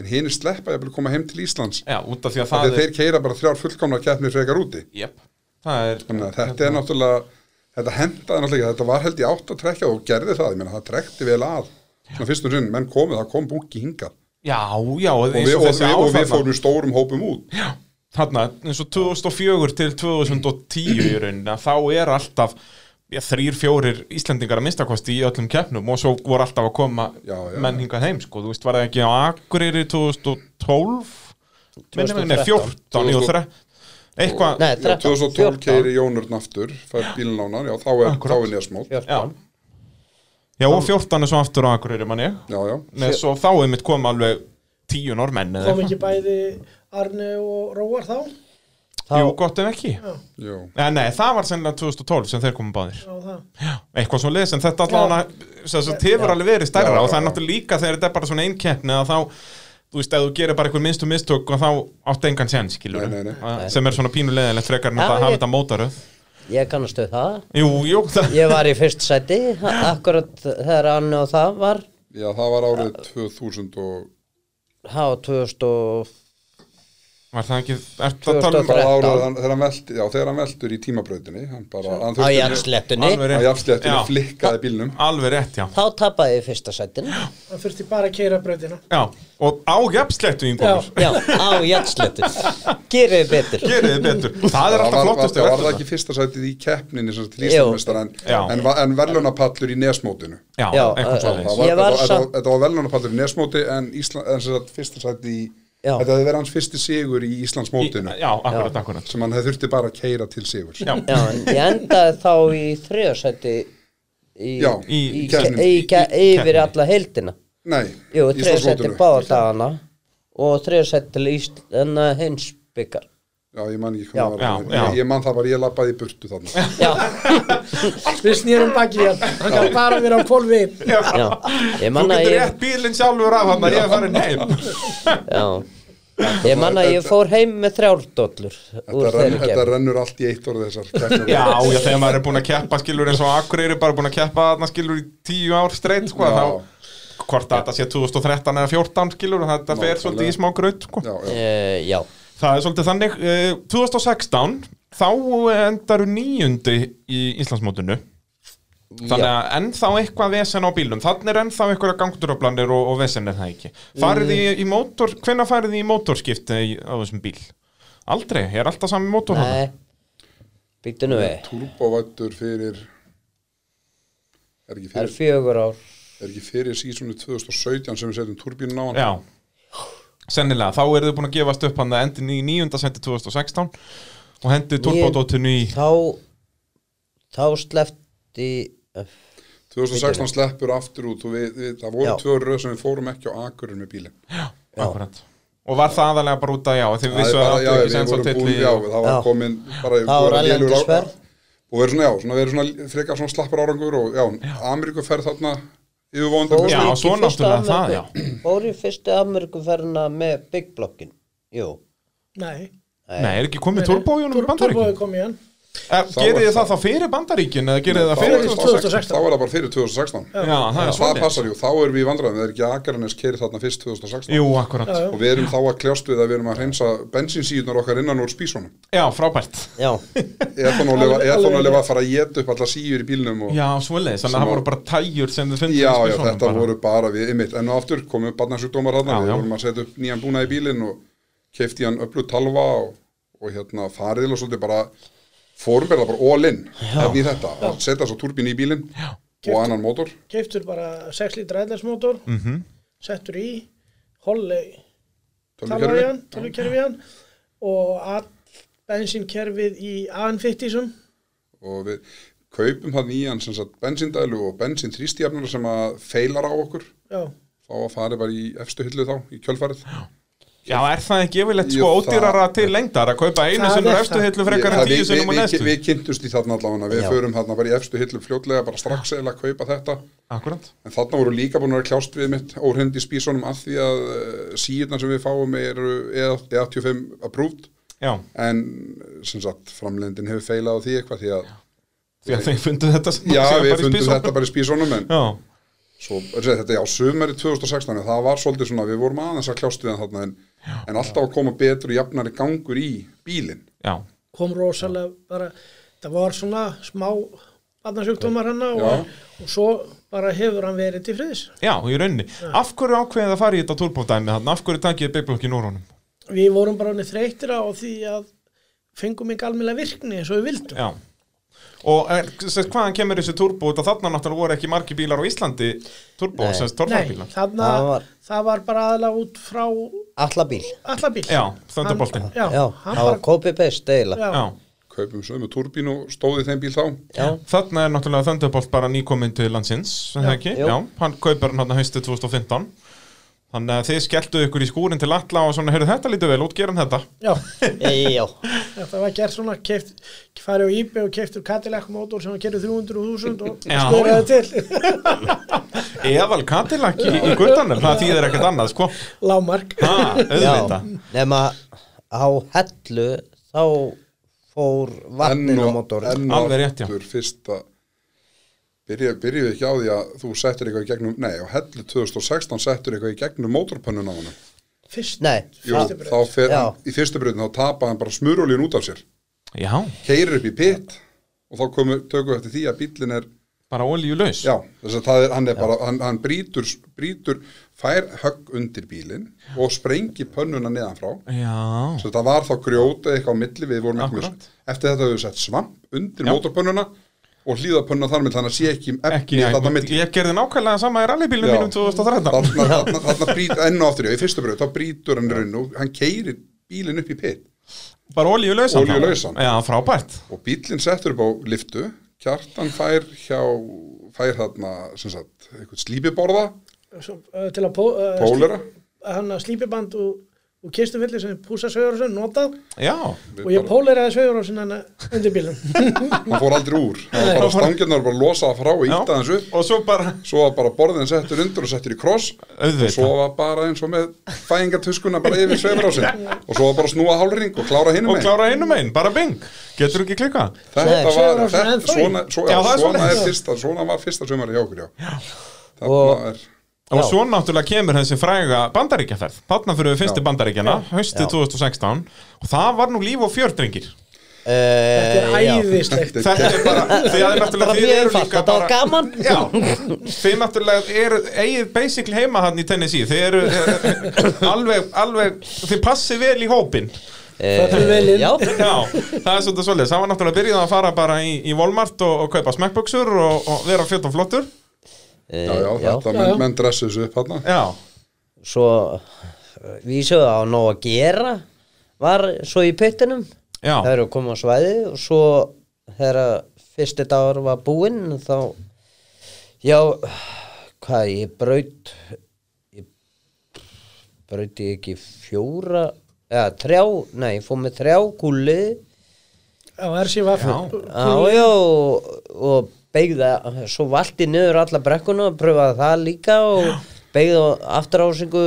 Speaker 2: en hinn sleppa ég að koma heim til Íslands
Speaker 1: já, út af því að
Speaker 2: þegar
Speaker 1: það er
Speaker 2: þeir keira bara þrjár fullkomna keppnir frekar úti
Speaker 1: Jep, það er
Speaker 2: Þannig að þetta er náttúrulega, þetta hendaði náttúrulega, ekki, þetta var held ég átt að trekja og gerði það, ég meina það trekti vel að, svona fyrstum sinn, menn komið, það kom bunki hingað
Speaker 1: já, já,
Speaker 2: og við, og, við, og við fórum stórum hópum út.
Speaker 1: Já, þarna, eins og 2004 til 2010 í rauninni, að þá er alltaf já, þrýr, fjórir Íslendingar að minnstakosti í öllum keppnum og svo voru alltaf að koma
Speaker 2: Já, já, já.
Speaker 1: menn hingað heim, sko, þú veist, var það ekki á Akureyri 2012 minnum við, nei,
Speaker 4: 2013.
Speaker 1: 14 og 13 eitthvað,
Speaker 4: Nei,
Speaker 2: Já,
Speaker 4: 13,
Speaker 2: 2012
Speaker 4: 14.
Speaker 2: keiri Jónurn aftur, fær bílnánar, já, þá er, þá
Speaker 1: Akkurat.
Speaker 2: er nesmót. Já,
Speaker 1: já já, og 14 er svo aftur á Akureyri, mann ég
Speaker 2: já,
Speaker 1: Nei, svo þá er mitt koma alveg tíu normenn eða eitthvað,
Speaker 3: kom ekki bæði Arne og Róar þá
Speaker 1: jú, gott ef ekki
Speaker 3: já,
Speaker 2: já,
Speaker 1: Nei, nei, það var sennilega 2012 sem þeir komum báðir
Speaker 3: á það
Speaker 1: eitthvað svo leiðis en þetta allavega sem sagt, hefur alveg verið stærra
Speaker 2: Já, já,
Speaker 1: og það er
Speaker 2: já.
Speaker 1: náttúrulega líka þegar þetta er bara svona einkeppni að þá, þú veist, ef þú gerir bara einhver minnstu mistök og þá átt engan séns, skilur
Speaker 2: Nei, nei, nei.
Speaker 1: sem er svona pínulegilegt frekar en
Speaker 4: Já,
Speaker 1: að hafa
Speaker 4: ég-
Speaker 1: þetta mótaröð
Speaker 4: Ég kannastu það.
Speaker 1: Jú, jú, það
Speaker 4: Ég var í fyrst sæti, akkurat þegar Anni og það var,
Speaker 2: já, það var árið 2000 og,
Speaker 4: það var 2000 og
Speaker 1: Var það ekki, ert að tala um
Speaker 2: bara
Speaker 4: 2013.
Speaker 2: árað hann- þegar hann velti- já, þegar hann veltur í tímabrautinni hann bara, hann
Speaker 4: á
Speaker 2: þurfti
Speaker 4: jafnslettunni
Speaker 1: Alveg rétt.
Speaker 2: að jafnsléttunni
Speaker 1: Já.
Speaker 2: flikkaði bílnum
Speaker 1: alveg rétt, já
Speaker 4: þá tapaði ég fyrsta sættin já,
Speaker 3: Það þurfti bara að keira brautina.
Speaker 1: Já, og á jafnslettu yngolur
Speaker 4: á jafnslettu gerið þið betur
Speaker 1: Gerið þið betur, það er alltaf
Speaker 2: var-
Speaker 1: flottast
Speaker 2: var, var það ekki fyrsta sætið í keppninni sem sagt, Íslandsmeistara, en,
Speaker 1: Já.
Speaker 2: en, va- en velunapallur í nesmótinu
Speaker 1: Já,
Speaker 4: Já,
Speaker 1: eitthvað
Speaker 4: uh,
Speaker 1: svo
Speaker 2: Það
Speaker 1: leiðis
Speaker 2: var,
Speaker 4: Ég var
Speaker 2: þetta,
Speaker 4: samt-
Speaker 2: þetta, þetta var velunapallur í nesmóti en, Ísla, en sem sagt, fyrsta sætið í
Speaker 4: Já.
Speaker 2: þetta hefði verið hans fyrsti sigur í Íslandsmótinu
Speaker 1: Já, akkurat, akkurat
Speaker 2: sem hann hefði þurfti bara að keira til sigurs
Speaker 1: Já,
Speaker 4: já, en ég endaði þá í þriðasætti í,
Speaker 2: Já,
Speaker 4: í,
Speaker 2: í
Speaker 4: í,
Speaker 2: keppninni.
Speaker 4: í, ke-
Speaker 1: Í- í
Speaker 4: yfir
Speaker 1: keppninni.
Speaker 4: alla heildina
Speaker 2: nei,
Speaker 4: Jú, þriðasætti báða dagana og þriðasætti til uh, Ísland heimsbyggar
Speaker 2: já, ég man ekki hvað það
Speaker 1: Já,
Speaker 2: var
Speaker 1: já.
Speaker 2: Ég, ég man það bara, ég lappaði í burtu þarna
Speaker 4: já,
Speaker 3: Við snýrum baki hér. Það kann bara vera á kvolvi.
Speaker 4: já ég
Speaker 1: Þú
Speaker 4: manna
Speaker 1: getur
Speaker 4: ég
Speaker 1: rétt bílinn sjálfur af hann að ég er farin heim
Speaker 4: já Ég manna ég fór heim með þrjárdóllur úr
Speaker 2: þetta, renn,
Speaker 4: þeirri
Speaker 2: þetta
Speaker 4: kemur
Speaker 2: rennur allt í eitt orð þessar keppnir.
Speaker 1: Já, já, þegar maður er búin að keppa skilur eins og Akureyri bara búin að keppa þarna skilur í tíu ár streitt sko,
Speaker 2: Já.
Speaker 1: þá, hvort að þetta sé 2013 eða 14 skilur, þetta fer
Speaker 2: Nákvæmlega.
Speaker 1: svolítið í smá gröð sko.
Speaker 2: já, já.
Speaker 4: Uh, já,
Speaker 1: Það er svolítið þannig eh, 2016, þá endaru nýjundi í Íslandsmótinu Þannig
Speaker 4: já,
Speaker 1: að ennþá eitthvað vesen á bílum Þannig er ennþá eitthvað gangduröflanir og, og vesen er það ekki Farið
Speaker 2: Mm.
Speaker 1: í, í mótor, hvenær farið þið í mótorskipti í- á þessum bíl? Aldrei, ég er alltaf saman í mótor
Speaker 4: nei Býttu nú eh. við,
Speaker 2: Turbovættur fyrir er ekki
Speaker 4: það er
Speaker 2: fyrir,
Speaker 4: fjögur ár
Speaker 2: er ekki fyrir sísonu 2017 sem við setjum turbínu á hann
Speaker 1: Já Sennilega, þá eru þau búin að gefast upp hann að endin í nýjunda sendi 2016 og hendi turbódóttinu í
Speaker 4: Þá Þá eh, slefti
Speaker 2: 2016 sleppur aftur út og við, við, það voru
Speaker 4: Já.
Speaker 2: tvö röð sem við fórum ekki á akurinn með bílinn
Speaker 1: Akkurat Og var það aðalega bara út að já, þegar við
Speaker 2: Það er
Speaker 1: vissu að
Speaker 2: bara-
Speaker 1: það áttu
Speaker 2: já,
Speaker 1: ekki
Speaker 2: við
Speaker 1: sens á
Speaker 2: vorum
Speaker 1: titli
Speaker 2: búin- já,
Speaker 1: og-
Speaker 2: það var
Speaker 4: Já.
Speaker 2: komin bara
Speaker 4: Það var
Speaker 2: bara
Speaker 4: erlendis
Speaker 2: lélur á-
Speaker 4: ferð.
Speaker 2: og verður svona, já, svona, verður svona frekar svona slappar árangur og já, Ameríku ferð þarna yfirvóðandi
Speaker 4: fór
Speaker 1: Já,
Speaker 4: ekki
Speaker 1: svo
Speaker 4: fyrstu
Speaker 1: náttúrulega það,
Speaker 4: Ameríku- Fór í fyrstu Amerikuferna með Big Blockin Jú,
Speaker 3: Nei.
Speaker 1: Nei, er ekki komið turbójónum í
Speaker 3: Turbóið
Speaker 1: bandaríkin?
Speaker 3: kom í hann.
Speaker 1: Gerið þið það þá fyrir bandaríkin eða gerið þið það fyrir
Speaker 3: var-
Speaker 1: þú?
Speaker 3: 2016.
Speaker 2: þá er það bara fyrir 2016
Speaker 1: Já, það er
Speaker 2: það
Speaker 1: svolítið
Speaker 2: passar, jú, þá erum við í vandræðum það er ekki Akarnes keiri þarna fyrst 2016
Speaker 1: Jú, akkurat
Speaker 3: Já, já.
Speaker 2: og við erum þá að kljást við að við erum að hreinsa bensinsíðunar okkar innan úr spísunum
Speaker 1: Já, frábært
Speaker 4: já,
Speaker 3: Alveg- alveg
Speaker 2: etanólega
Speaker 3: rétt.
Speaker 2: að fara að geta upp alla síður í bílnum og
Speaker 1: Já, svoleiðis, þannig að það voru bara tæjur sem þið fundið
Speaker 2: já,
Speaker 1: í
Speaker 2: já,
Speaker 1: spilsónum
Speaker 2: þetta
Speaker 1: bara.
Speaker 2: voru bara við einmitt, enn og aftur komum barnasjúkdómar hann,
Speaker 1: Já,
Speaker 2: við
Speaker 1: já.
Speaker 2: vorum að setja upp nýjan búna í bílinn og keifti hann öllu talva og, og hérna farið og svolítið bara fórum bara bara all in hérna í þetta, að setja svo turbín í bílinn já. og annan mótor
Speaker 3: Keiftur bara 6 lítra æðlarsmótor.
Speaker 1: Mhm.
Speaker 3: Settur í. Holley.
Speaker 2: tölvukerfi.
Speaker 3: tölvukerfiðan, tölvukerfiðan og all bensinkerfið í AN50-sum
Speaker 2: og við kaupum það nýjan sem sagt bensindælu og bensin þrýstjafnur sem að feilar á okkur
Speaker 3: já,
Speaker 2: þá að farið bara í efstu hillu þá, í kjölfarið
Speaker 1: Já, er það ekki yfirleitt sko
Speaker 2: Jú, það-
Speaker 1: ódýrara til lengdar að kaupa einu
Speaker 3: Það
Speaker 1: sinnur
Speaker 3: er
Speaker 1: efstu
Speaker 3: það.
Speaker 1: hillu frekar
Speaker 2: Ég-
Speaker 1: en
Speaker 2: það-
Speaker 1: tíu
Speaker 2: við-
Speaker 1: sinnum á
Speaker 2: við-
Speaker 1: næstu
Speaker 2: Við kynntust í þarna allavega, við
Speaker 4: Já.
Speaker 2: förum þarna bara í efstu hillu fljótlega bara strax eða að kaupa þetta
Speaker 1: Akkurat
Speaker 2: en þarna voru líka búin að vera kljást við mitt óhrind í spísunum að því að síðan sem við fáum eru E85 approved
Speaker 1: Já,
Speaker 2: en sem sagt framlendin hefur feilað á því eitthvað því að
Speaker 1: því að þeir fundu þetta sem
Speaker 2: já,
Speaker 1: síðan
Speaker 2: við
Speaker 1: bara í
Speaker 2: fundum
Speaker 1: spilsónum.
Speaker 2: þetta bara í spísunum en
Speaker 1: Já,
Speaker 2: svo, er þetta- þetta já, sumari 2016 en það var svolítið svona, við vorum aðeins að kljást við hann þarna en, en alltaf að koma betur og jafnari gangur í bílinn
Speaker 1: já,
Speaker 3: kom rosalega bara, það var svona smá barnasjúkdómar hann
Speaker 2: Já.
Speaker 3: og, og svo bara hefur hann verið til friðis.
Speaker 1: já, í rauninni Af hverju ákveðið að fara í þetta turbódæmi þarna? Af hverju takið byggblokkin úr honum?
Speaker 3: Við vorum bara hann þreytir á því að fengum ekki almennlega virkni eins og við vildum.
Speaker 1: Já Og er, sest, hvaðan kemur þessi turbó? Þetta þarna náttúrulega voru ekki margi bílar á Íslandi Turbó,
Speaker 4: Nei.
Speaker 1: sérst
Speaker 3: Nei,
Speaker 1: torfarbílar
Speaker 3: þarna,
Speaker 4: Það
Speaker 3: það
Speaker 4: var-
Speaker 3: var, bara aðalega út frá
Speaker 4: allabíl
Speaker 3: allabíl.
Speaker 1: Já, þöndaboltinn
Speaker 3: Já,
Speaker 4: já,
Speaker 3: hann
Speaker 4: það var
Speaker 3: bara,
Speaker 4: copy-paste eiginlega
Speaker 3: já,
Speaker 1: Já,
Speaker 2: kaupum sömu turbínu, stóði þeim bíl þá
Speaker 4: já,
Speaker 1: þarna er náttúrulega Thunderbolt bara nýkominn til landsins, er það ekki?
Speaker 4: Jú.
Speaker 1: Já, hann kaupar hann hann haustið 2015 Þannig að þið skelltu ykkur í skúrin til alla og svona, heyrðu þetta lítið vel, útgeran þetta
Speaker 3: já,
Speaker 4: já, já.
Speaker 3: þetta var gert svona, keft, farið á íbjöð og keftur Cadillac mótor sem hann gerði 300.000 og
Speaker 1: Já,
Speaker 3: skoraði til.
Speaker 1: Eval Cadillac í, í guttanum, það þýðir ekkert annað, sko
Speaker 3: Lámark
Speaker 1: Ha,
Speaker 4: já.
Speaker 1: auðvitað
Speaker 4: nema á hellu þá fór vatnin á mótorin
Speaker 2: enn
Speaker 1: Alveg rétt, já.
Speaker 2: aftur fyrsta byrja, byrjuðu ekki á því að þú settir eitthvað í gegnum nei, á hellu 2016 settur eitthvað í gegnum mótorpönnun á hann
Speaker 3: fyrst
Speaker 4: Nei.
Speaker 2: Jú,
Speaker 3: Fyrstu braut.
Speaker 2: þá fer
Speaker 4: Já.
Speaker 2: hann í fyrstu breytin þá tapa hann bara smurulíun út af sér
Speaker 1: Já,
Speaker 2: keirir upp í pitt og þá komu, tökum við eftir því að bíllinn er
Speaker 1: bara olíulaus
Speaker 2: já, þess að það er, hann er bara hann, hann brýtur, brýtur fær högg undir bílinn og sprengi pönnuna neðanfrá
Speaker 1: Já,
Speaker 2: þess að það var þá grjóta eitthvað á milli við vorum ekki
Speaker 1: Akkurat.
Speaker 2: með eftir þetta höfum við sett svamp undir
Speaker 1: Já.
Speaker 2: mótorpönnuna og hlýða pönnuna þar með þannig að sé ekki
Speaker 1: ekki,
Speaker 2: efni þarna á
Speaker 1: ég,
Speaker 2: milli
Speaker 1: ég gerði nákvæmlega sama í rallybílnum
Speaker 2: Já.
Speaker 1: mínum 2013
Speaker 2: þarna, þarna, þarna brýt enn og aftur já, í fyrstu bröð, þá brýtur hann raun og hann keirir bílinn upp í pitt
Speaker 1: Bara olíulausan þá.
Speaker 2: Olíulausan.
Speaker 1: Já, frábært
Speaker 2: og bílinn settur upp á liftu kjartan fær hjá fær þarna, sem sagt, einhvern slípiborða
Speaker 3: Svo, uh, til að pó- uh,
Speaker 2: Pólera?
Speaker 3: slí- að hann að slípiband og, og kistufillir sem Púsa Sveigurásson notað
Speaker 1: Já,
Speaker 3: og ég póleraði Sveigurásson hann undir bílum
Speaker 2: hann fór aldrei úr hann var bara stangirnar bara losað frá og
Speaker 1: já.
Speaker 2: ítta hans upp
Speaker 1: Og svo bara
Speaker 2: svo var bara borðin settur undir og settur í kross og
Speaker 1: Auðvitað.
Speaker 2: svo var bara eins og með fæingartuskuna bara yfir sveifrásinn og svo var bara að snúa hálring og klára hinum
Speaker 1: og
Speaker 2: megin.
Speaker 1: klára einum einn, bara bing Getur ekki klika
Speaker 4: Nei,
Speaker 2: þetta var
Speaker 3: Svefarásin
Speaker 2: þetta,
Speaker 3: ennþá í.
Speaker 2: svona, svo, já,
Speaker 1: Já, það er
Speaker 2: svona,
Speaker 1: svoleiðis.
Speaker 2: er fyrsta, svona var fyrsta sömari hjá okkur já, já.
Speaker 4: Og-
Speaker 2: þarna er
Speaker 1: Og
Speaker 4: Já.
Speaker 1: svo náttúrulega kemur þessi fræga bandaríkjaferð Þarna fyrir við fyrstu
Speaker 2: Já.
Speaker 1: bandaríkjana
Speaker 4: Já.
Speaker 1: Haustið 2016 Og það var nú líf og fjördrengir
Speaker 3: þetta
Speaker 4: Þetta
Speaker 3: er æðislegt
Speaker 1: Þetta er bara, því að náttúrulega
Speaker 4: Bara
Speaker 1: þið
Speaker 4: mjög
Speaker 1: eru
Speaker 4: einfalt,
Speaker 1: líka
Speaker 4: þetta Eh, var
Speaker 1: bara
Speaker 4: gaman
Speaker 1: Já, þið náttúrulega eru, eigið basically heima hann í Tennessee Þið eru eh, alveg, alveg, þið passið vel í hópin
Speaker 3: Föllum vel inn.
Speaker 4: Eh, Já,
Speaker 1: Já, það er svolítið svolítið Það var náttúrulega byrjað að fara bara í, í Walmart og, og kaupa smekkbuksur og, og vera fjöld og flottur
Speaker 4: Eh,
Speaker 2: já, já,
Speaker 3: Já,
Speaker 2: þetta
Speaker 3: já.
Speaker 2: menn, menn dressu þessu upp hann
Speaker 1: Já,
Speaker 4: Svo eh, vísuðu á nóg að gera var svo í pittinum
Speaker 1: já,
Speaker 4: það eru að koma á svæði og svo þegar fyrsti dagur var búinn þá já, hvað ég braut ég braut ég ekki fjóra eða þrjá, nei, ég fór með þrjá gúli
Speaker 3: á RC Vaffur
Speaker 4: já, já og, og beigða, svo valti niður alla brekkuna og pröfaði það líka og beigða afturásingu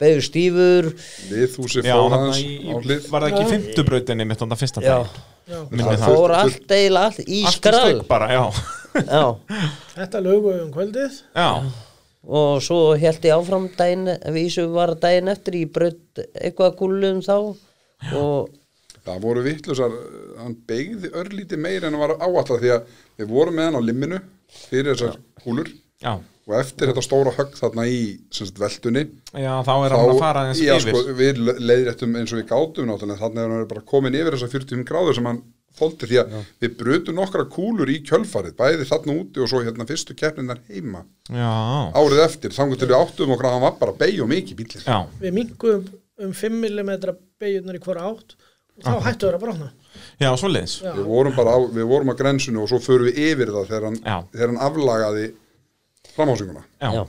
Speaker 4: beigðu stífur
Speaker 2: við húsi
Speaker 1: já
Speaker 2: fór
Speaker 1: hann
Speaker 2: hans
Speaker 1: í,
Speaker 2: á hlið
Speaker 1: var það ekki í fimmtubrautinni mitt þannig að fyrsta
Speaker 4: Já.
Speaker 1: dag Minnir
Speaker 4: það
Speaker 1: mig
Speaker 4: fór
Speaker 2: Þú-
Speaker 4: allt eiginlega allt í
Speaker 1: Allt í
Speaker 4: skrall
Speaker 1: stök bara, já
Speaker 4: já
Speaker 3: þetta lögum við um kvöldið
Speaker 1: Já,
Speaker 4: og svo held ég áfram daginn, vísu var daginn eftir ég brödd eitthvað gúlum þá og
Speaker 2: það voru vittlusar, hann beigði örlíti meir en hann var áallat því að við vorum með hann á limminu fyrir þessar húlur
Speaker 1: já,
Speaker 2: og eftir þetta stóra högg þarna í sem sagt, veltunni
Speaker 1: já þá er hann að fara eins
Speaker 2: já,
Speaker 1: yfir
Speaker 2: sko, við leiðréttum eins og við gátum náttúrulega þannig að hann er bara komin yfir þessar 45 gráður sem hann þóldi því að við brutum nokkra kúlur í kjölfarið bæði þarna úti og svo hérna fyrstu keppninar heima
Speaker 1: Já,
Speaker 2: árið eftir, þangur til við áttum okkur að hann var bara beig og mikið bílir
Speaker 1: já,
Speaker 3: við minkum um 5 mm beigjurnar í hvora átt og þá hættu þeir að brotna
Speaker 1: já, svoleiðis
Speaker 3: Já.
Speaker 2: við vorum bara á, við vorum á grensinu og svo förum við yfir það þegar hann,
Speaker 1: Já.
Speaker 2: þegar hann aflagaði framhásinguna
Speaker 1: Já,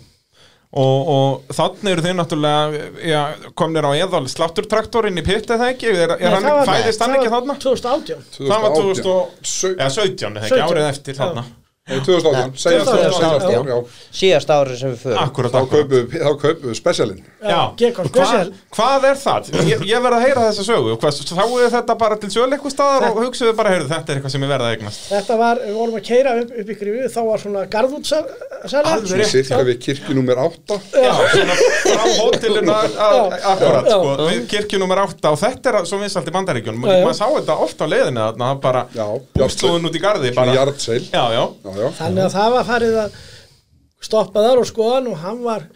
Speaker 1: Og, og þannig eru þeir náttúrulega já, komnir á eðal slátturtraktorinn í pitt eða ekki, er, er
Speaker 3: Nei,
Speaker 1: hann,
Speaker 3: það var-
Speaker 1: fæðist hann
Speaker 3: það
Speaker 1: ekki
Speaker 3: var
Speaker 1: þarna?
Speaker 3: 2018
Speaker 1: Það var 2000 og,
Speaker 2: 2017
Speaker 1: ja, 17, eða ekki,
Speaker 3: 17,
Speaker 1: árið eftir
Speaker 3: já.
Speaker 1: þarna
Speaker 2: Nei, 2018, segjast
Speaker 4: 2018, já.
Speaker 2: það já,
Speaker 4: síðast ári sem við förum
Speaker 1: Akkurat,
Speaker 2: þá
Speaker 1: akkurat
Speaker 2: kaupum við- þá kaupum við spesialinn
Speaker 1: Já,
Speaker 3: Gekk á
Speaker 1: hvað,
Speaker 3: spesial.
Speaker 1: hvað er það? Ég, ég verð að heyra þessa sögu hvað, Sáu þið þetta bara til sölu eitthvað staðar og hugsuðu bara, heyrðu, þetta er eitthvað sem ég verð að eignast
Speaker 3: Þetta var, við vorum að keira upp, upp í grífu, þá var svona garðútsala.
Speaker 1: Alveg
Speaker 2: Svona sirka við kirkju númer 8
Speaker 1: Já, svona frá hótelinu að- að-
Speaker 3: Já.
Speaker 1: akkurat,
Speaker 3: Já.
Speaker 1: sko, við kirkjunumar 8 og þetta er að- svo vinsalt í bandaríkjunum
Speaker 3: Já, já.
Speaker 1: maður sá þetta oft á leiðinu þarna, það bara
Speaker 2: Já,
Speaker 1: bústlóðun út í garði
Speaker 2: Svona
Speaker 1: bara,
Speaker 2: jarðseil.
Speaker 1: já, já,
Speaker 2: Já, já.
Speaker 3: Þannig að það var farið að stoppa þar og skoða hann og hann var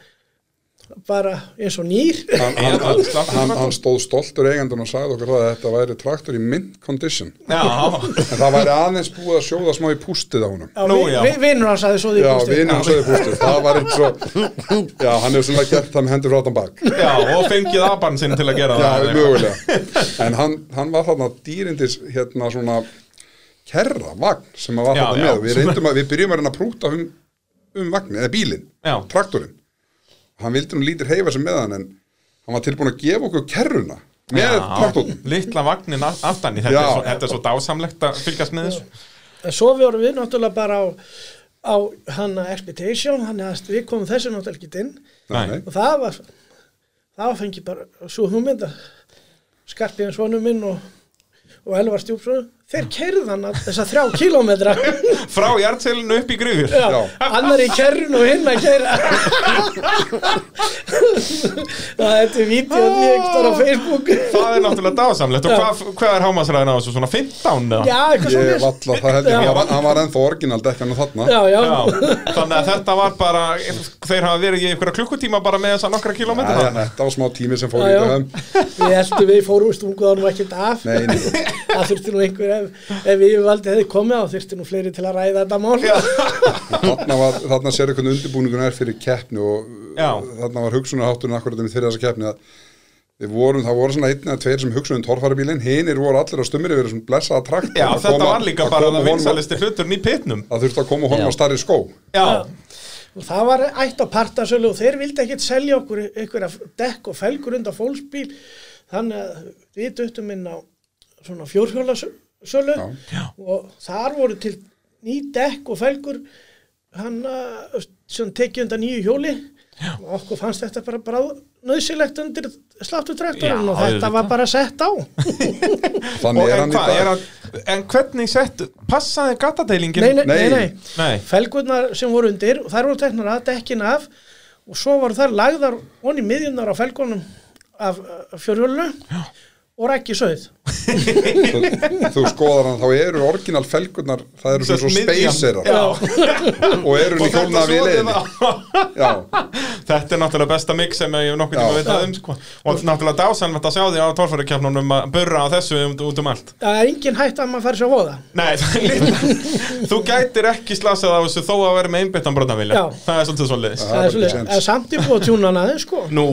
Speaker 3: bara eins og nýr.
Speaker 2: Hann,
Speaker 1: Já,
Speaker 2: hann,
Speaker 1: það slapp
Speaker 2: hann,
Speaker 1: ekki.
Speaker 2: hann stóð stoltur eigandun og sagði okkur það að þetta væri traktor í mint condition
Speaker 1: já,
Speaker 2: en það væri aðeins búið að sjóða smá í pústið á honum
Speaker 3: Já,
Speaker 1: Nú,
Speaker 3: vi-
Speaker 1: já.
Speaker 3: vi- Vinur hans aðeins svo því
Speaker 2: Já,
Speaker 3: pústið.
Speaker 2: vinur hans sögði pústið, það var eins og Já, hann hefur svona gert það með hendur frá þann bak
Speaker 1: já, og fengið aban sinn til að gera það
Speaker 2: Já,
Speaker 1: eða eitthvað.
Speaker 2: mögulega En hann, hann var þarna dýrindis hérna svona kerra, vagn sem hann var
Speaker 1: Já, já.
Speaker 2: þarna með við, reyndum að, við byrjum að reyna að prúta um, um vagnin, eða bílinn,
Speaker 1: Já.
Speaker 2: traktorinn Hann vildi nú lítir heifa sem með hann en hann var tilbúin að gefa okkur kerruna með traktorinn
Speaker 1: já, litla vagnin a- aftan í þetta,
Speaker 2: Já.
Speaker 1: er svo, þetta er svo dásamlegt að fylgjast með þessu
Speaker 3: En svo vorum við náttúrulega bara á, á hann að expectation, hann að við komum þessu náttúrulega ekki inn
Speaker 1: Nei.
Speaker 2: Nei.
Speaker 3: og það var, það var fengið bara svo hugmynd að skarpiðan svonu minn og, og Elvar Stjúpsson, þeir kerðu hann að þessa þrjá kílómetra
Speaker 1: Frá jarðselinu upp í grifjur
Speaker 3: Já,
Speaker 2: Já.
Speaker 3: annar í kerrun og hinn að kerra Þetta er vítjóð ég stór á Facebook
Speaker 1: Það er náttúrulega dásamlegt og hvað, hvað er hámasræðin á þessu svona 15 eða?
Speaker 3: Já, eitthvað
Speaker 2: Ég
Speaker 3: svo
Speaker 2: valla, það held ég,
Speaker 3: Já.
Speaker 2: hann var, hann var ennþá orginald ekki hann þarna
Speaker 3: Já, já,
Speaker 1: Já, þannig að þetta var bara þeir hafa verið í einhverja klukkutíma bara með þessa nokkra
Speaker 2: Æ,
Speaker 1: kilómetra þarna.
Speaker 2: Þetta var smá tími sem fór
Speaker 3: Já,
Speaker 2: í
Speaker 3: já.
Speaker 2: döðum
Speaker 3: Við heldum við fórum stunguðanum ekkert af
Speaker 2: Nei, nei.
Speaker 3: Það þurfti nú einhver ef, ef yfirvaldi hefði komið þá þurfti nú fleiri til að ræða þetta mál
Speaker 1: Já.
Speaker 2: Þarna, var, þarna sér eitthvað undirbúningun er fyrir keppni og
Speaker 1: Já.
Speaker 2: þarna var hugsunarhátturinn akkurat um fyrir þessa keppni að við vorum, það voru svona einn eða tveir sem hugsunum torfarabílinn, hinir voru allir á stumri við erum svona blessaða trakt
Speaker 1: Já, þetta var líka bara það vinsalisti hluturinn í pitnum
Speaker 2: Það þurfti að koma honum á
Speaker 4: Já.
Speaker 2: starri skó
Speaker 1: Já,
Speaker 3: og það var ætt á partasölu og þeir vildi ekkert selja okkur ykkur að dekk og felgur undan fólksbíl þannig að við duttum inn á svona fjórhjólasölu
Speaker 2: Já.
Speaker 3: og þar voru til ný dekk og felgur hann að sem tekið undan nýju hjóli Já. og okkur fannst þetta bara, bara nöðsilegt undir
Speaker 1: Já,
Speaker 3: sláttutrefturinn og þetta
Speaker 1: auðvitað.
Speaker 3: var bara sett á
Speaker 1: og
Speaker 2: Þannig
Speaker 1: en,
Speaker 2: er hann í
Speaker 1: hvað, er
Speaker 2: dag
Speaker 1: hann, en hvernig sett passaði gatadeilingin?
Speaker 3: nei, nei, nei,
Speaker 2: Nei.
Speaker 3: nei.
Speaker 1: Nei.
Speaker 3: felgurnar sem voru undir og þær voru teknar að dekkin af og svo voru þær lagðar onni miðjunar á felgunum af fjörjullu og rækki sögð
Speaker 2: þú, þú skoðar hann, þá eru orginal felgurnar það eru svona svo
Speaker 1: Miðjan.
Speaker 2: spacerar
Speaker 1: Já.
Speaker 2: og
Speaker 1: Og
Speaker 2: eru hann í
Speaker 1: þetta
Speaker 2: hjólnafi í
Speaker 1: svoðið
Speaker 2: leiðinni
Speaker 1: á-
Speaker 2: Já,
Speaker 1: Þetta er náttúrulega besta mix sem ég hef nokkuð tíma
Speaker 2: Já.
Speaker 1: vitað um sko. og náttúrulega dásalmett að sjá því á tórfærukeppnunum að burra á þessu um, út um allt
Speaker 3: það er engin hægt að maður fær sér voða
Speaker 1: Nei, það er litla Þú gætir ekki slasað á þessu þó að vera með einbyttan brotavilja
Speaker 3: Já.
Speaker 1: Það er Mm. svolítið svolítið
Speaker 2: Já.
Speaker 3: það
Speaker 2: bara
Speaker 3: er svolítið,
Speaker 2: ekki séns.
Speaker 3: eða samt er búið að tjúna hana aðeins sko
Speaker 1: Nú,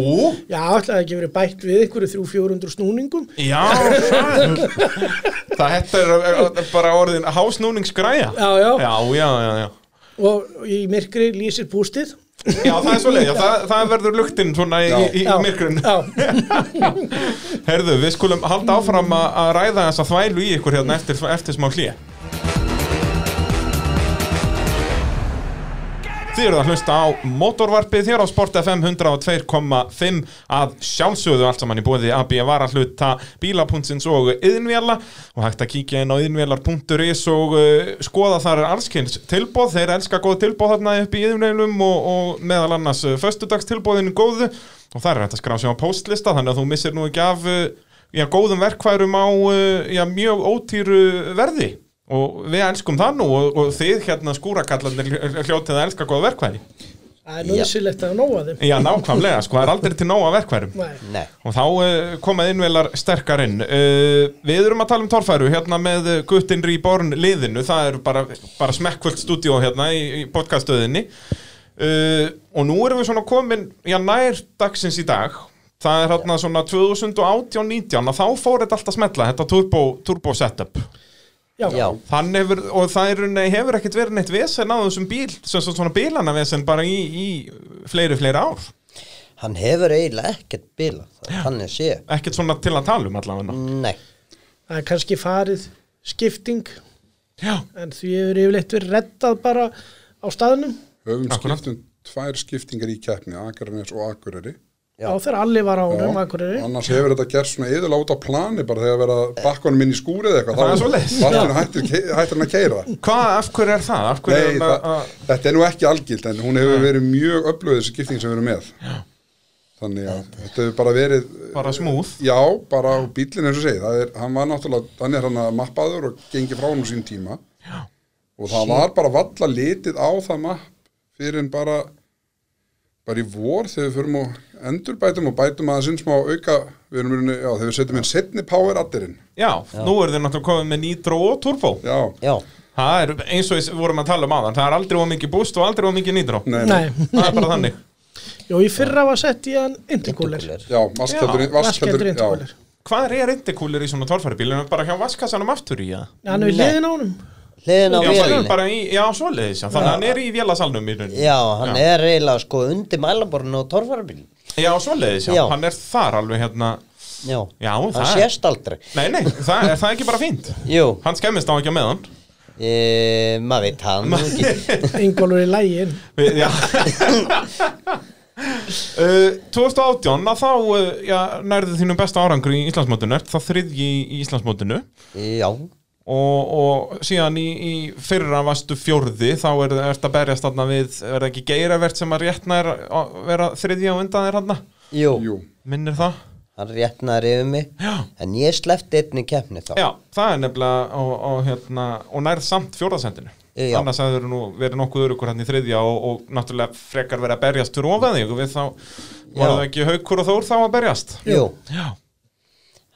Speaker 3: já, ætlaði ekki verið bætt við einhverju 300-400 snúningum
Speaker 1: já Það það- þetta er er bara orðin hásnúningsgræja
Speaker 3: Já, já.
Speaker 1: Já, já, já, já
Speaker 3: og í myrkri lýsir bústið
Speaker 1: Já, það er svolítið, já, það, það verður luktin svona í,
Speaker 2: Já.
Speaker 1: í, í myrkrun
Speaker 3: já,
Speaker 1: Herðu, við skulum halda áfram að að ræða þessa þvælu í ykkur
Speaker 3: Mm.
Speaker 1: hérna eftir, eftir smá hlýja. Þið eruð að hlusta á motorvarpið hér á Sport FM 102.5 að sjálfsögðu allt saman í bóði AB var að hluta bíla.sins og yðinvjala og hægt að kíkja inn á yðinvjalar.is og uh, skoða þar er allskynns tilbóð, þeir elska góð tilbóð þarna upp í yðinvjalum og, og meðal annars uh, föstudagstilbóðinu góðu og þar er hægt að skrá sig á postlista þannig að þú missir nú ekki af uh, já, góðum verkfærum á uh, já, mjög ótýru verði og við elskum það nú og, og þið hérna skúrakallarnir hljó- hljótið að elska góða verkfæri
Speaker 3: það er nöðsilegt að nóa þeim
Speaker 1: Já, nákvæmlega, sko, það er aldrei til nóga verkfærum
Speaker 3: Nei.
Speaker 4: Nei,
Speaker 1: og þá uh, komað innvelar sterkar inn uh, Við erum að tala um torfæru hérna með uh, Guttin Reborn liðinu það er bara, bara smekkvöld stúdíó hérna í, í podcaststöðinni uh, og nú erum við svona komin já, nær dagsins í dag það er hérna svona 2018-19 að þá fór þetta allt að smetla þetta turbo, turbo setup
Speaker 3: já,
Speaker 4: já,
Speaker 1: Hann hefur, og það er, nei, hefur ekkert verið neitt vesen á þessum bíl, sem svo- svona bílana vesen bara í, í fleiri, fleiri ár
Speaker 4: hann hefur eiginlega ekkert bíla, þannig sé.
Speaker 1: ekkert svona til að tala um allavega
Speaker 4: Nei,
Speaker 3: það er kannski farið skipting
Speaker 1: Já,
Speaker 3: en því hefur yfirleitt verið reddað bara á staðnum
Speaker 2: höfum
Speaker 1: Akkurat.
Speaker 2: skiptum tvær skiptingar í keppni Akranes og Akureyri
Speaker 4: Já.
Speaker 3: á þegar allir var á
Speaker 2: Já,
Speaker 3: honum akkurri
Speaker 2: annars hefur þetta gert svona yðurlega út á plani bara þegar verið að bakka honum inn í skúrið eða eitthvað
Speaker 1: Það er
Speaker 2: þá
Speaker 1: svoleiðis.
Speaker 2: allt í einu hættir, ke- hættir hann að keira
Speaker 1: hvað, af hverju er það? Af hverju
Speaker 2: Nei,
Speaker 1: er
Speaker 2: það,
Speaker 1: það?
Speaker 2: þetta er nú ekki algilt en hún hefur verið mjög öflöð þessi skipting sem við erum með þannig að þetta hefur bara verið
Speaker 1: Bara smúð
Speaker 2: já, bara á bílinn eins og segi það er, hann var náttúrulega, hann er hann að mappaður og gengi frá hann úr sín tíma já. og það var bara valla litið á það mapp fyrir en bara bara í vor þegar við förum og endurbætum og bætum aðeins inn smá auka við erum, í rauninni- já, þegar við setjum inn setni power adderinn
Speaker 1: Já, nú eru þau náttúrulega komið með nýtró og turbo
Speaker 2: já,
Speaker 4: já,
Speaker 1: Það er eins og við vorum að tala um aðan Það er aldrei of mikið búst og aldrei of mikið nýtró
Speaker 2: nei, nei.
Speaker 3: Nei,
Speaker 1: Það er bara þannig
Speaker 3: jú, í fyrra var sett í hann intercooler
Speaker 4: dúkulegur.
Speaker 2: já, vaskeldur,
Speaker 1: Já,
Speaker 3: Vaskendur
Speaker 2: vaskeldur já,
Speaker 3: intercooler
Speaker 1: Hvað er reyndikúlir í svona torfæribílinu? Bara hjá vaskassanum aftur í það?
Speaker 3: Hann er við
Speaker 4: Nei.
Speaker 3: liðin á honum
Speaker 4: Hliðin á
Speaker 1: Já, það er
Speaker 4: vélinni.
Speaker 1: bara í, já, svoleiðis já. Þannig að hann er í vélasalnum í rauninni
Speaker 4: Já, hann er eiginlega sko undir mælaborinu og torfarabílinn.
Speaker 1: Já, svoleiðis, já.
Speaker 4: Já.
Speaker 1: Hann er þar alveg hérna
Speaker 4: Já,
Speaker 1: Já,
Speaker 4: hann
Speaker 1: það er-
Speaker 4: sést aldrei.
Speaker 1: Nei, nei, það er, það er ekki bara fínt
Speaker 4: Jú,
Speaker 1: Hann skemmist á ekki með hann
Speaker 4: e, maður veit hann nú ekki.
Speaker 3: Ingólfur í lægin
Speaker 1: Við- Já Uh, 2018, að þá uh, já, nærðu þínum besta árangur í Íslandsmótinu, ert það þriðji í Íslandsmótinu
Speaker 4: Já,
Speaker 1: og, og síðan í, í fyrra vastu fjórði þá er þetta berjast þarna við, er það ekki geiravert sem að réttna er að vera þriðja og undan er hann
Speaker 4: Jú,
Speaker 2: Jú,
Speaker 1: minnir það
Speaker 4: hann réttnaði yfir mig
Speaker 1: Já.
Speaker 4: en ég sleppti einni keppni þá
Speaker 1: Já, það er nefnilega og, og, hérna, og nærð samt fjórðasendinu
Speaker 4: Eh, Já.
Speaker 1: annars hefur nú verið nokkuð örugur hann í þriðja og, og náttúrulega frekar verið að berjast fyrir ofan þig og við þá
Speaker 4: Já.
Speaker 1: var það ekki haukur og þór þá að berjast
Speaker 4: Jú,
Speaker 1: Já,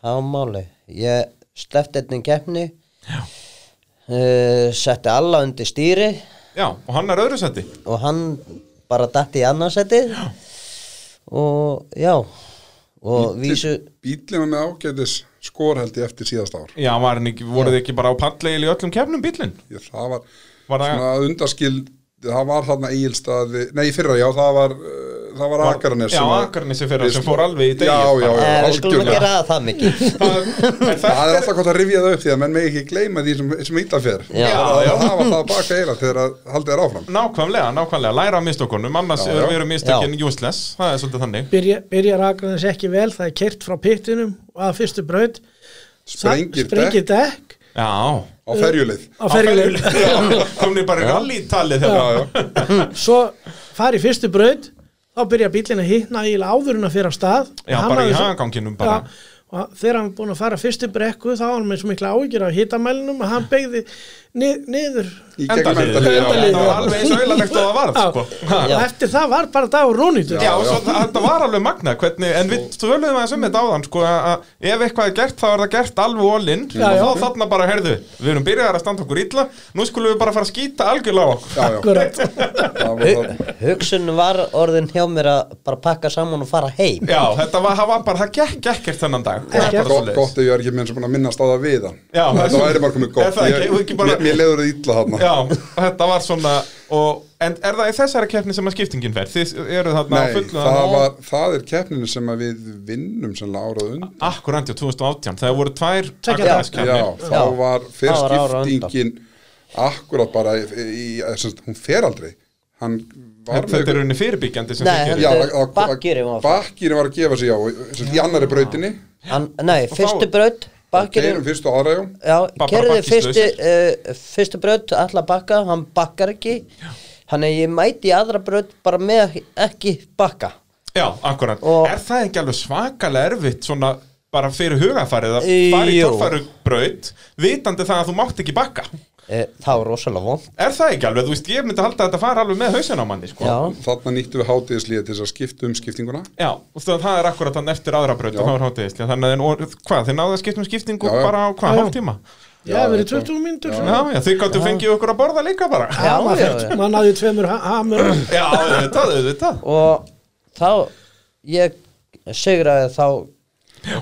Speaker 4: það var máli ég sleppti einni keppni uh, setti alla undir stýri
Speaker 1: Já og hann er öðru sendi
Speaker 4: og hann bara datt í annarsæti og já og vísu
Speaker 2: bílinn var með ágætis skor held ég eftir síðast ár
Speaker 1: Já, var hann ekki, voruð þið ekki bara á pallegil í öllum kefnum bílinn?
Speaker 2: ég, það var,
Speaker 1: Var það-
Speaker 2: svona að undaskil það var þarna eigilstaði nei í fyrra já það var uh, það var Akarnes
Speaker 1: Já,
Speaker 2: sem að-
Speaker 1: Akranes í fyrra
Speaker 2: við-
Speaker 1: sem fór alveg í degið
Speaker 2: já, já,
Speaker 4: eh,
Speaker 2: já,
Speaker 4: við skulum
Speaker 2: algjörlega.
Speaker 4: ekki ræða það mikið
Speaker 1: Það er
Speaker 2: það
Speaker 1: þetta
Speaker 2: er alltaf gott að rifja það upp því að menn megi ekki gleyma því sem, sem illa fer
Speaker 4: Já.
Speaker 2: það,
Speaker 1: Já, já.
Speaker 2: það var það að baka eira þegar að haldið er áfram
Speaker 1: Nákvæmlega, nákvæmlega, læra af mistökunum annars
Speaker 2: Já, já.
Speaker 1: eru við mistökin useless það er svolítið þannig
Speaker 3: Byrja, byrjar Akranes ekki vel, það er kert frá pittinum og að fyrstu braut
Speaker 2: Sprengir
Speaker 3: sprengir dekk
Speaker 1: Já,
Speaker 2: á ferjuleið
Speaker 3: á ferjuleið
Speaker 1: Komni bara í rallytalið
Speaker 2: já,
Speaker 1: hérna
Speaker 2: já.
Speaker 3: svo fari fyrstu braut þá byrja bílinn að hitna eiginlega áður en að fyrir á stað
Speaker 1: Já,
Speaker 3: Hann
Speaker 1: bara í
Speaker 3: hafði svo-
Speaker 1: hagaganginum bara.
Speaker 3: Já, og þegar hann er búin að fara fyrstu brekku þá var hann með svo mikla áhyggjur af hitamælinum að hann beigði nið, niður
Speaker 2: í gegnum
Speaker 1: Endaliðið, já.
Speaker 2: endaliðið
Speaker 3: Endaliðið,
Speaker 1: Það var alveg eins og auðalegt og það varð,
Speaker 3: Já.
Speaker 1: sko.
Speaker 3: og eftir það var bara dagur rónýtur
Speaker 1: Já, og svo það- þetta var alveg magna hvernig, en við töluðum aðeins um þetta áðan sko, að að ef eitthvað er gert þá er það gert alveg ólinn
Speaker 3: Já,
Speaker 1: og
Speaker 3: já.
Speaker 1: þá þarna bara, heyrðu, við erum byrjaðar að standa okkur illa nú skulum við bara fara að skýta algjörlega á okkur
Speaker 2: já, já,
Speaker 3: akkurat
Speaker 2: það var það
Speaker 4: hugsun var orðin hjá mér að bara pakka saman og fara heim
Speaker 1: Já, þetta var, það var bara, það gekk ekkert þennan dag Það er
Speaker 3: Ekkert.
Speaker 1: bara
Speaker 2: gott,
Speaker 1: svoleiðis.
Speaker 2: gott ef ég er ekki minn sem búin að minnast á það við hann
Speaker 1: Já,
Speaker 2: þetta
Speaker 1: það-
Speaker 2: væri bara komið
Speaker 1: Er
Speaker 2: gott
Speaker 1: það
Speaker 2: ég,
Speaker 1: ekki- ekki bara-
Speaker 2: mér, mér leiður það illa þarna
Speaker 1: Já, þetta var svona og, En er það í þessari keppni sem að skiptingin fer? Þið eru þarna á
Speaker 2: Nei,
Speaker 1: fullu
Speaker 2: það, var, það er keppninu sem að við vinnum sem lárað undan
Speaker 1: Akkurant já, 2018, það voru tvær
Speaker 3: Tveggja
Speaker 1: Akraneskeppnir.
Speaker 2: Já,
Speaker 4: Já.
Speaker 2: þá var
Speaker 4: Það var ára á
Speaker 2: fyrskiptingin akkurat bara í, í, í, sem, sagt, hún fer aldrei hann var
Speaker 1: Þetta er rauninni fyrirbyggjandi sem
Speaker 4: Nei,
Speaker 1: þið gerir.
Speaker 4: þetta er- Bakkýri var-
Speaker 2: bakkýri var að gefa sig já og, sem, sagt, í annari brautinni
Speaker 4: Hann, nei, fyrstu braut
Speaker 2: keirum
Speaker 4: bakkerinn
Speaker 2: fyrst og aðra já
Speaker 4: Já,
Speaker 1: Bara
Speaker 4: kerði
Speaker 1: bakki
Speaker 4: fyrstu,
Speaker 1: slausir.
Speaker 4: uh, fyrstu braut allar bakka, hann bakkar ekki hann er ég mæti í aðra braut bara með ekki bakka
Speaker 1: Já, akkurat.
Speaker 4: Og-
Speaker 1: Er það ekki alveg svakalega erfitt svona bara fyrir hugafarið að fara í
Speaker 4: Jú.
Speaker 1: torfarubraut vitandi það að þú mátt ekki bakka?
Speaker 4: uh, það var rosalega vond
Speaker 1: Er það ekki alveg? Þú veist, ég myndi halda að þetta fara alveg með hausin á manni, sko.
Speaker 4: Já,
Speaker 2: þarna nýttum við hátíðislíði til þess að skipta um skiptinguna
Speaker 1: Já, og það það er akkurat þannig eftir aðra braut og
Speaker 2: Já.
Speaker 1: þá er hátíðislega. Þannig að, og, hvað, þið náðu að skiptum skiptingu
Speaker 2: Já, já.
Speaker 1: bara á
Speaker 3: Já,
Speaker 1: hvað,
Speaker 3: já.
Speaker 1: hálftíma?
Speaker 3: já, það verið 20 mínútur
Speaker 1: Já, já, þið gáttu fengið okkur að borða líka bara.
Speaker 4: já, já, já.
Speaker 3: mann náði tveimur ha- hamur
Speaker 1: Já, auðvitað, auðvitað.
Speaker 4: og þá ég sigraði þá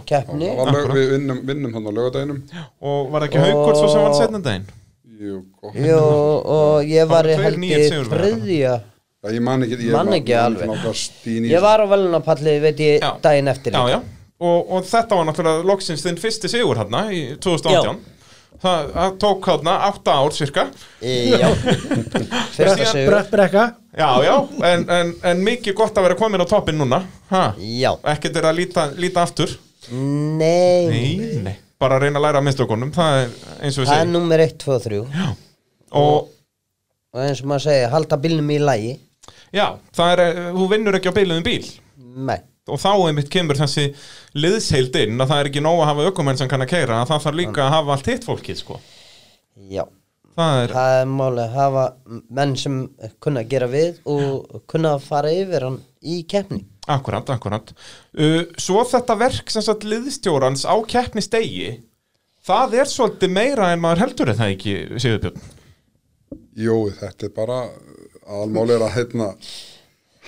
Speaker 4: keppni
Speaker 2: Það var lög, við vinnum, vinnum hann á lögadæginum
Speaker 1: Og var ekki haugur svo sem um vann setnandaginn?
Speaker 2: Jú, gott
Speaker 4: Jú, og ég var
Speaker 1: Það var
Speaker 4: í
Speaker 1: tveir
Speaker 4: helgi
Speaker 1: nýir sigurvegarar.
Speaker 4: þriðja
Speaker 2: Já, ég man ekki, ég
Speaker 4: Man ekki alveg.
Speaker 2: Stín,
Speaker 4: ég var á velunapalli, veit ég,
Speaker 1: Já.
Speaker 4: daginn eftir
Speaker 1: Já, já, og, og þetta var náttúrulega loksins þinn fyrsti sigur hérna í 2018 Það, það tók hérna átta ár cirka
Speaker 4: Í- já. fyrsta
Speaker 1: Síðan
Speaker 4: sigur
Speaker 3: brett brekka
Speaker 1: Já, já, en, en, en mikið gott að vera komin á toppin núna ha.
Speaker 4: já,
Speaker 1: Ekkert er að líta, líta aftur
Speaker 4: nei
Speaker 1: Nei, nei Bara að reyna að læra af mistökunum Það er eins og við
Speaker 4: það er
Speaker 1: segjum
Speaker 4: nummer 1, 2 og 3
Speaker 1: Og
Speaker 4: og eins og maður segja, halda bílnum í lægi
Speaker 1: já, það er, eh, þú vinnur ekki á biluðum bíl
Speaker 4: nei,
Speaker 1: og þá einmitt kemur þessi liðsheild inn að það er ekki nóg að hafa ökumenn sem kann að keira að það þarf líka að hafa allt hitt fólkið sko.
Speaker 4: já
Speaker 1: það er,
Speaker 4: það er máli að hafa menn sem kunna að gera við og kunna að fara yfir hann í keppni
Speaker 1: Akkurat, akkurat uh, Svo þetta verk sem sagt liðstjórans á keppnistegi það er svolítið meira en maður heldur er það ekki, Sigurbjörn
Speaker 2: Jú, þetta er bara aðalmáli er að heitna,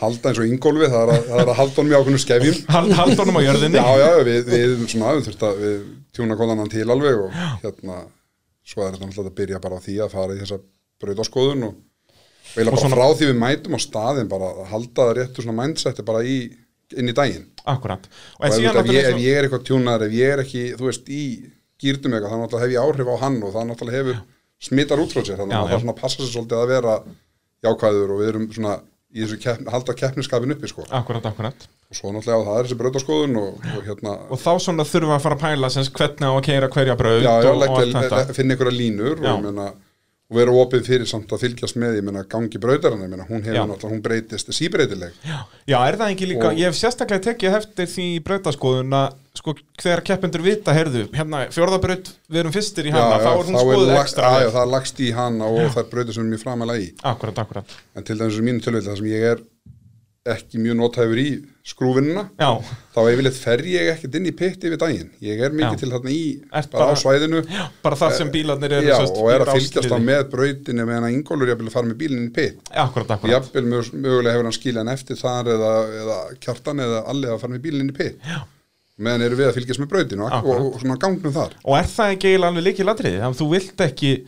Speaker 2: halda eins og yngólfi, það er að, það er að halda honum í ákveðnum skefjum.
Speaker 1: Hald, Haldunum á jörðinni
Speaker 2: Já, já, við, við erum svona, við þurfum að við tjúna konan hann til alveg og hérna, svo er þetta náttúrulega að byrja bara á því að fara í þessa brautaskoðun og og eiginlega
Speaker 1: Og
Speaker 2: bara
Speaker 1: svona-
Speaker 2: frá því við mætum á staðin bara að halda það réttu svona mindseti bara í, inn í daginn.
Speaker 1: Akkurat Og
Speaker 2: Og
Speaker 1: en
Speaker 2: ef,
Speaker 1: síðan
Speaker 2: ef, ég, ef
Speaker 1: náttúrulega
Speaker 2: ég er eitthvað tjúnar, ef ég er ekki, þú veist, í gýrtum eitthvað, þannig að hef ég áhrif á hann og það náttúrulega hefur smittar út frá sér, þannig
Speaker 1: Já,
Speaker 2: að það
Speaker 1: já.
Speaker 2: er svona að passa sér svolítið að vera jákvæður og við erum svona í þessu keppn, halda keppniskapin uppi, sko.
Speaker 1: Akkurat, akkurat
Speaker 2: og svo náttúrulega það er þessi brautaskoðun og, og hérna
Speaker 1: og þá svona þurfa að fara að pæla sem sagt, hvernig á að keira hverja braut
Speaker 2: já, já,
Speaker 1: og, og allt
Speaker 2: legg
Speaker 1: þetta
Speaker 2: til, finna einhverja línur og,
Speaker 1: Já.
Speaker 2: ég meina, og vera opið fyrir samt að fylgjast með ég meina gangi brautarana, ég meina hún hefur
Speaker 1: Já.
Speaker 2: náttúrulega hún breytist síbreytileg
Speaker 1: já, já, er það ekki líka,
Speaker 2: Og-
Speaker 1: ég hef sérstaklega tekið eftir því í brautaskoðun að sko, þegar keppendur vita, heyrðu, hérna fjórðabraut, við erum fyrstir í hana, þá er hún skoðuð
Speaker 2: lag-
Speaker 1: ekstra
Speaker 2: já, já,
Speaker 1: vel.
Speaker 2: það er lagst í hana og það er brautir sem er mjög framalega í
Speaker 1: Akkurat, akkurat,
Speaker 2: en til dæmis í mínu tölvöld þar sem ég er ekki mjög nothæfur í skrúfinuna
Speaker 1: já,
Speaker 2: þá yfirleitt fer ég ekkert inn í pitti við daginn ég er mikið
Speaker 1: Já.
Speaker 2: til þarna í
Speaker 1: Ert
Speaker 2: bara á
Speaker 1: bara-
Speaker 2: svæðinu
Speaker 1: já, bara þar sem bílarnir eru
Speaker 2: Eh, já,
Speaker 1: sem sagt,
Speaker 2: og er
Speaker 1: í
Speaker 2: að fylgjast
Speaker 1: rásliði.
Speaker 2: þá með brautinu meðan að Ingólfur jafnvel að fara með bílinn í pitt
Speaker 1: Akkurat, akkurat,
Speaker 2: jafnvel mög- mögulega hefur hann skiljan eftir þar eða, eða kjartan eða allir að fara með bílinn í pitt
Speaker 1: Já.
Speaker 2: meðan eru við að fylgjast með brautinu og,
Speaker 1: Akkurat.
Speaker 2: og, og svona gangnum þar
Speaker 1: og er það ekki eiginlega alveg líkið latriði, þannig að þú vilt ekki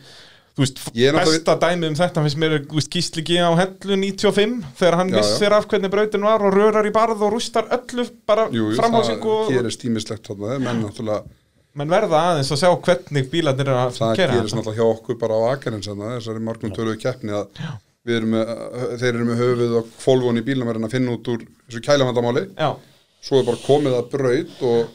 Speaker 1: Þú veist,
Speaker 2: Ég er náttúrulega-
Speaker 1: besta dæmi um þetta finnst mér, þú veist, Gísli G. á hellu 95 þegar hann
Speaker 2: Já, já.
Speaker 1: vissir af hvernig brautin var og rörar í barð og rústar öllu bara
Speaker 2: Jú, jú, það
Speaker 1: framhásingu og
Speaker 2: gerist tímislegt þarna, eh, menn náttúrulega
Speaker 1: menn verða aðeins að sjá hvernig bílarnir er að
Speaker 2: það
Speaker 1: gera
Speaker 2: gerist náttúrulega hjá okkur bara á Akarins þarna, þessari morgun tölugu keppni að við erum með, þeir eru með höfuð og kvolvun í bílum er hann að finna út úr þessu kælavandamáli,
Speaker 1: já,
Speaker 2: svo er bara komið að braut og,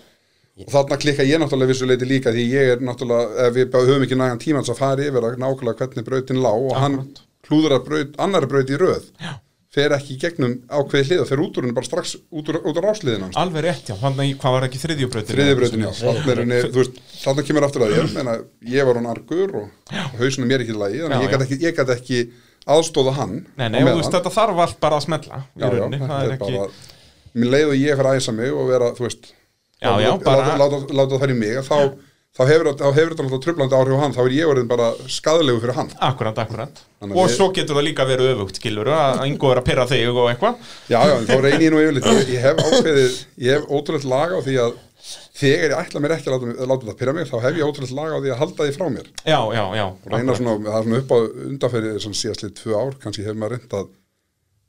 Speaker 2: og þarna klikka ég náttúrulega vissuleiti líka því ég er náttúrulega ef við bara höfum ekki nægan tímans að fara yfir að nákvæmlega hvernig brautin lág og hann
Speaker 1: Akkurat.
Speaker 2: klúður að braut, annar braut í röð
Speaker 1: Já.
Speaker 2: fer ekki í gegnum ákveðið hliða fer út úr henni bara strax út úr, út úr rásliðin hans
Speaker 1: alveg rétt já þannig í hvað var ekki þriðjubrautin
Speaker 2: þriðibrautin, já, þarna er henni, þú veist, þarna kemur aftur að ég, menna, ég var hún argur og hausinu mér ekki í lagi,
Speaker 1: Já,
Speaker 2: þannig að ég gat
Speaker 1: já.
Speaker 2: ekki, ég gat ekki aðstóða hann
Speaker 1: nei,
Speaker 2: á
Speaker 1: nei, og þú
Speaker 2: meðan.
Speaker 1: veist þetta þarf allt bara að smella í
Speaker 2: Já, já,
Speaker 1: rauninni,
Speaker 2: þetta
Speaker 1: það er
Speaker 2: er
Speaker 1: ekki
Speaker 2: bara- mér leið og ég fer að æsa mig og vera, þú veist
Speaker 1: Já, já,
Speaker 2: láta,
Speaker 1: bara-
Speaker 2: láta, láta, láta það í mig að þá, þá hefur þá hefur þetta náttúrulega trublandi áhrif á hann þá er ég orðin bara skadalegu fyrir hann
Speaker 1: akkurat, akkurat
Speaker 2: Þannig að
Speaker 1: og
Speaker 2: við-
Speaker 1: svo getur það líka verið öfugt skilur að einhver er að pyrra þig og eitthvað
Speaker 2: já, já, en þá reyni ég nú yfirleitt ég, ég hef ákveðið, ég hef ótrúlegt lag á því að þegar ég ætla mér ekki að láta, að láta það pyrra mig, þá hef ég ótrúlegt lag á því að halda því frá mér
Speaker 1: já, já, já,
Speaker 2: og reyna svona, það er svona upp á undanferði sem síðast lið tvö ár, kannski hefur maður reynd að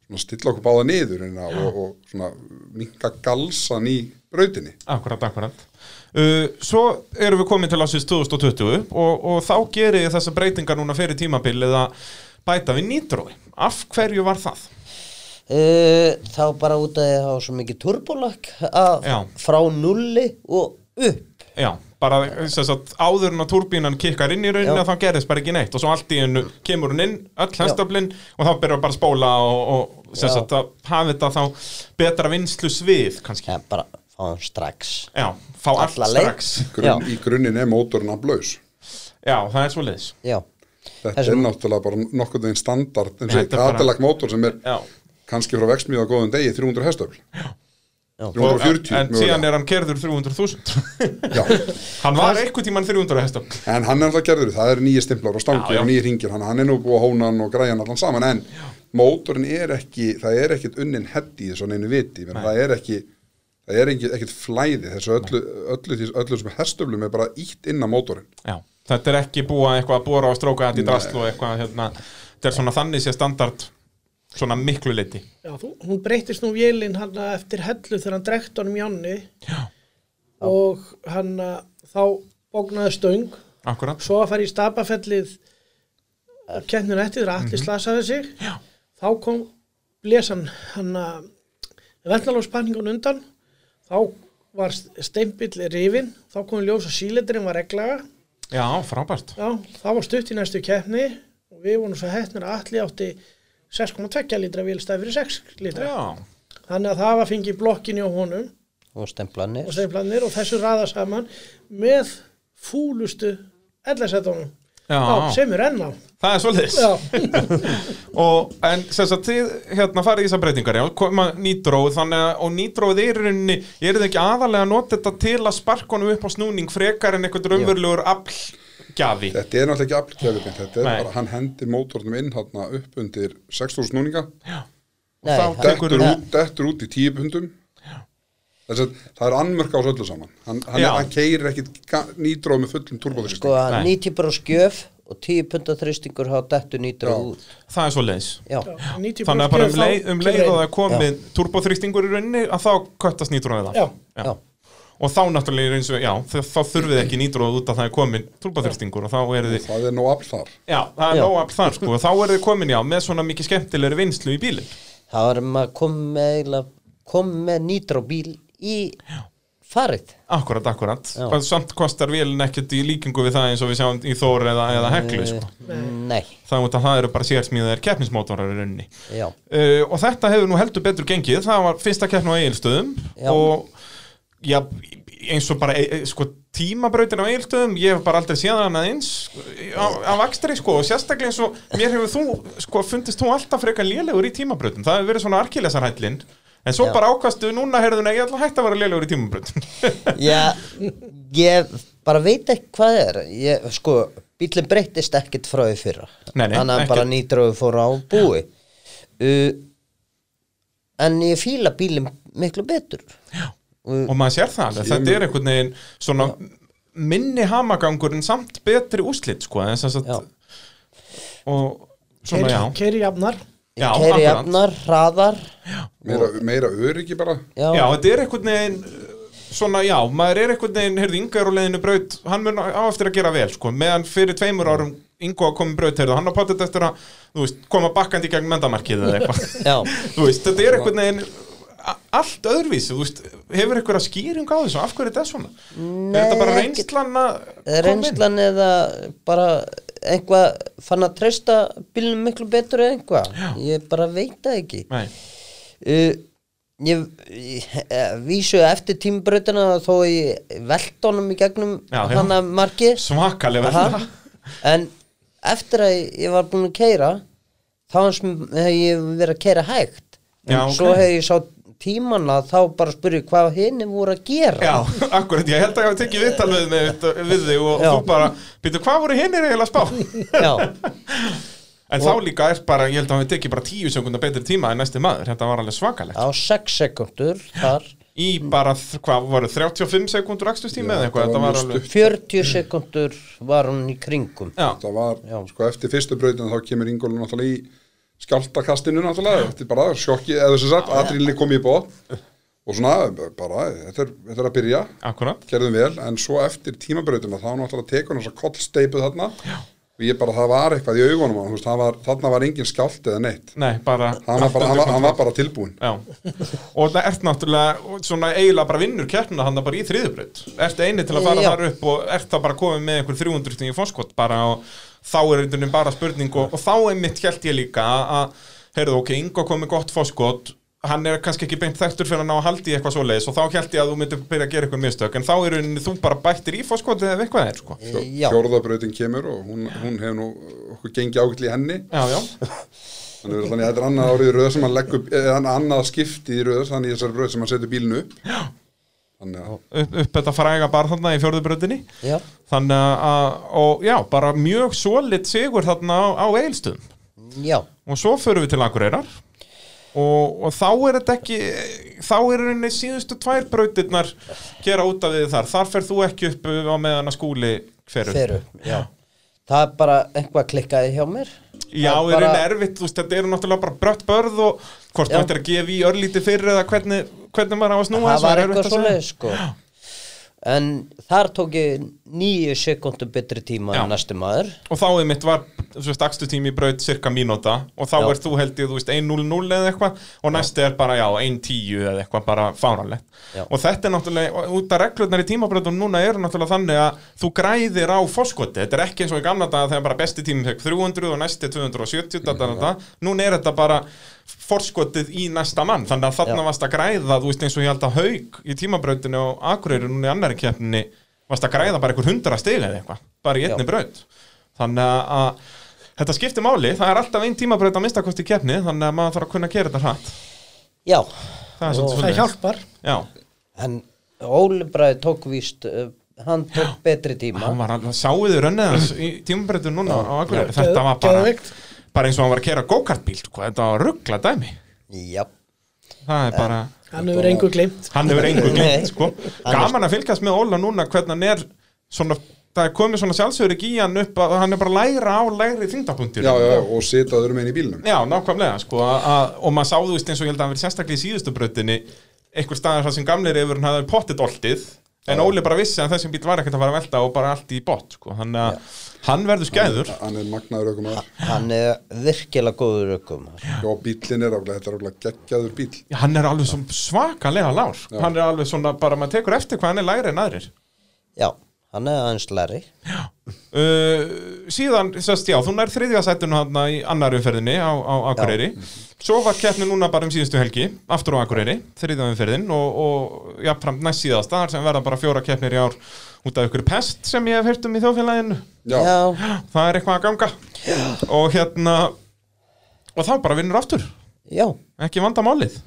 Speaker 2: svona stilla okkur báða niður hérna, og, og svona minka galsan í brautinni
Speaker 1: Akkurat, akkurat. Uh, svo erum við komin til ásins 2020 og, og þá gerir ég þessa breytingar núna fyrir tímabilið að bæta við nýtrói. Af hverju var það?
Speaker 4: Uh, þá bara út að það var svo mikið turbolakk að
Speaker 1: Já.
Speaker 4: frá nulli og upp
Speaker 1: Já, bara sem sagt, áður en að turbínan kikkar inn í rauninu
Speaker 4: Já.
Speaker 1: þá gerðist bara ekki neitt og svo allt í hennu kemur hún inn, öll hestöflin og þá byrjar bara að spóla og, og sem
Speaker 4: Já.
Speaker 1: sagt að hafa þetta þá betra vinslu svið kannski.
Speaker 4: ja, bara fá hann strax
Speaker 1: Já, fá allt
Speaker 4: Alla leið.
Speaker 1: strax.
Speaker 2: Grunn,
Speaker 4: Já.
Speaker 2: í grunninn er mótorinn að blaus
Speaker 1: Já, það er svo liðs.
Speaker 4: já,
Speaker 2: þetta
Speaker 4: Þessi-
Speaker 2: er náttúrulega bara nokkurn veginn standard eins og
Speaker 1: Þetta er bara-
Speaker 2: katalag mótor sem er
Speaker 1: Já.
Speaker 2: kannski frá vextmíða á góðum degi 300 hestöfl
Speaker 4: Já.
Speaker 2: 340
Speaker 1: en síðan
Speaker 2: mögulega.
Speaker 1: er hann kerður 300.000
Speaker 2: Já.
Speaker 1: Hann var einhvern tímann 300 hestöfl
Speaker 2: en hann er alltaf gerður, það eru nýja stimplar og
Speaker 1: Já,
Speaker 2: stangir
Speaker 1: já.
Speaker 2: og nýja ringir, hann, hann er nú búið að hóna hann og græja hann allan saman, en já. mótorin er ekki, það er ekkit unnin hett í þessu neinu viti, menn það er ekki það er ekki, ekkit flæði þessu öllu, öllu, öllu, öllu sem herstöflum er bara ítt inn á mótorin,
Speaker 1: Já, þetta er ekki búa eitthvað að bóra og stróka þetta í drasl og eitthvað hérna, þetta er svona þannig sé standard svona miklu liti
Speaker 3: Já, þú, hún breytist nú vélinn hann eftir hellu þegar hann drekt honum í ánni
Speaker 1: Já,
Speaker 3: og hann þá bóknaði stöng
Speaker 1: akkurat
Speaker 3: svo að fara í stapafellið kettnir eftir þegar
Speaker 1: Mhm.
Speaker 3: allir slasaði sig
Speaker 1: Já.
Speaker 3: þá kom blesan hann að vettalófspanningun undan þá var steimbill rifin þá kom í ljós að síleturinn var reglaga
Speaker 1: Já, frábært
Speaker 3: Já, það var stutt í næstu keppni og við vorum svo hettnir að allir átti 6,2 litra vélstæð fyrir 6 litra.
Speaker 1: Já,
Speaker 3: Þannig að það var fengið blokkinni á honum
Speaker 4: og stemplanir
Speaker 3: og steinflanir og þessu raða saman með fúlustu ellarsetunum.
Speaker 1: Já.
Speaker 3: sem er enn á.
Speaker 1: það er svolítið
Speaker 3: Já,
Speaker 1: og en sem sagt þið hérna farið í þessar breytingar já, koma nýtróð þannig að og nýtróð er í rauninni, er þið ekki aðalega að nota þetta til að sparka honum upp á snúning frekar en eitthvað raunverulegur aflgjafi
Speaker 2: þetta er náttúrulega ekki aflgjöfum, þetta er
Speaker 1: Nei.
Speaker 2: bara, hann hendir mótornum inn hann upp undir 6000 núninga
Speaker 4: Nei,
Speaker 1: þá
Speaker 4: það-
Speaker 1: tekur
Speaker 2: dettur
Speaker 1: þú-
Speaker 2: út, dettur út í 10 pundum þess að það er annmörk á þessu öllu saman hann, hann,
Speaker 1: Já.
Speaker 2: hann keirir ekkit nýdróð með fullum turbóðrýstum
Speaker 4: sko að
Speaker 1: Nei.
Speaker 4: 90 bara skjöf og 10 pundar þristingur þá dettu nýtra
Speaker 2: Já.
Speaker 4: út
Speaker 1: það er svolítið
Speaker 4: já,
Speaker 3: já 90%
Speaker 1: Þannig að bara um
Speaker 3: þá
Speaker 1: leið, um leið
Speaker 3: kemur
Speaker 1: að
Speaker 3: einn.
Speaker 1: það er komið turboþrýstingur í rauninni að þá köttast nýtróið það
Speaker 3: Já.
Speaker 4: já,
Speaker 1: og þá náttúrulega er eins og, já, þá, þá þurfið þið ekki nýtróð út að það er komin turboþrýstingur og þá er
Speaker 4: Sko-
Speaker 1: þið,
Speaker 2: það er nóg afl þar
Speaker 1: já, það er
Speaker 4: Já.
Speaker 1: nóg afl þar sko og þá er þið komin, já, með svona mikið skemmtilegri vinslu í bílinn
Speaker 4: þá erum maður komið með eiginlega kom með nýtróbíl í farið
Speaker 1: Akkurat, akkurat
Speaker 4: Já.
Speaker 1: Og Samt kostar vélin ekkert í líkingu við það eins og við sjáum í Þór eða, eða Heklu sko.
Speaker 4: Nei,
Speaker 1: Það út að það eru bara sérsmíðar keppnismótorar í rauninni
Speaker 4: já
Speaker 1: uh, Og þetta hefur nú heldur betur gengið Það var fyrsta keppn á Egilstöðum
Speaker 4: Já.
Speaker 1: Og já, eins og bara e, e, sko, tímabrautin á Egilstöðum Ég hef bara aldrei séð hana eins á, á vakstri sko Og sérstaklega eins og mér hefur þú sko, fundist þú alltaf frekar lélegur í tímabrautum Það hefur verið svona arkilesarhællin En svo
Speaker 4: Já.
Speaker 1: bara ákastu núna herðuna, ég ætla að hætta að vera lélegur í tímabrautum
Speaker 4: Já, ég bara veit ekki hvað er ég, sko, bílinn breyttist ekkit frá því fyrra
Speaker 1: Nei, nei,
Speaker 4: þannig að
Speaker 1: ekkert.
Speaker 4: bara nýtrófi fór á búi uh, en ég fíla bílinn miklu betur já.
Speaker 1: og maður sér það alveg, þetta er einhvern veginn svona minni hamagangur en samt betri úslit sko, en sem sagt
Speaker 4: Já.
Speaker 1: og svona já,
Speaker 3: Keiri jafnar
Speaker 1: já,
Speaker 4: Keiri
Speaker 1: akkurat.
Speaker 4: jafnar, hraðar
Speaker 2: meira, meira öryggi bara
Speaker 4: já,
Speaker 1: já, þetta er einhvern veginn uh, svona já, maður er einhvern veginn, heyrðu Inga er á leiðinu braut, hann mun á eftir að gera vel sko, meðan fyrir tveimur árum Ingo komið braut, heyrðu, hann á pottet eftir að þú veist, koma bakkandi í gegn mendamarkið eða
Speaker 4: Já.
Speaker 1: eitthvað, þú veist, þetta er einhvern veginn a- allt öðruvísi, þú veist hefur einhverja skýring á þessu, af hverju er þetta svona? Nei, er þetta bara
Speaker 4: Nei, ekki-
Speaker 1: reynslan að koma inn?
Speaker 4: reynslan eða bara einhvað fann að treysta bílinn miklu betur eða einhvað ég bara veit það ekki
Speaker 1: Nei.
Speaker 4: uh, ég, ég eh, vísu eftir tímbrautina þó ég velt honum í gegnum
Speaker 1: Já, já.
Speaker 4: hann að marki
Speaker 1: Svakalega
Speaker 4: Aha. en eftir að ég var búin að keira þá hans hef ég verið að keira hægt en
Speaker 1: Já, ok.
Speaker 4: svo hef ég sá tímana þá bara spurði hvað henni voru að gera
Speaker 1: Já, akkurat, ég held að ég hafa tekið viðtal við, með, við þig og
Speaker 4: Já.
Speaker 1: þú bara Býttu, hvað voru hinnir eiginlega að spá?
Speaker 4: Já.
Speaker 1: En þá líka er bara, ég held að við tekið bara tíu sekundar betri tíma en næsti maður, þetta var alveg svakalegt
Speaker 4: á 6 sekundur þar
Speaker 1: Í bara, þ- hvað voru, 35 sekundur akstustíma eða eitthvað,
Speaker 2: þetta
Speaker 1: þetta
Speaker 2: var
Speaker 1: var
Speaker 2: mjög
Speaker 1: alveg
Speaker 4: 40 sekundur var hún í kringum
Speaker 1: Já,
Speaker 2: það var,
Speaker 4: Já.
Speaker 2: sko eftir fyrstu brautin þá kemur Ingólu náttúrulega í skjáltakastinu náttúrulega, þetta er bara sjokki eða sem sagt, atrilinni kom í bóð og svona, bara, þetta er, þetta er að byrja
Speaker 1: akkurat
Speaker 2: gerðum vel, en svo eftir tímabrautina þá náttúrulega tekur hann þessa kollsteipu þarna Já. og ég bara, það var eitthvað í augunum á honum, þú veist, það var, þarna var engin skjált eða neitt,
Speaker 1: Nei, bara
Speaker 2: hann var bara, hann var, hann var bara tilbúin
Speaker 1: Já, og það ert náttúrulega og svona eiginlega bara vinnur kjarnina hann bara í þriðubraut, ert eini til að fara
Speaker 4: Já.
Speaker 1: þar upp og ert það bara komið með einhver 300 stig í fórskot bara og þá er einhvern bara spurning og, og þá einmitt held ég líka að- að, heyrðu ok, Ingo komið gott fórskot hann er kannski ekki beint þekktur fyrir hann á að haldi í eitthvað svoleiðis og þá held ég að þú myndir byrja að gera eitthvað mistök en þá er rauninni þú bara bættir í fórskot eða ef eitthvað er sko
Speaker 2: Fjó,
Speaker 4: Já.
Speaker 2: fjórðabrautin kemur og hún, hún hefur nú okkur gengið ágætli í henni
Speaker 1: Já, já,
Speaker 2: þannig að þannig að þetta er annað árið í röð sem hann leggur, eða annað skipti í röð þannig í þessari röð sem hann setur bílinu upp þannig að
Speaker 1: upp, upp þetta fræga bara þarna í fjórðubrautinni
Speaker 4: já,
Speaker 1: þannig að, og já, bara mjög solid sigur þarna á, á eilstöðum
Speaker 4: já
Speaker 1: og svo förum við til Akureyrar og, og þá er þetta ekki þá er henni síðustu tvær brautirnar gera út af því þar þar fer þú ekki upp á meðan að skúli feru.
Speaker 4: Feru, já Það er bara einhvað klikkaði hjá mér
Speaker 1: Já,
Speaker 4: Það
Speaker 1: er
Speaker 4: bara-
Speaker 1: henni erfitt, þú veist, þetta eru náttúrulega bara brött börð og hvort
Speaker 4: Já.
Speaker 1: þú ættir að gefa í örlítið fyrir eða hvernig, hvernig maður á að snúa
Speaker 4: Það
Speaker 1: þessu,
Speaker 4: var
Speaker 1: er erfitt
Speaker 4: eitthvað
Speaker 1: að segja.
Speaker 4: svoleið sko En þar tók ég nýju sekundum betri tíma
Speaker 1: Já.
Speaker 4: en næsti maður
Speaker 1: Og þá er mitt var, þú veist, akstutími í braut cirka mínúta og þá
Speaker 4: Já.
Speaker 1: er þú held ég, þú veist, 1.00 eða eitthvað og næsti er bara, já, 1.10 eða eitthvað bara fáranlegt.
Speaker 4: Já.
Speaker 1: Og þetta er náttúrulega, og út af reglurnar í tímabrautum núna eru náttúrulega þannig að þú græðir á fórskoti, þetta er ekki eins og í gamla daga þegar bara besti tími fekk 300 og næsti 270, þetta, þetta, núna er þetta bara fórskotið í næsta mann, þannig að þarna
Speaker 4: Já.
Speaker 1: varst að græða, þú veist, eins og ég held að haug í tímabrautinu og akureyri núna í annari keppninni varst að græða bara einhver hundra stiga eða eitthvað, bara í einni
Speaker 4: Já.
Speaker 1: braut þannig að- að þetta skiptir máli það er alltaf ein tímabraut að mistakosti í keppni þannig að maður þarf að kunna að gera þetta hratt
Speaker 4: Já,
Speaker 1: það er svolítið
Speaker 3: það
Speaker 1: svolítið
Speaker 3: hjálpar
Speaker 1: já,
Speaker 4: en Óli Bræði tók víst uh, Hann tók betri tíma
Speaker 1: hann var alveg, sáuðu rönnið hans í tímabrautu núna á Akureyri,
Speaker 3: Geð-
Speaker 1: þetta var bara
Speaker 3: geðveikt.
Speaker 1: bara eins og hann var að kera go-kartbíl sko, þetta var ruggla dæmi
Speaker 4: Já,
Speaker 1: það er bara,
Speaker 3: hann hefur engu glimt
Speaker 1: hann hefur engu
Speaker 4: Nei.
Speaker 1: glemt sko. gaman að fylgjast með Óla núna hvernig hann er svona, það er komið svona sjálfsögur í hann upp að hann er bara að læra á læri þingdapunktur
Speaker 2: já, já, já, og sita öðrum einn í bílnum
Speaker 1: Já, nákvæmlega, sko, að- að- og maður sáðu veist eins og ég held að hann verið sérstaklega í síðustu brautinni einhver staðar þar sem gamleir yfir hann hafði pottit oltið En Óli bara vissi að þessum bíl var ekkert að fara að velta og bara allt í bot sko. hann, hann verður skæður
Speaker 2: hann er magnaður ökum að
Speaker 4: Hann er virkilega góður ökum
Speaker 2: já, bíllinn er ákveð, þetta er ákveð geggjaður bíl
Speaker 1: Hann er alveg svona svakalega lár
Speaker 2: Já.
Speaker 1: Hann er alveg svona, bara maður tekur eftir hvað hann er lægri en aðrir
Speaker 4: Já, hann er aðeins læri
Speaker 1: uh, Síðan, sérst, já, þú nær þriðja sættinu hann í annar umferðinni á, á Akureyri Svo var keppni núna bara um síðustu helgi Aftur á Akureyri, þriðja umferðin Og, og já, fram næst síðasta þar sem verða bara fjóra keppnir í ár Út af ykkur pest sem ég hef heyrt um í þjóðfélaginu
Speaker 2: já,
Speaker 4: já,
Speaker 1: það er eitthvað að ganga og hérna og þá bara vinnur aftur
Speaker 4: já.
Speaker 1: ekki vandamálið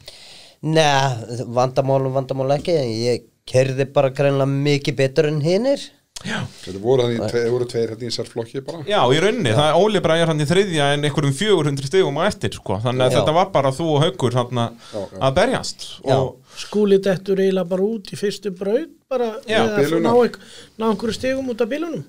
Speaker 4: Nei, vandamál og vandamál ekki Ég kerði bara greinlega mikið betur en hinnir
Speaker 2: þetta voru, hann í, tve, voru tveir hérna í sér flokki bara
Speaker 1: já, í rauninni, það er Óli bara er hann í þriðja en einhverjum 400 stigum á eftir sko. þannig að
Speaker 4: Já.
Speaker 1: þetta var bara þú og haukur þarna,
Speaker 2: Já, já.
Speaker 1: að berjast
Speaker 4: Já.
Speaker 1: og
Speaker 3: skúli dettur eiginlega bara út í fyrstu braut bara
Speaker 1: Já,
Speaker 3: við að
Speaker 2: biluna.
Speaker 3: ná, einhver- ná einhverju stigum út af bílunum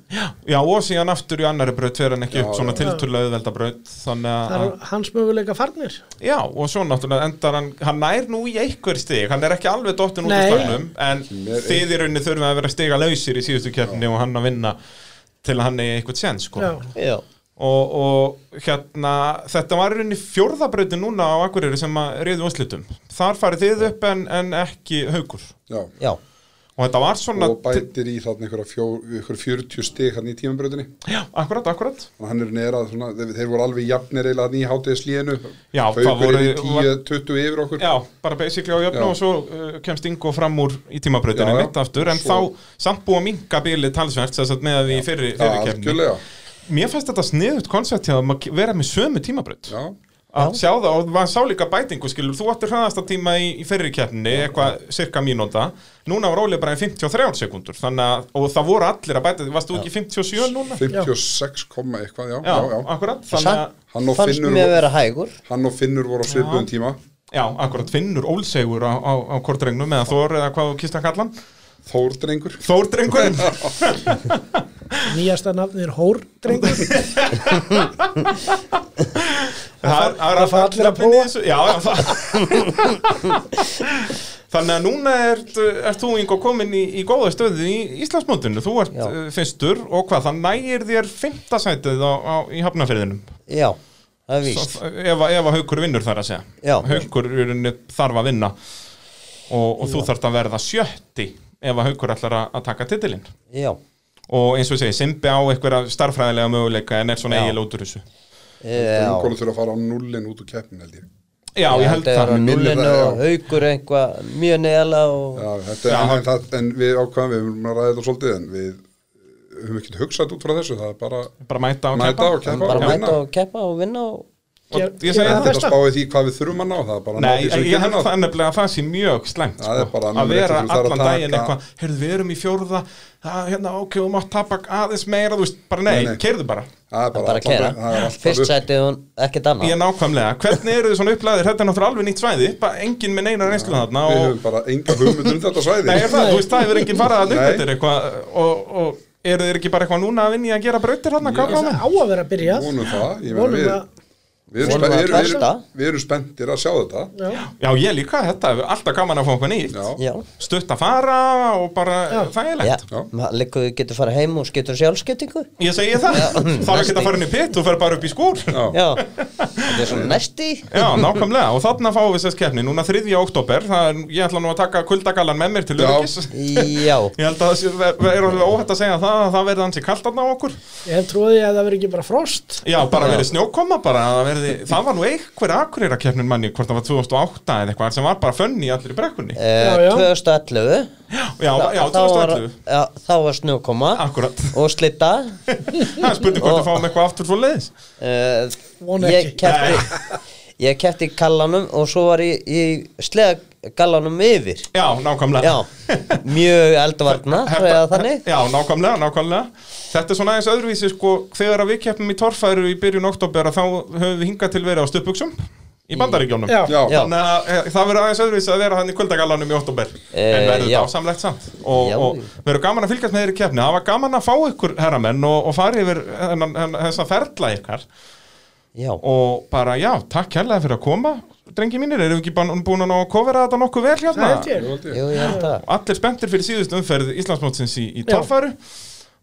Speaker 1: Já, og síðan aftur í annari braut fer hann ekki
Speaker 2: Já,
Speaker 1: upp svona
Speaker 2: já.
Speaker 1: tilturlega auðvelda braut þannig
Speaker 3: það
Speaker 1: að,
Speaker 3: er hans möguleika farnir
Speaker 1: já, og svo náttúrulega endar hann, hann nær nú í einhver stig hann er ekki alveg dottin út úr
Speaker 3: Nei.
Speaker 1: staðnum en
Speaker 2: Mér-
Speaker 1: þið í rauninni þurfum að vera stiga lausir í síðustu keppni og hann að vinna til að hann eigi eitthvað séns sko.
Speaker 3: Já.
Speaker 4: Já,
Speaker 1: og, og hérna þetta var í rauninni fjórðabrautin núna á Akureyri sem að reyðu úrslitum þar farið þið upp en, en ekki haukur
Speaker 2: já.
Speaker 4: já,
Speaker 1: og þetta var svona
Speaker 2: og bætir í þarna einhverja fjó, einhverja 40 stig hann í tímabröðinni
Speaker 1: já, akkurat, akkurat
Speaker 2: og hann er nerað svona, þeir, þeir voru alveg jafnir eiginlega hann í hátíðislíðinu
Speaker 1: Já, hvað
Speaker 2: haukur
Speaker 1: voru-
Speaker 2: er 10-20 yfir okkur
Speaker 1: já, bara basically á jöfnu
Speaker 2: Já.
Speaker 1: og svo uh, kemst Ingo fram úr í tímabrautinu
Speaker 2: Já, já.
Speaker 1: mitt aftur en
Speaker 2: Svo-
Speaker 1: þá samt búið að minka bíli talsvert þess að með að við í fyrri,
Speaker 2: Já,
Speaker 1: fyrri kemni
Speaker 2: algjörlega
Speaker 1: mér fannst þetta sniðut koncept hjá þeim að vera með sömu tímabraut
Speaker 2: já,
Speaker 1: að sjá það og maður sá líka bætingu skilur, þú ættir hraðasta tíma í, í fyrri keppni eitthvað cirka mínúnda núna var Óli bara í 53 sekundur þannig að, og það voru allir að bæta, varst þú ekki í 57 núna?
Speaker 2: 56 komma eitthvað, já,
Speaker 1: Já,
Speaker 2: já, já.
Speaker 1: akkurat þannig að,
Speaker 4: samt
Speaker 2: Hann og
Speaker 4: fannst
Speaker 2: Finnur
Speaker 4: mér
Speaker 2: voru-
Speaker 4: að vera hægur
Speaker 2: hann og Finnur voru á svipuðum tíma
Speaker 1: já, akkurat finnur ólsegur á, á, á kortrengnum eða Þór eða hvað þú kýrst að kalla hann
Speaker 2: Þór drengur
Speaker 1: Þórdrengurinn
Speaker 3: nýjasta nafnið er Hórdrengur
Speaker 1: Það er- það er
Speaker 3: það fá allir að prófa.
Speaker 1: þessu Já, já það Þannig að núna ert, ert þú Ingo komin í, í góða stöðu í Íslandsmótinu Þú ert
Speaker 4: Já.
Speaker 1: já. fyrstur og hvað, það nægir þér fymta sætið á, á, í hafnafyrðinum
Speaker 4: Já, það er víst
Speaker 1: Ef að- ef að haukur vinnur þar að segja
Speaker 4: Já.
Speaker 1: Haukur í rauninni þarf að vinna og, og þú þarft að verða sjötti ef að haukur ætlar að, að taka titilinn
Speaker 4: Já,
Speaker 1: og eins og ég segi, Simbi á einhverja starffræðilega möguleika en er svona
Speaker 4: Já.
Speaker 1: eigil út úr þessu
Speaker 4: já
Speaker 2: Drengurinn þurfa að fara á nullin út úr keppin held ég
Speaker 1: Já, ég held
Speaker 4: Þetta er
Speaker 1: það
Speaker 4: á nullinu
Speaker 2: það, já.
Speaker 4: og haugur einhvað mjög neðalega og
Speaker 2: Já, þetta er, en, það, en við ákvæðum, við höfum að ræða þetta svolítið en við höfum ekkert hugsað út frá þessu, það er bara
Speaker 1: bara mæta og
Speaker 2: Mæta
Speaker 1: keppa
Speaker 2: og keppa.
Speaker 4: bara
Speaker 2: Já.
Speaker 4: mæta og keppa og vinna og
Speaker 1: Og
Speaker 3: Ger-
Speaker 1: ég segi
Speaker 3: gera
Speaker 1: það
Speaker 2: ekkert að
Speaker 3: besta.
Speaker 2: spáði því hvað við þurfum að ná það er bara að ná
Speaker 1: Nei,
Speaker 2: því
Speaker 1: ég
Speaker 2: sem við
Speaker 1: ég held
Speaker 2: getum náð.
Speaker 1: það nefnilega að það sé mjög slæmt
Speaker 2: Það er
Speaker 1: sko, að
Speaker 2: bara númer eitt
Speaker 1: vera
Speaker 2: sem þú þarf að
Speaker 1: allan daginn
Speaker 2: taka.
Speaker 1: eitthvað heyrðu, við erum í fjórða það, hérna, ok, þú mátt tapa aðeins meira þú veist, bara nei,
Speaker 2: Nei,
Speaker 1: nei,
Speaker 2: nei.
Speaker 1: keyrðu bara
Speaker 2: það er
Speaker 4: það er
Speaker 2: bara
Speaker 4: bara að
Speaker 2: allan- það er
Speaker 4: kera
Speaker 2: alltaf
Speaker 4: Fyrst
Speaker 2: upp.
Speaker 4: sætið hún ekkert annað
Speaker 1: ég nákvæmlega, hvernig eru þið svona upplæðir þetta er náttúrulega alveg nýtt svæði, bara engin með neina reynslu þarna
Speaker 2: við
Speaker 1: og,
Speaker 2: höfum bara enga hugmynd um þetta svæði
Speaker 1: nei, er það, þú veist, það hefur engin farað að
Speaker 2: Nei.
Speaker 1: upp þetta eitthvað og, og eru þeir ekki bara eitthvað núna að vinni að gera brautir þarna, hvað
Speaker 3: það á að vera að byrja
Speaker 2: vonum það, ég meina
Speaker 3: vonum
Speaker 2: við
Speaker 3: að
Speaker 2: við erum
Speaker 4: Vonum
Speaker 2: spen-
Speaker 4: að
Speaker 2: við erum- við
Speaker 4: besta.
Speaker 2: erum- við erum spenntir að sjá þetta
Speaker 3: já,
Speaker 1: Já, ég líka, þetta er alltaf gaman að fá eitthvað nýtt
Speaker 2: já,
Speaker 4: Já,
Speaker 1: stutt að fara og bara
Speaker 3: Já.
Speaker 4: já,
Speaker 1: þægilegt
Speaker 4: maður liggur þú getur fara heim og skiptur sjálfskiptingu
Speaker 1: Ég segi það,
Speaker 4: Já.
Speaker 1: það er ekki að fara inn í pitt, þú fer bara upp í skúr
Speaker 2: já,
Speaker 4: Já, þetta er svona næsti
Speaker 1: Já, nákvæmlega, og þarna fáum við þess keppni núna 3. oktober, það er, ég ætla nú að taka kuldagallan með mér til
Speaker 2: Já.
Speaker 1: öryggis
Speaker 4: Já,
Speaker 1: Ég held að það sé- ver- ver- er alveg óhætt að segja það að það verði hansi kalt þarna á okkur
Speaker 3: ég hef tróði að það verði ekki bara frost
Speaker 1: Já, bara verið snjókoma bara, að það, verði, það var nú einhver akureyra keppnin manni, hvort það var 2008 eða eitthvað sem var bara fönni í allir í brekkunni Já,
Speaker 4: eh,
Speaker 3: Já, já.
Speaker 4: 2011
Speaker 1: já, já
Speaker 4: Þá var-
Speaker 1: 2011
Speaker 4: já, Þá var snjókoma
Speaker 1: Akkurat,
Speaker 4: og slita
Speaker 1: það er spurning hvort við fáum eitthvað aftur svo leiðis
Speaker 4: Eh,
Speaker 3: Vona
Speaker 4: Ég
Speaker 3: ekki.
Speaker 4: kefti Ég kefti í kallanum og svo var ég í sleða gallanum yfir
Speaker 1: Já, nákvæmlega
Speaker 4: Já, mjög eldvarna eða þannig
Speaker 1: Já, nákvæmlega, nákvæmlega Þetta er svona aðeins öðruvísi sko Þegar að við keppum í torfæru í byrjun oktober að Þá höfum við hingað til verið á stupbuksum Í bandaríkjónum
Speaker 3: Já.
Speaker 2: já,
Speaker 4: Mm. Já.
Speaker 1: Þannig að e, það verður aðeins öðruvísi að vera hann í kvöldagallanum í oktober En
Speaker 4: Eh,
Speaker 1: verður
Speaker 4: já.
Speaker 1: þetta ásamlegt samt Og,
Speaker 4: Já.
Speaker 1: og verður gaman að fylgjast með þeirri keppni Það var gaman að fá ykkur herramenn Og, og fara yfir hennan- hennan- þessa ferla ykkar
Speaker 4: Já,
Speaker 1: Og bara já, takk hérlega fyrir að koma drengi mínir, erum við ekki bán- búin að ná að kofera þetta nokkuð vel hérna?
Speaker 3: það held ég.
Speaker 2: Jú, held ég.
Speaker 4: Jú, ég held að
Speaker 1: Allir spenntir fyrir síðust umferð Íslandsmótsins í, í
Speaker 3: Já.
Speaker 1: torfæru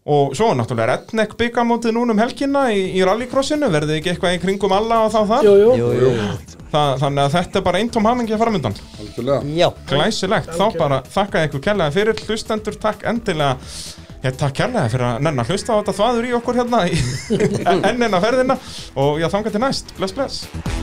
Speaker 1: og svo er náttúrulega Redneck byggamótið núna um helgina í, í rallycrossinu, verðið ekki eitthvað í kringum alla og þá það?
Speaker 3: Jú, jú,
Speaker 4: Jú, jú, jú.
Speaker 1: Þa, þannig að þetta er bara eintóm hamingja framöndan
Speaker 2: Algjörlega.
Speaker 4: Já,
Speaker 1: Glæsilegt, þá
Speaker 3: Algjörlega.
Speaker 1: bara þakka ykkur kærlega fyrir hlustendur, takk endilega Ég takk kærlega fyrir að nenn að hlusta á þetta þvaður í okkur hérna í enn enna ferðina og já, þangað til næst, bless bless